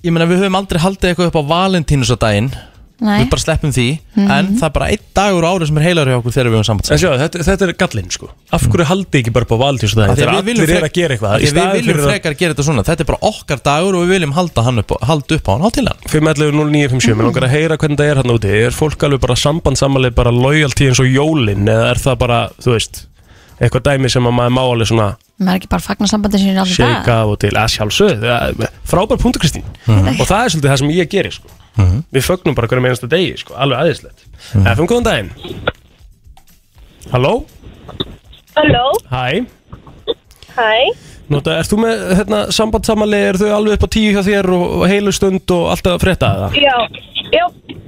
S2: ég meina við höfum aldrei haldið eitthvað upp á valentínusadaginn
S4: Nei.
S2: við bara sleppum því
S4: Mhm.
S2: en það er bara einn dagur á ári sem er heilar hjá okkur þegar við höfum samband
S3: En sjá, þetta, þetta er gallinn sko Af hverju haldið ekki bara upp á valdís
S2: Mm. Af
S3: Það
S2: því
S3: er
S2: að við viljum
S3: allir er
S2: frek-
S3: að gera
S2: af
S3: eitthvað
S2: því að við viljum frekar gera þetta svona þetta er bara okkar dagur og við viljum halda, hann upp, á- halda upp á hann á til hann
S3: 5.11.09.57 Mér langar að heyra hvernig það er hann úti Er fólk alveg bara sambandsamalið bara loyalty eins og jólin Eða er það bara, þú veist Eitthvað dæmi sem að maður má alveg svona
S4: Maður er ekki bara að fagna sambandin sín allir dag
S3: Shake af og til, að sjálfsögð það er Frábær punktu Kristín Og það er svolítið það sem ég geri sko Við fögnum bara hverjum einasta degi sko, alveg aðeinslegt FM, góðan daginn Halló,
S9: Halló,
S3: hæ
S9: hæ
S3: Nota, er þú með hérna, sambandsamali, er þau alveg upp á tíu hjá þér og, og heilu stund og alltaf að frétta það?
S9: Já, já,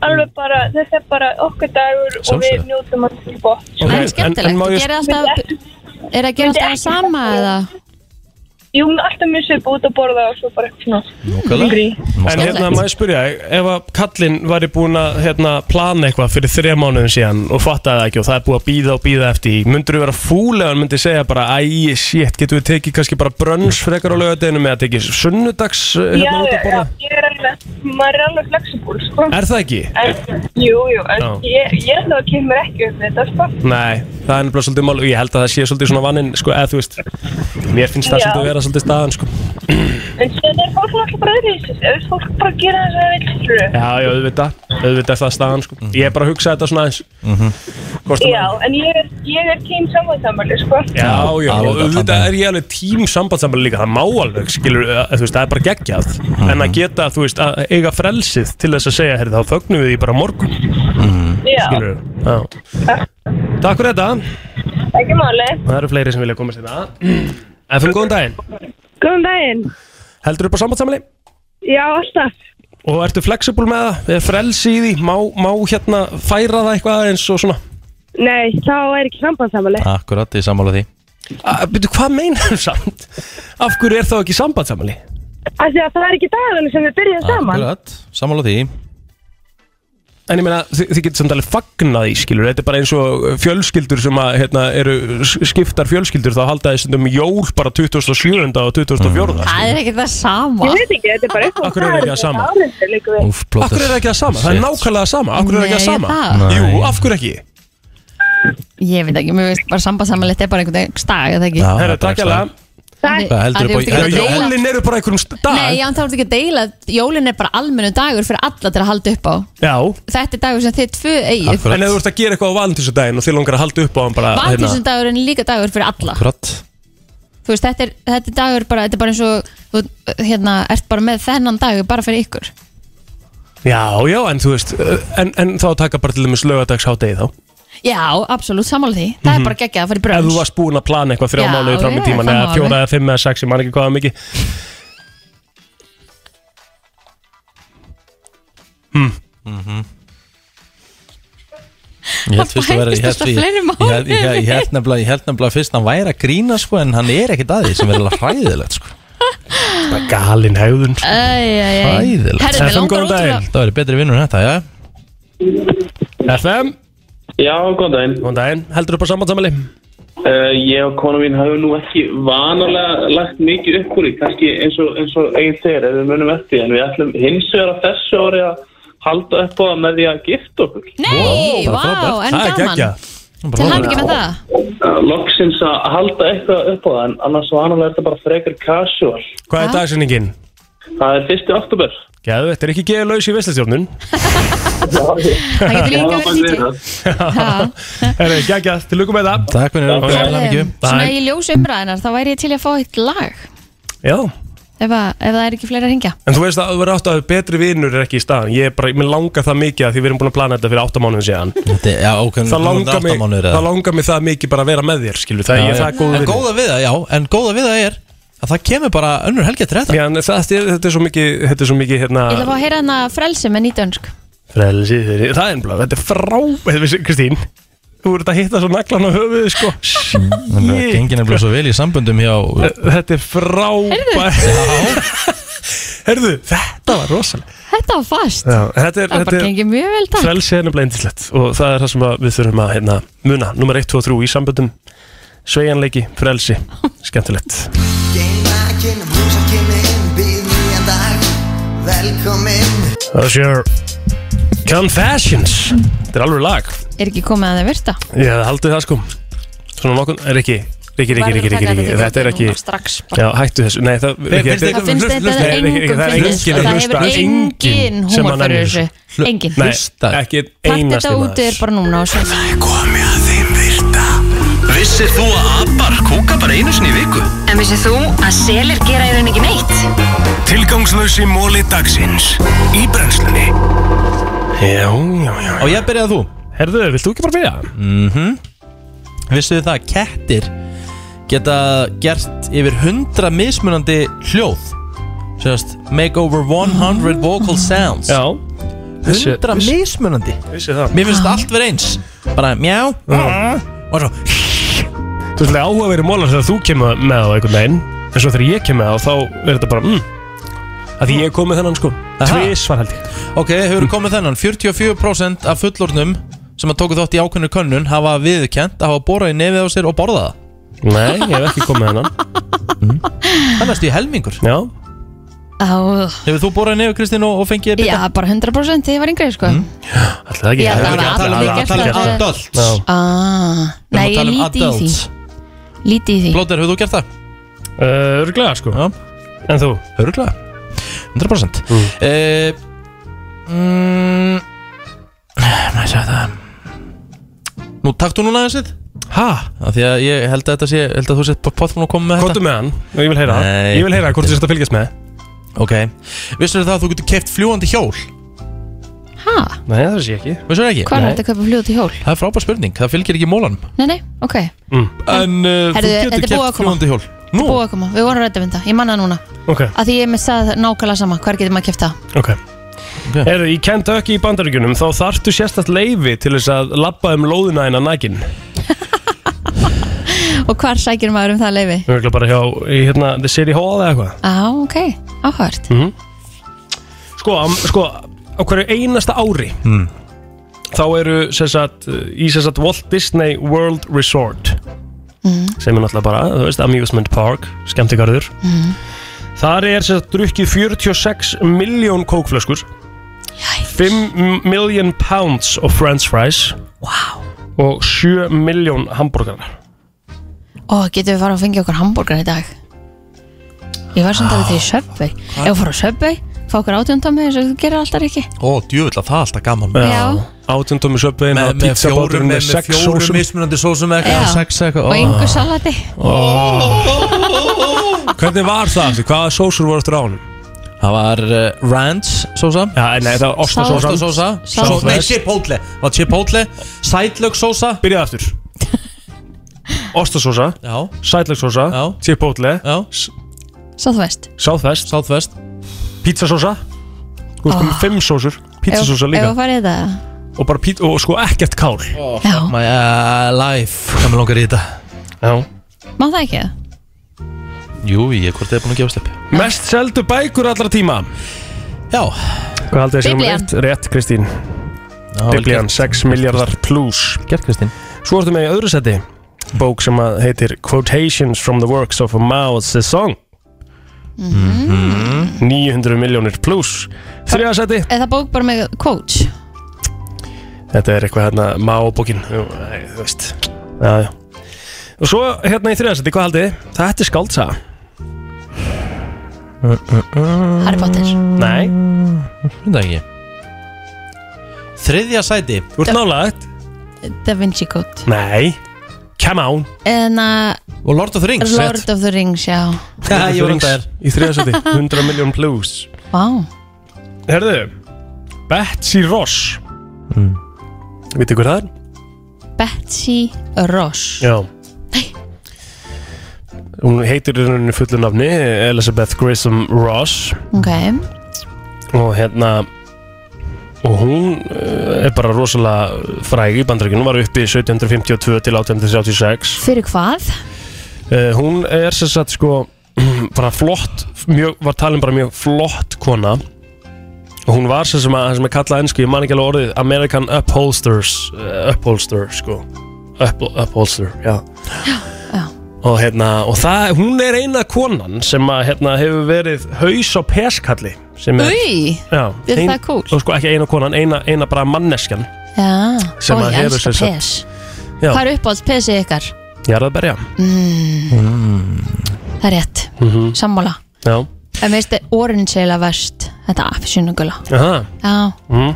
S9: alveg bara þetta er bara okkur dagur og við
S3: Sjálfsögðu.
S9: njótum að til bótt
S3: Ok, En skemmtilegt, en- en má ég-
S4: Gerið alltaf Er það að gera
S9: Myndi
S4: alltaf
S9: ekki-
S4: sama eða?
S9: Jú, alltaf mjög sér búið að borða og svo bara svona
S3: En hérna maður spyrja, ef að kallinn væri búin að hérna, plana eitthvað fyrir þrjá mánuðum síðan og fattaði það ekki og það er búið að býða og býða eftir því, myndur þú vera fúl ef hann myndi segja bara, æ, shit, getur við tekið kannski bara brönns frekar á lögadeginu með að tekið sunnudags eh,
S9: Já,
S3: hérna út að
S9: já, já,
S3: borða?
S9: ég er alveg maður er alveg flexible, sko
S3: Er það ekki?
S9: En, jú, jú, en
S3: Já.
S9: ég, ég er það að kemur ekki um þetta, sko
S3: Nei, það er nefnilega svolítið mál og ég held að það sé svolítið svona vannin, sko, eða þú veist, mér finnst það
S9: Já.
S3: svolítið að vera svolítið staðan, sko.
S9: En þetta er fólk náttúrulega bara öðru í þessu Fólk bara gera þess að vill, skilur við.
S3: Já, já, auðvitað, auðvitað er það staðan sko. Ég er bara að hugsa þetta svona aðeins Kostum
S9: Já, en ég er, ég er tím samansamali, sko
S3: Já, já,
S2: alveg
S3: og auðvitað er ég alveg tím sambandsamlega líka, það má alveg, skilur, að, þú veist, það er bara geggjað
S2: Mhm.
S3: En að geta, þú veist, að eiga frelsið til þess að segja, herri, þá fögnum við því bara á morgun,
S2: Mhm.
S9: Já,
S3: skilur Já Takk fyrir þetta,
S9: ekki máli
S3: það eru fleiri sem vilja komast þetta FM, góðan daginn,
S9: Góðan daginn
S3: heldur upp á sambandsamlega?
S9: Já, alltaf
S3: Og ertu flexible með það, er frelsi í því, má, má hérna færa það eitthvað aðeins og svona
S9: Nei, þá er ekki sambandsamali
S2: Akkurat, ég sammála því
S3: Býtu, hvað meinar þú samt? Af hverju er þá ekki sambandsamali?
S9: Af því að það er ekki dagarinn sem við byrjum saman
S2: Akkurat, sammála því
S3: En ég meina, þi þið getur samt alveg fagnað í, skilur Þetta er bara eins og uh, fjölskyldur sem að, hérna, eru s- skiptar fjölskyldur þá halda þið stundum jól bara 27. og 24. Mm.
S4: Það er ekki það sama
S9: Ég veit ekki, þetta er bara eitthvað
S3: Akkur er ekki það sama?
S9: Árindu, líka við
S3: Af hverju er það ekki það sama? Það er
S2: Shit.
S3: nákvæmlega það sama Af hverju er það ekki það
S4: Nei,
S3: sama?
S4: það-
S3: Jú, af hverju ekki?
S4: Ég veit ekki, mér veist bara sambandsammal Þetta er bara einhvern dag, er það ekki?
S2: Já,
S3: Herra, takk
S2: dagslæg.
S3: alveg
S4: Það
S2: Hvað heldur
S4: þú ert
S2: upp á
S4: ekki að
S2: heldur-
S4: deila-
S3: Jólin eru bara einhverjum st- dag
S4: Nei, já, en þá ertu ekki að deila Jólin er bara almennu dagur fyrir alla til að halda upp á
S3: Já
S4: Þetta er dagur sem þið tvö eigið
S3: En ef þú ert að gera eitthvað á valentínsdaginn og þið langar að halda upp á hann bara
S4: Valtísindagurinn er líka dagur fyrir alla
S3: Akkurat
S4: Þú veist, þetta er, þetta er dagur bara, þetta er bara eins og þú hérna, ert bara með þennan dag bara fyrir ykkur
S3: hérna- Já, já, en þú veist uh, En, en þá taka bara til dæmis lögadagshátegi þá
S4: Já, absolutt, sammála því Það
S3: Mhm.
S4: er bara geggjað að fara í
S3: Ef
S4: brönns
S3: þú varst búin að plana eitthvað þrjá
S4: Já,
S3: mánuði fram í
S4: já, það
S3: tíman
S4: má
S3: eða
S4: alveg.
S3: fjóra eða fimm eða sex, ég man ekki hvað það er mikið hm.
S2: Ég held fyrst að vera, ég held, ég,
S4: Það bætist alltaf
S2: ég, held, ég, held- ég held nefnilega, ég held nefnilega fyrst að hann væri að grína sko en hann er ekkert að því sem er alveg hræðilegt sko.
S3: Bara galin hegðun
S4: Æ, æ, æ.
S2: Hræðilegt.
S4: Herri, mig langar ótrúlega-
S2: Það væri betri vinnur en þetta, já.
S3: FM
S12: Já, góðan daginn
S3: Góðan daginn, heldur upp á sambandssamali?
S12: Uh, ég og konu mín hafum nú ekki vanalega lagt mikið upp úr í kannski eins og, eins og eigin þegar ef við munum eftir því, en við ætlum hins vegar á þessu ári að halda upp á það með því að gifta okkur
S4: Nei, vá, en gaman Til hann ekki með það
S12: Uh, Loksins að halda eitthvað upp á það en annars vanalega er þetta bara frekar casual
S3: Hvað er dagsinningin?
S12: Það er 1. oktober
S3: Gæðu, þetta er ekki geða laus í veslistjórnun
S12: Það
S4: getur líka verið
S3: *laughs* Herri, gægja, til lukum með það
S2: Takk fyrir,
S3: og
S4: Herri, Svona í ljós umræðinar, þá væri ég til í að fá eitt lag
S3: Já,
S4: Ef, að, ef það er ekki fleiri að ringja
S3: en þú veist að þú verður átt að betri vinur er ekki í staðan Ég er bara, mér langar það mikið að því við erum búin að plana þetta fyrir 8 mánuðin síðan
S2: Þetta er- Já, ok, en
S3: Það
S2: þú ert
S3: langar
S2: átta
S3: mig,
S2: mánuðir eða?
S3: það langar mig það mikið bara að vera með þér, skilur Það
S2: Já, já.
S3: ég er það góð
S2: En góða við það, já, en góða við það er að það kemur bara önnur helgi eftir þetta
S3: Já, en þetta er, þetta er svo mikið, þetta er svo mikið, hérna
S4: Ég ætla að fá að heyra hana frelsi með nýtt önsk
S3: Frelsi, þeirri- það er einblá, þetta er frá Þetta vissi, Kristín, þú ert að hitta svo naglan á höfuðu, sko
S2: Þannig að gengin er bara svo vel í sambundum hjá
S3: Þetta er frábært *laughs* Herðu, þetta var rosalega
S4: Þetta var fast
S3: Já, þetta er-
S4: Það
S3: þetta
S4: bara
S3: er-
S4: gengið mjög vel takk
S3: Frelsi er nefnilega indislegt og það er það sem að við þurfum að hérna, muna, nummer 1, 2 og 3 í samböndum sveigjanleiki, frelsi, skemmtilegt Það séu Confessions Þetta er alveg lag
S4: Er ekki komið að það virta
S3: Ég hefði haldið það sko Svona eh, nokkun, er ekki Riki, riki,
S4: Verður að
S3: riki,
S4: taka þetta
S3: riki, riki,
S4: til
S3: þetta er
S4: þáttar
S3: ekki
S4: núna strax bara.
S3: Já, hættu þessu, nei það
S2: Finnst
S3: Riki,
S2: þér
S3: þetta-
S2: Það finnst
S4: þetta
S3: Nei, Riki,
S4: engum
S3: Það er
S4: fyndið.
S3: enginn að
S4: Það
S3: hlusta
S4: hefur enginn
S3: sem
S4: húmor
S3: að nennir
S4: fyrir
S3: þessu.
S4: þessu.
S3: Hlu-
S4: Enginn.
S3: Nei, ekki
S4: Takk
S3: einasti
S4: þetta út er bara núna og svo
S15: Komið að þeim virta Vissir þú að abar kúka bara einu sinni í viku?
S14: En vissið þú að selir gera í raun ekki neitt?
S15: Tilgangslösi móli dagsins Í brennslunni
S3: Já, já, já
S2: Og ég byrjaði þú
S3: Herðu, vilt þú ekki bara byrja?
S2: Mhm Vissuðu það að kettir geta gert yfir 100 mismunandi hljóð Sérst, make over 100 vocal sounds
S3: Já
S2: 100 mismunandi
S3: Vissi það
S2: Mér finnst allt verið eins Bara mjá Og svo
S3: Þú veist, það er áhugaverið mólar þegar þú kemur með á einhvern veginn En svo þegar ég kemur með á þá er þetta bara mm, Að því ég kom með þennan sko Tvísvar held ég
S2: Ok, hefur komið þennan 44% af fullornum sem að tóku þátt í ákveðnu könnun hafa viðkjent að hafa borað í nefið á sér og borðað það
S3: Nei, ég hef ekki komið hennan
S2: Það er næstu í helmingur
S3: Já
S4: Á,
S2: Hefur þú borað í nefið Kristín og, og fengið
S4: Já, bara 100% þegar ég var yngri sko
S3: Alltaf ekki
S4: Já, það
S3: Ekki
S4: var
S3: allir
S2: um
S4: allir
S3: gert
S4: gert
S3: um það.
S4: það.
S2: Adults.
S3: Já.
S4: Ah,
S2: Við erum
S4: Nei,
S2: að
S4: ég
S2: tala um
S4: líti í því
S2: adults.
S4: Líti í því
S2: Blóter, hefur þú gert það?
S3: Uh, Örglega sko
S2: Já.
S3: En þú?
S2: Örglega 100% mm. mm, *sighs* Má ég sjá það Nú taktu núna þessið
S3: Ha?
S2: Af Því að ég held að þetta sé Held að þú sétt bara potfum að koma með
S3: Kóttu
S2: þetta
S3: með hann og ég vil heyra það
S2: Nei.
S3: Ég vil heyra hvort þú sérst að fylgjast með
S2: Ok Vissur það að þú getur keft fljúandi hjól?
S4: Ha?
S3: Nei, það sé ég ekki
S2: Vissur það ekki?
S4: Hvað er þetta að kaupa fljóð til hjól?
S2: Það er frábær spurning, það fylgir ekki mólanum
S4: Nei, nei, ok
S3: mm.
S2: En uh,
S4: Herðu,
S2: þú
S4: þetta
S2: getur
S4: er búið að
S2: kert
S4: koma.
S2: fljóandi hjól
S4: Þetta er búið að koma, við vorum að rædda um þetta, ég manna það núna
S3: Ok,
S4: að því ég með það nákvæmlega sama, hvar getur maður að kæfta
S3: ok Herru, í Kentucky í bandaríkjunum þá þarftu sérstætt leifi til þess að labba um lóðina en að nægin
S4: og hvar sækir maður um það leifi
S3: Mjögulega bara hjá, í, hérna, The City Hall eða eitthvað
S4: á, ok, áhört
S3: mm Sko, am, sko, á hverju einasta ári
S2: Mm.
S3: þá eru sem sagt, í sem sagt Walt Disney World Resort
S15: Mm.
S3: sem er náttúrulega bara, þú veist, Amusement Park skemmtigarður
S15: Mm.
S3: Þar er sem sagt drukkið 46 miljón kókflöskur Jæks. 5 million pounds of french fries
S4: wow.
S3: og 7 miljón hambúrgarar
S4: og getur við fara að fengja okkur hambúrgar í dag Ég var samt alveg til í
S3: Ah,
S4: Subway Ef ég fór á Subway, fá okkur átjönda með eins og þú gerir alltaf ekki
S2: Ó, djúvill að það er alltaf gaman
S4: Já.
S3: Átjöndum í söpvegin
S2: Með, með fjórum, með, með fjórum mismunandi sósum eða eitthvað,
S4: Já.
S2: sex eitthvað
S4: Og
S3: Ah.
S2: ó.
S4: engu salati
S3: Hvernig var það? aftur? Hvaða sósur voru eftir á hann?
S2: Það var uh, ranch sósa
S3: Já, nei, það var ostasósan.
S2: Ostasósa
S3: Salt.
S2: Só- Nei, chipotle Það var chipotle Sætlög sósa
S3: Byrjaði *laughs* aftur Ostasósa Sætlagsósa Chipotle s-
S4: Svo þú veist
S3: Southwest
S2: Southwest
S3: Pizzasósa Þú veist, komið
S4: Ah.
S3: fimm sósur Pizzasósa
S4: Ef- Ef
S3: líka
S4: þú farið í þetta
S3: Og bara pít Og sko ekkert kál
S4: Já.
S2: My uh, life Hvað mér langar í þetta
S3: Já
S4: Má það ekki?
S2: Jú, ég hvort þið er búin að gefa slepp
S3: Mest seldu bækur allra tíma
S2: Já
S3: Hvað haldið þessi
S4: Biblían.
S3: um rétt? Rétt, Kristín
S2: vel
S3: Biblian,
S2: gert.
S3: 6 miljardar plus
S2: Gert, Kristín
S3: Svo ertu með í öðru seti Bók sem að heitir Quotations from the Works of Mao Zedong
S4: Mhm.
S3: 900 miljónir plus Þriða seti
S4: Er það bók bara með coach?
S3: Þetta er eitthvað hérna Mao-bókin Jú, æ, Þú veist Já, já Og svo hérna í þriðarsætti, hvað haldið? þið? Þetta er skáldsaga
S4: Harry Potter
S3: Nei
S2: Þetta ekki Þriðja sæti
S3: Þú ert nálaðið
S4: Da Vinci Code
S3: Nei Come on
S4: En
S2: Og Lord of the Rings
S4: Lord of the Rings, já
S2: *laughs* Já, ég var um þær.
S3: Í *laughs* þriðarsætti, 100 miljón plus
S4: Vá
S3: Herðu Betsy Ross mm. Vitið hver það er?
S4: Betsy Ross
S3: Já Hún heitir í rauninni fullu nafni Elizabeth Grissom Ross
S4: Ok
S3: og hérna og hún eh, er bara rosalega fræg í bandaríkjunum, var uppi 1752 til 1836
S4: Fyrir hvað?
S3: uh, hún er sem sagt sko *clears throat* bara flott, mjög, var talin bara mjög flott kona og hún var sem, sem, að, sem er kallað ennsku, ég man ekki alveg orðið American Upholsters uh, Upholster sko Up, Upholster, já og hérna, og það, hún er eina konan sem að hérna hefur verið haus á peskalli sem er
S4: Új
S3: Já,
S4: Er það cool?
S3: Og sko ekki eina konan, eina, eina bara manneskjan
S4: Já
S3: Sem
S4: Ó, ég
S3: að hefur
S4: elska
S3: sem sagt-
S4: pes
S3: Já.
S4: Hvað er uppáhalds pesið ykkar?
S3: Jarðarberja
S4: Mm, það er rétt
S3: Mhm.
S4: Sammála
S3: Já
S4: En veist þið, orange eila verst Þetta afsynugula
S3: Aha.
S4: Já
S3: Mm.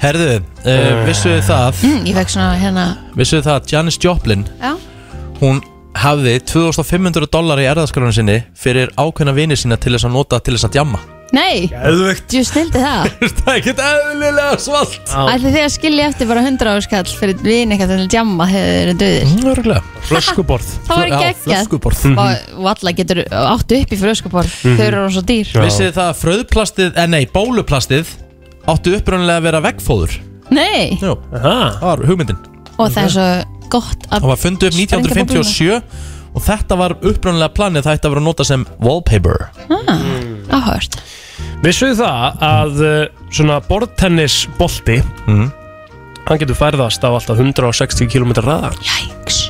S2: Herðu, uh, vissuðu það
S4: mm, Ég fekk svona hérna
S2: Vissuðu það að Janis Joplin
S4: Já
S2: Hún hafði 2500 dólar í erðaskránum sinni Fyrir ákveðna vini sína til þess að nota til þess að djamma
S4: Nei
S2: Geðveikt.
S4: Jú snildi það
S2: *laughs* Það er ekkert eðlilega svalt
S4: Ætli þið að skilja eftir bara 100 áskall Fyrir vin eitthvað til að djamma Þegar þið eru döðir
S2: Örgulega
S3: Flöskuborð
S4: *laughs* Það var ekki ekki
S3: Mhm.
S4: Og alla getur áttu upp í flöskuborð
S2: Mhm.
S4: Þau eru svo dýr
S2: Vissið þið það að fröðplastið, eh, nei, bóluplastið Áttu upprunnilega að vera veggfóður
S4: Nei
S2: Jú,
S3: það
S2: var hugmyndin
S4: Og það er svo gott að
S2: Það var fundið upp
S4: sprengja bolluna.
S2: 1957 Og þetta var upprunnilega planið Það ætti að vera að nota sem wallpaper
S4: ah, Áhört
S3: Vissuð það að eh, svona bortennisbolti
S2: Mhm.
S3: hann getur færðast af alltaf 160 km ræða
S4: Jæks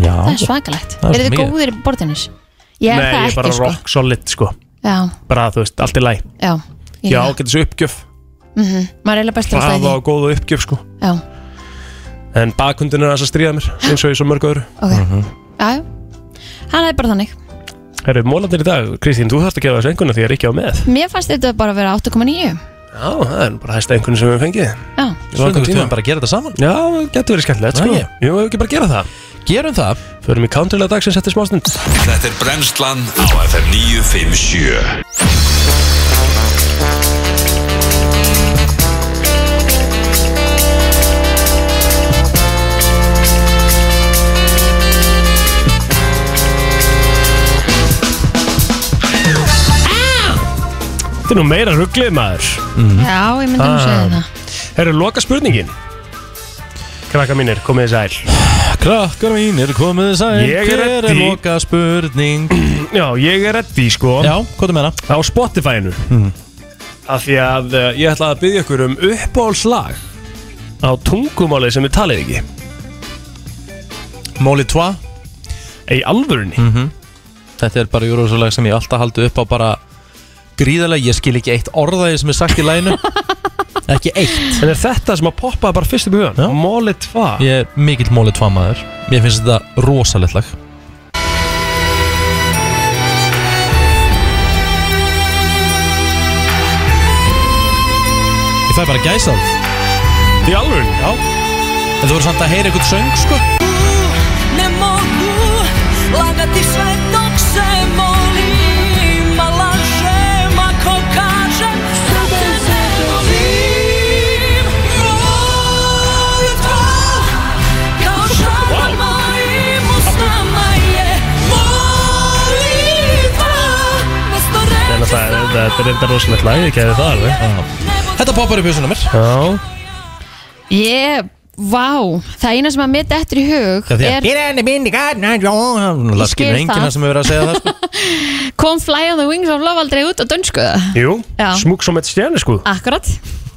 S2: Já
S4: Það er svakalegt
S3: Það er
S4: Er
S3: svo
S4: þið
S3: mikið.
S4: góðir í bortinnis? Ég er það
S3: Nei, ég
S4: ekki
S3: er bara
S4: sko
S3: rock solid sko
S4: Já,
S3: bara þú veist, allt í læg
S4: já ég er
S3: Já,
S4: það.
S3: getur þessu uppgjöf
S4: Mhm, Maður er eiginlega best til að
S3: Það
S4: stæði
S3: var góð og uppgjöf sko
S4: Já,
S3: En bakhundin er þess að stríða mér eins og ég svo mörg öðru
S4: Ok. já, já Hann er bara þannig
S3: Herru, mólandir í dag, Kristín, þú þarfst að gefa þessu einhvernig því að ég er ekki á með
S4: Mér fannst þetta bara að vera 8,9
S3: Já, það er bara hægsta einhvern sem við höfum fengið
S4: Já.
S2: Stundum við þurfum bara að gera þetta saman
S3: Já, það getur verið skemmtilegt sko.
S2: Nei.
S3: Jú, hefur ekki bara að gera það
S2: Gerum það
S3: Förum í countrylega dag sem settir smástund
S1: Þetta er Brennslan á FM 957
S3: Þetta er nú meira rugglið maður
S4: Já, ég myndi nú
S3: Ah.
S4: segja það
S3: Herru, loka spurningin Krakka mínir, komið þið sæl
S2: Krakkar mínir, komið þið sæl
S3: Ég er
S2: Hver
S3: ready.
S2: loka spurning
S3: Já, ég er reddi sko
S2: *clears throat* Já, hvað er með hana?
S3: Á Spotify-inu Af því að uh, ég ætla að byggja ykkur um uppáhalslag Á tungumáli sem við talið ekki
S2: Móli 2
S3: Í alvörunni
S2: Þetta er bara júrósulag sem ég alltaf haldi upp á bara Gríðarlega, ég skil ekki eitt orðaði sem er sagt í læginu *laughs* Ekki eitt
S3: En er þetta sem að poppa bara fyrst upp í hugan? Móli 2
S2: Ég er mikill móli 2 maður Mér finnst þetta rosalegt lag ég fæ bara gæsa
S3: Í alveg?
S2: Já En þú voru samt að heyra eitthvað söng sko
S17: Ne mogu lagati sve dok se molim A lažem ako kažem Srce se volim Moje to Kao šalom mojim usnama je Molitva Mesto
S3: Það er náttúrulega, þetta er reynda rosalegt lag, ég kefði það alveg Ah.
S2: Þetta poppar upp í þessu nummer
S3: Já
S4: Ég, vá, það eina sem að mér dettur í hug
S2: Það
S4: er,
S2: er henni minni gæna Það skilur
S4: skil
S2: enginn
S4: það.
S2: það sem er verið að segja það sko.
S4: Kom Fly on the Wings of Love aldrei út á dönsku
S3: Jú,
S4: Já.
S3: smúk som eitt stjæni sko
S4: Akkurat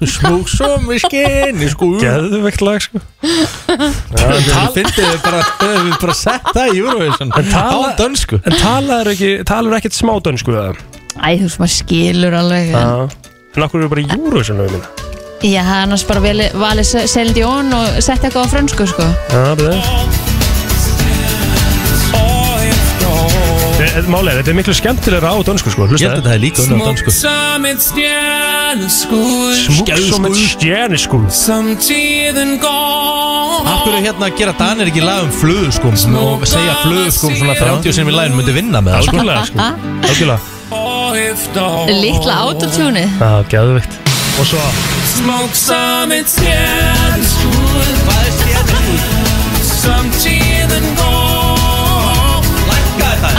S2: Smúk som í skinni sko
S3: Geðvegt lag sko
S2: Það fyndið við bara, við bara sett það í Eurovision
S3: tala-
S2: Á dönsku
S3: En talaður ekki, talaður ekkert smá dönsku það
S4: Æ, þú veist, maður skilur alveg
S3: Ah.
S4: en-
S3: En okkur eru bara í Eurovision lögum minna
S4: Já, annars bara veli- valið Celine Dion og sett eitthvað á frönsku sko
S3: Já, betur Málega, þetta er miklu skemmtilegra á dönsku sko Ég held að þetta er líka
S17: som et stjerneskud
S3: Smúk som eitt stjæni sko
S17: Som tiden går
S2: Akkur er hérna að gera Danir ekki lag um flöðuskum og segja flöðuskum svona 30 sinni við laginu myndi vinna með það
S3: Algjörlega, sko. *laughs* Algjörlega
S4: Lítla
S3: Oh.
S4: autotúni
S3: Já, geðvegt Og svo
S17: Smók som et stjerneskud Hvað er stjerneskud? Som tíðin går Lækka þetta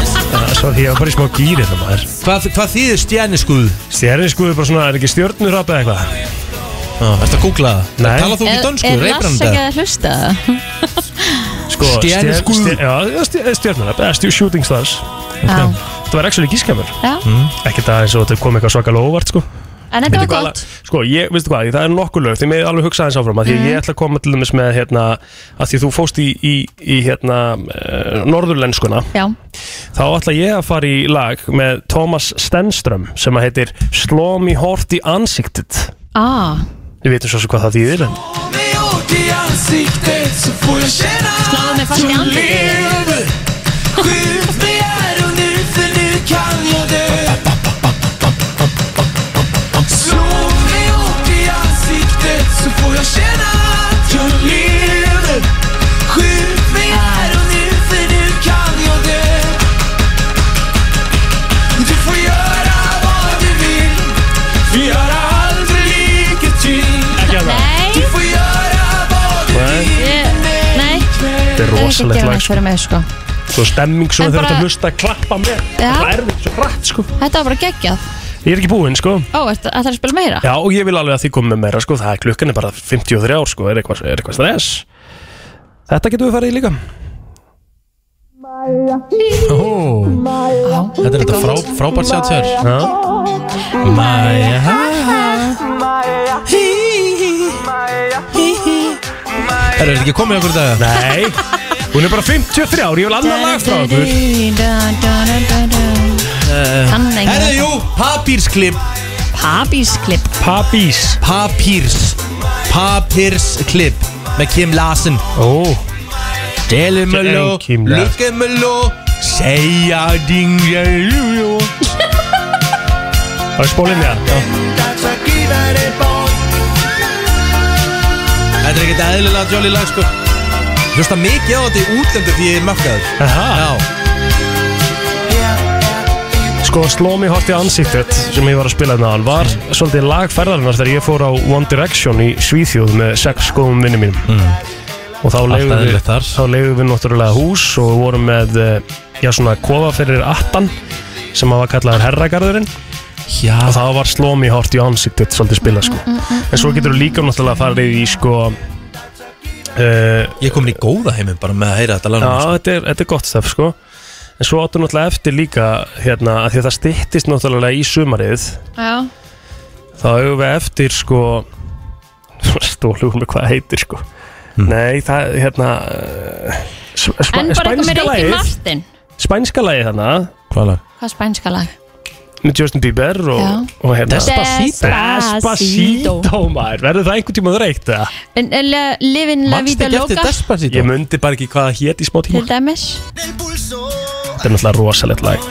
S3: Já, Sorry, ég var bara í smá gýri hérna maður
S2: Hvað, hvað þýðir sko? stjæniskuð?
S3: Stjæniskuð er bara svona, er ekki stjörnurrap eða eitthvað?
S2: Já, ertu að googla það?
S3: Ah. Nei
S2: Talar þú ekki dönsku?
S4: Er
S2: Reiprar hann
S4: Lass ekki
S2: þetta?
S4: að hlusta?
S3: Sko,
S2: Stjerneskuð.
S3: stjer- stjer- Já, stj- stjörnurrap, eða stjú shooting stars
S4: Já.
S3: Það var actually gískamur
S4: Já.
S3: Ekkert aðeins og þetta kom eitthvað svakalega óvart sko
S4: En þetta var
S3: Hmm? Veitu hvað
S4: gott
S3: la- Sko, ég, veistu hvað, það er nokkuð lög Þið með alveg hugsa aðeins áfram að Því
S4: Mhm.
S3: ég ætla að koma til dæmis með hérna að Því þú fóst í, í, í hérna uh, Norðurlenskuna
S4: Já
S3: Þá ætla ég að fara í lag með Thomas Stenström sem að heitir Slå mig hort í ansiktet
S4: Ah,
S3: Við veitum svo sem hvað það þýðir en
S17: Út í ansiktet Så får jag känna
S4: Sláðu mig fast
S17: att
S4: i
S17: du
S4: ansiktet.
S17: lever Skjut mig här och nu För nu kan jag dö Slå mig út i ansiktet Så får jag känna att jag lever Skjut mig här och nu För nu kan jag dö Du får göra vad du vill Vi gör aldrig lika till
S4: Nei.
S17: Du får göra vad du
S3: Nei.
S17: vill
S4: Ég- nei
S3: Þetta er rosalegt lag, sko.
S4: sko. með, sko.
S3: Svo stemming svona
S4: En
S3: þegar
S4: bara-
S3: þetta hlusta að klappa með
S4: Já.
S3: Það er erfitt svo hratt sko
S4: Þetta var bara geggjað
S3: Ég er ekki búinn sko
S4: Ó, ætlar að spila meira?
S3: Já og ég vil alveg að þið komið með meira sko Það er klukkan er bara 53 ár sko Er eitthvað, er eitthvað stress Þetta getum við farið í líka
S2: Ó, Þetta er þetta frá, frábært sjá tjör Mæja Það er þetta ekki komið okkur í dag
S3: Nei Hún er bara 53 ár, ég vil annað lag frá okkur
S4: Kann engan.
S2: Herðu, jú, papírsklipp
S4: Papírsklipp
S3: Papís
S2: Papírs Papírsklipp Með Kim Larsen
S3: Ó
S2: Delumelo
S3: Kim Larsen.
S2: Lukkemelo Segja dingjaljújó
S3: Það er spólinn í það
S2: Þetta er ekkert eðlilega jolly lag sko Hlusta mikið á þetta í útlendu því ég er makkaður
S3: Aha. Sko, sló mig hort í ansiktet sem ég var að spila hérna hann var svolítið lagferðarinnar þegar ég fór á One Direction í Svíþjóð með sex góðum vinnum mínum og þá
S2: Mm. Allt
S3: legum við,
S2: eðlilegt þar.
S3: þá legum við náttúrulega hús og við vorum með eh, já, svona kofa fyrir attan sem að var kallaður herragarðurinn
S2: Já
S3: og þá var sló mig hort í ansiktet svolítið spilað
S4: Mm,
S3: sko en svo getur við líka náttúrulega farið í sko uh,
S2: Ég er komin í góða heiminn bara með að heyra þetta
S3: Já,
S2: lagnum sko.
S3: þetta er, þetta er gott stöf sko En svo áttu náttúrulega eftir líka hérna, að því að það styttist náttúrulega í sumarið
S4: Já
S3: þá hefur við eftir sko *laughs* stólum með hvað það heitir sko Nei, það, hérna eh, sp sp
S4: En bara eitthvað með
S3: spænska
S4: Reykjavík
S3: lagið
S4: Martin
S3: Spænska lagið hérna
S2: Hvað lag?
S4: Hvað er spænska lag?
S3: Með Justin Bieber og,
S4: Já.
S3: og hérna
S4: Despacito.
S3: Despacito maður, verður það einhvern tíma þreytt eða?
S4: En, en le- Livin la vida loca
S2: Despacito?
S3: Ég myndi bara ekki hvað það hét í smá tíma
S4: Til dæmis
S3: Þetta er náttúrulega rosalegt lag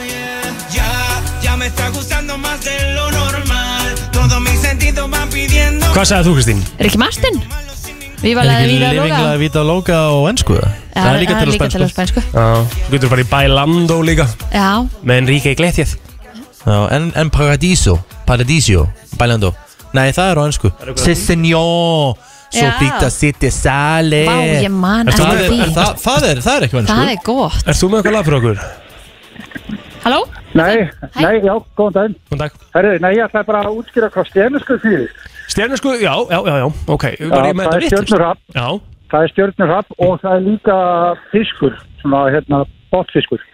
S17: Ya me está gustando más de lo normal. Todos mis sentidos van pidiendo
S3: Hvað sagði þú Kristín?
S4: Rikki Martin Viva la
S2: ekki
S4: vida loca
S2: Living la loka á ennsku
S4: Já,
S2: Það er líka
S4: það
S2: til
S4: er
S2: á
S4: líka til á
S2: spænsku
S4: spænsku
S3: Já, þú getur farið í Bailando líka
S4: Já,
S3: Með Enrique Iglesias
S2: Já, en, en Paradiso Paradiso, Bailando Nei, það er á ennsku Sí, senor Sofita sitte sale
S4: Vá, ég man
S2: Ert þú
S4: eftir
S2: með-
S4: því.
S2: er það- Það er, það er ekki á ensku
S4: það er gott
S3: Erst þú með eitthvað lag fyrir okkur?
S4: Halló?
S12: Nei, nei, já, góðan daginn.
S3: Góðan dag.
S12: Herru, nei, ég ætlaði bara að útskýra hvað stjörnusku þýðir.
S3: Stjörnusku, já, já, já, já, ok.
S12: Já,
S3: Var ég með þetta
S12: það er
S3: rétt?
S12: stjörnurafn.
S3: Já.
S12: Það er stjörnurrapp og það er líka fiskur, svona, hérna, botfiskur.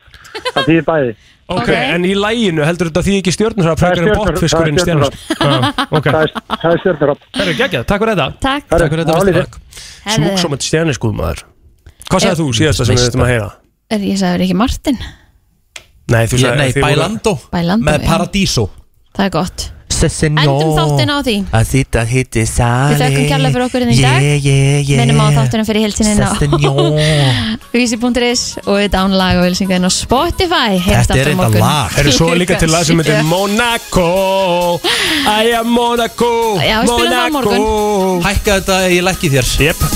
S12: Það þýðir bæði.
S3: Ok, en í læginu heldur þetta því ekki stjörnurrapp
S12: Það er
S3: frekar en
S12: stjörnurafn,
S3: botfiskurinn
S12: það er
S3: stjörnurrapp? Já, ok.
S12: Það er- það er stjörnurrapp.
S3: Það er geggjað, takk fyrir þetta.
S4: Takk.
S3: Takk fyrir þetta,
S12: Álitið.
S3: veist það. Smúk svo með stjörnuskuð maður. Hvað sagði
S4: Ég-
S3: þú síðasta sem við þetta að heyra?
S4: Er ég sagði Rikki Martin?
S3: Nei, þú
S2: Ég-
S3: sagði...
S2: nei,
S3: þið voru-
S2: Bailando.
S4: Bailando, eh.
S2: Með
S4: já.
S2: Paradiso
S4: Það er gott
S2: Sí, senor
S4: Endum þáttinn á því.
S2: Að sitta hitti sale
S4: Við þökkum kærlega fyrir okkur hérna í dag
S2: Yeah, yeah, yeah
S4: Minnum á þáttunum fyrir heilsinni á
S2: Senor
S4: Vísi.is og við dán lag og vilsingaðin á Spotify Heyrst
S3: Þetta er
S4: aftur á
S3: eitthvað
S4: morgun.
S3: lag. Heyrðu, svo er líka til lag sem heitir
S4: *laughs* Já.
S3: Monaco I am Monaco
S4: Já, við spilum það á morgun.
S3: Monaco
S2: Hækka þetta, ég lækki þér
S3: Jep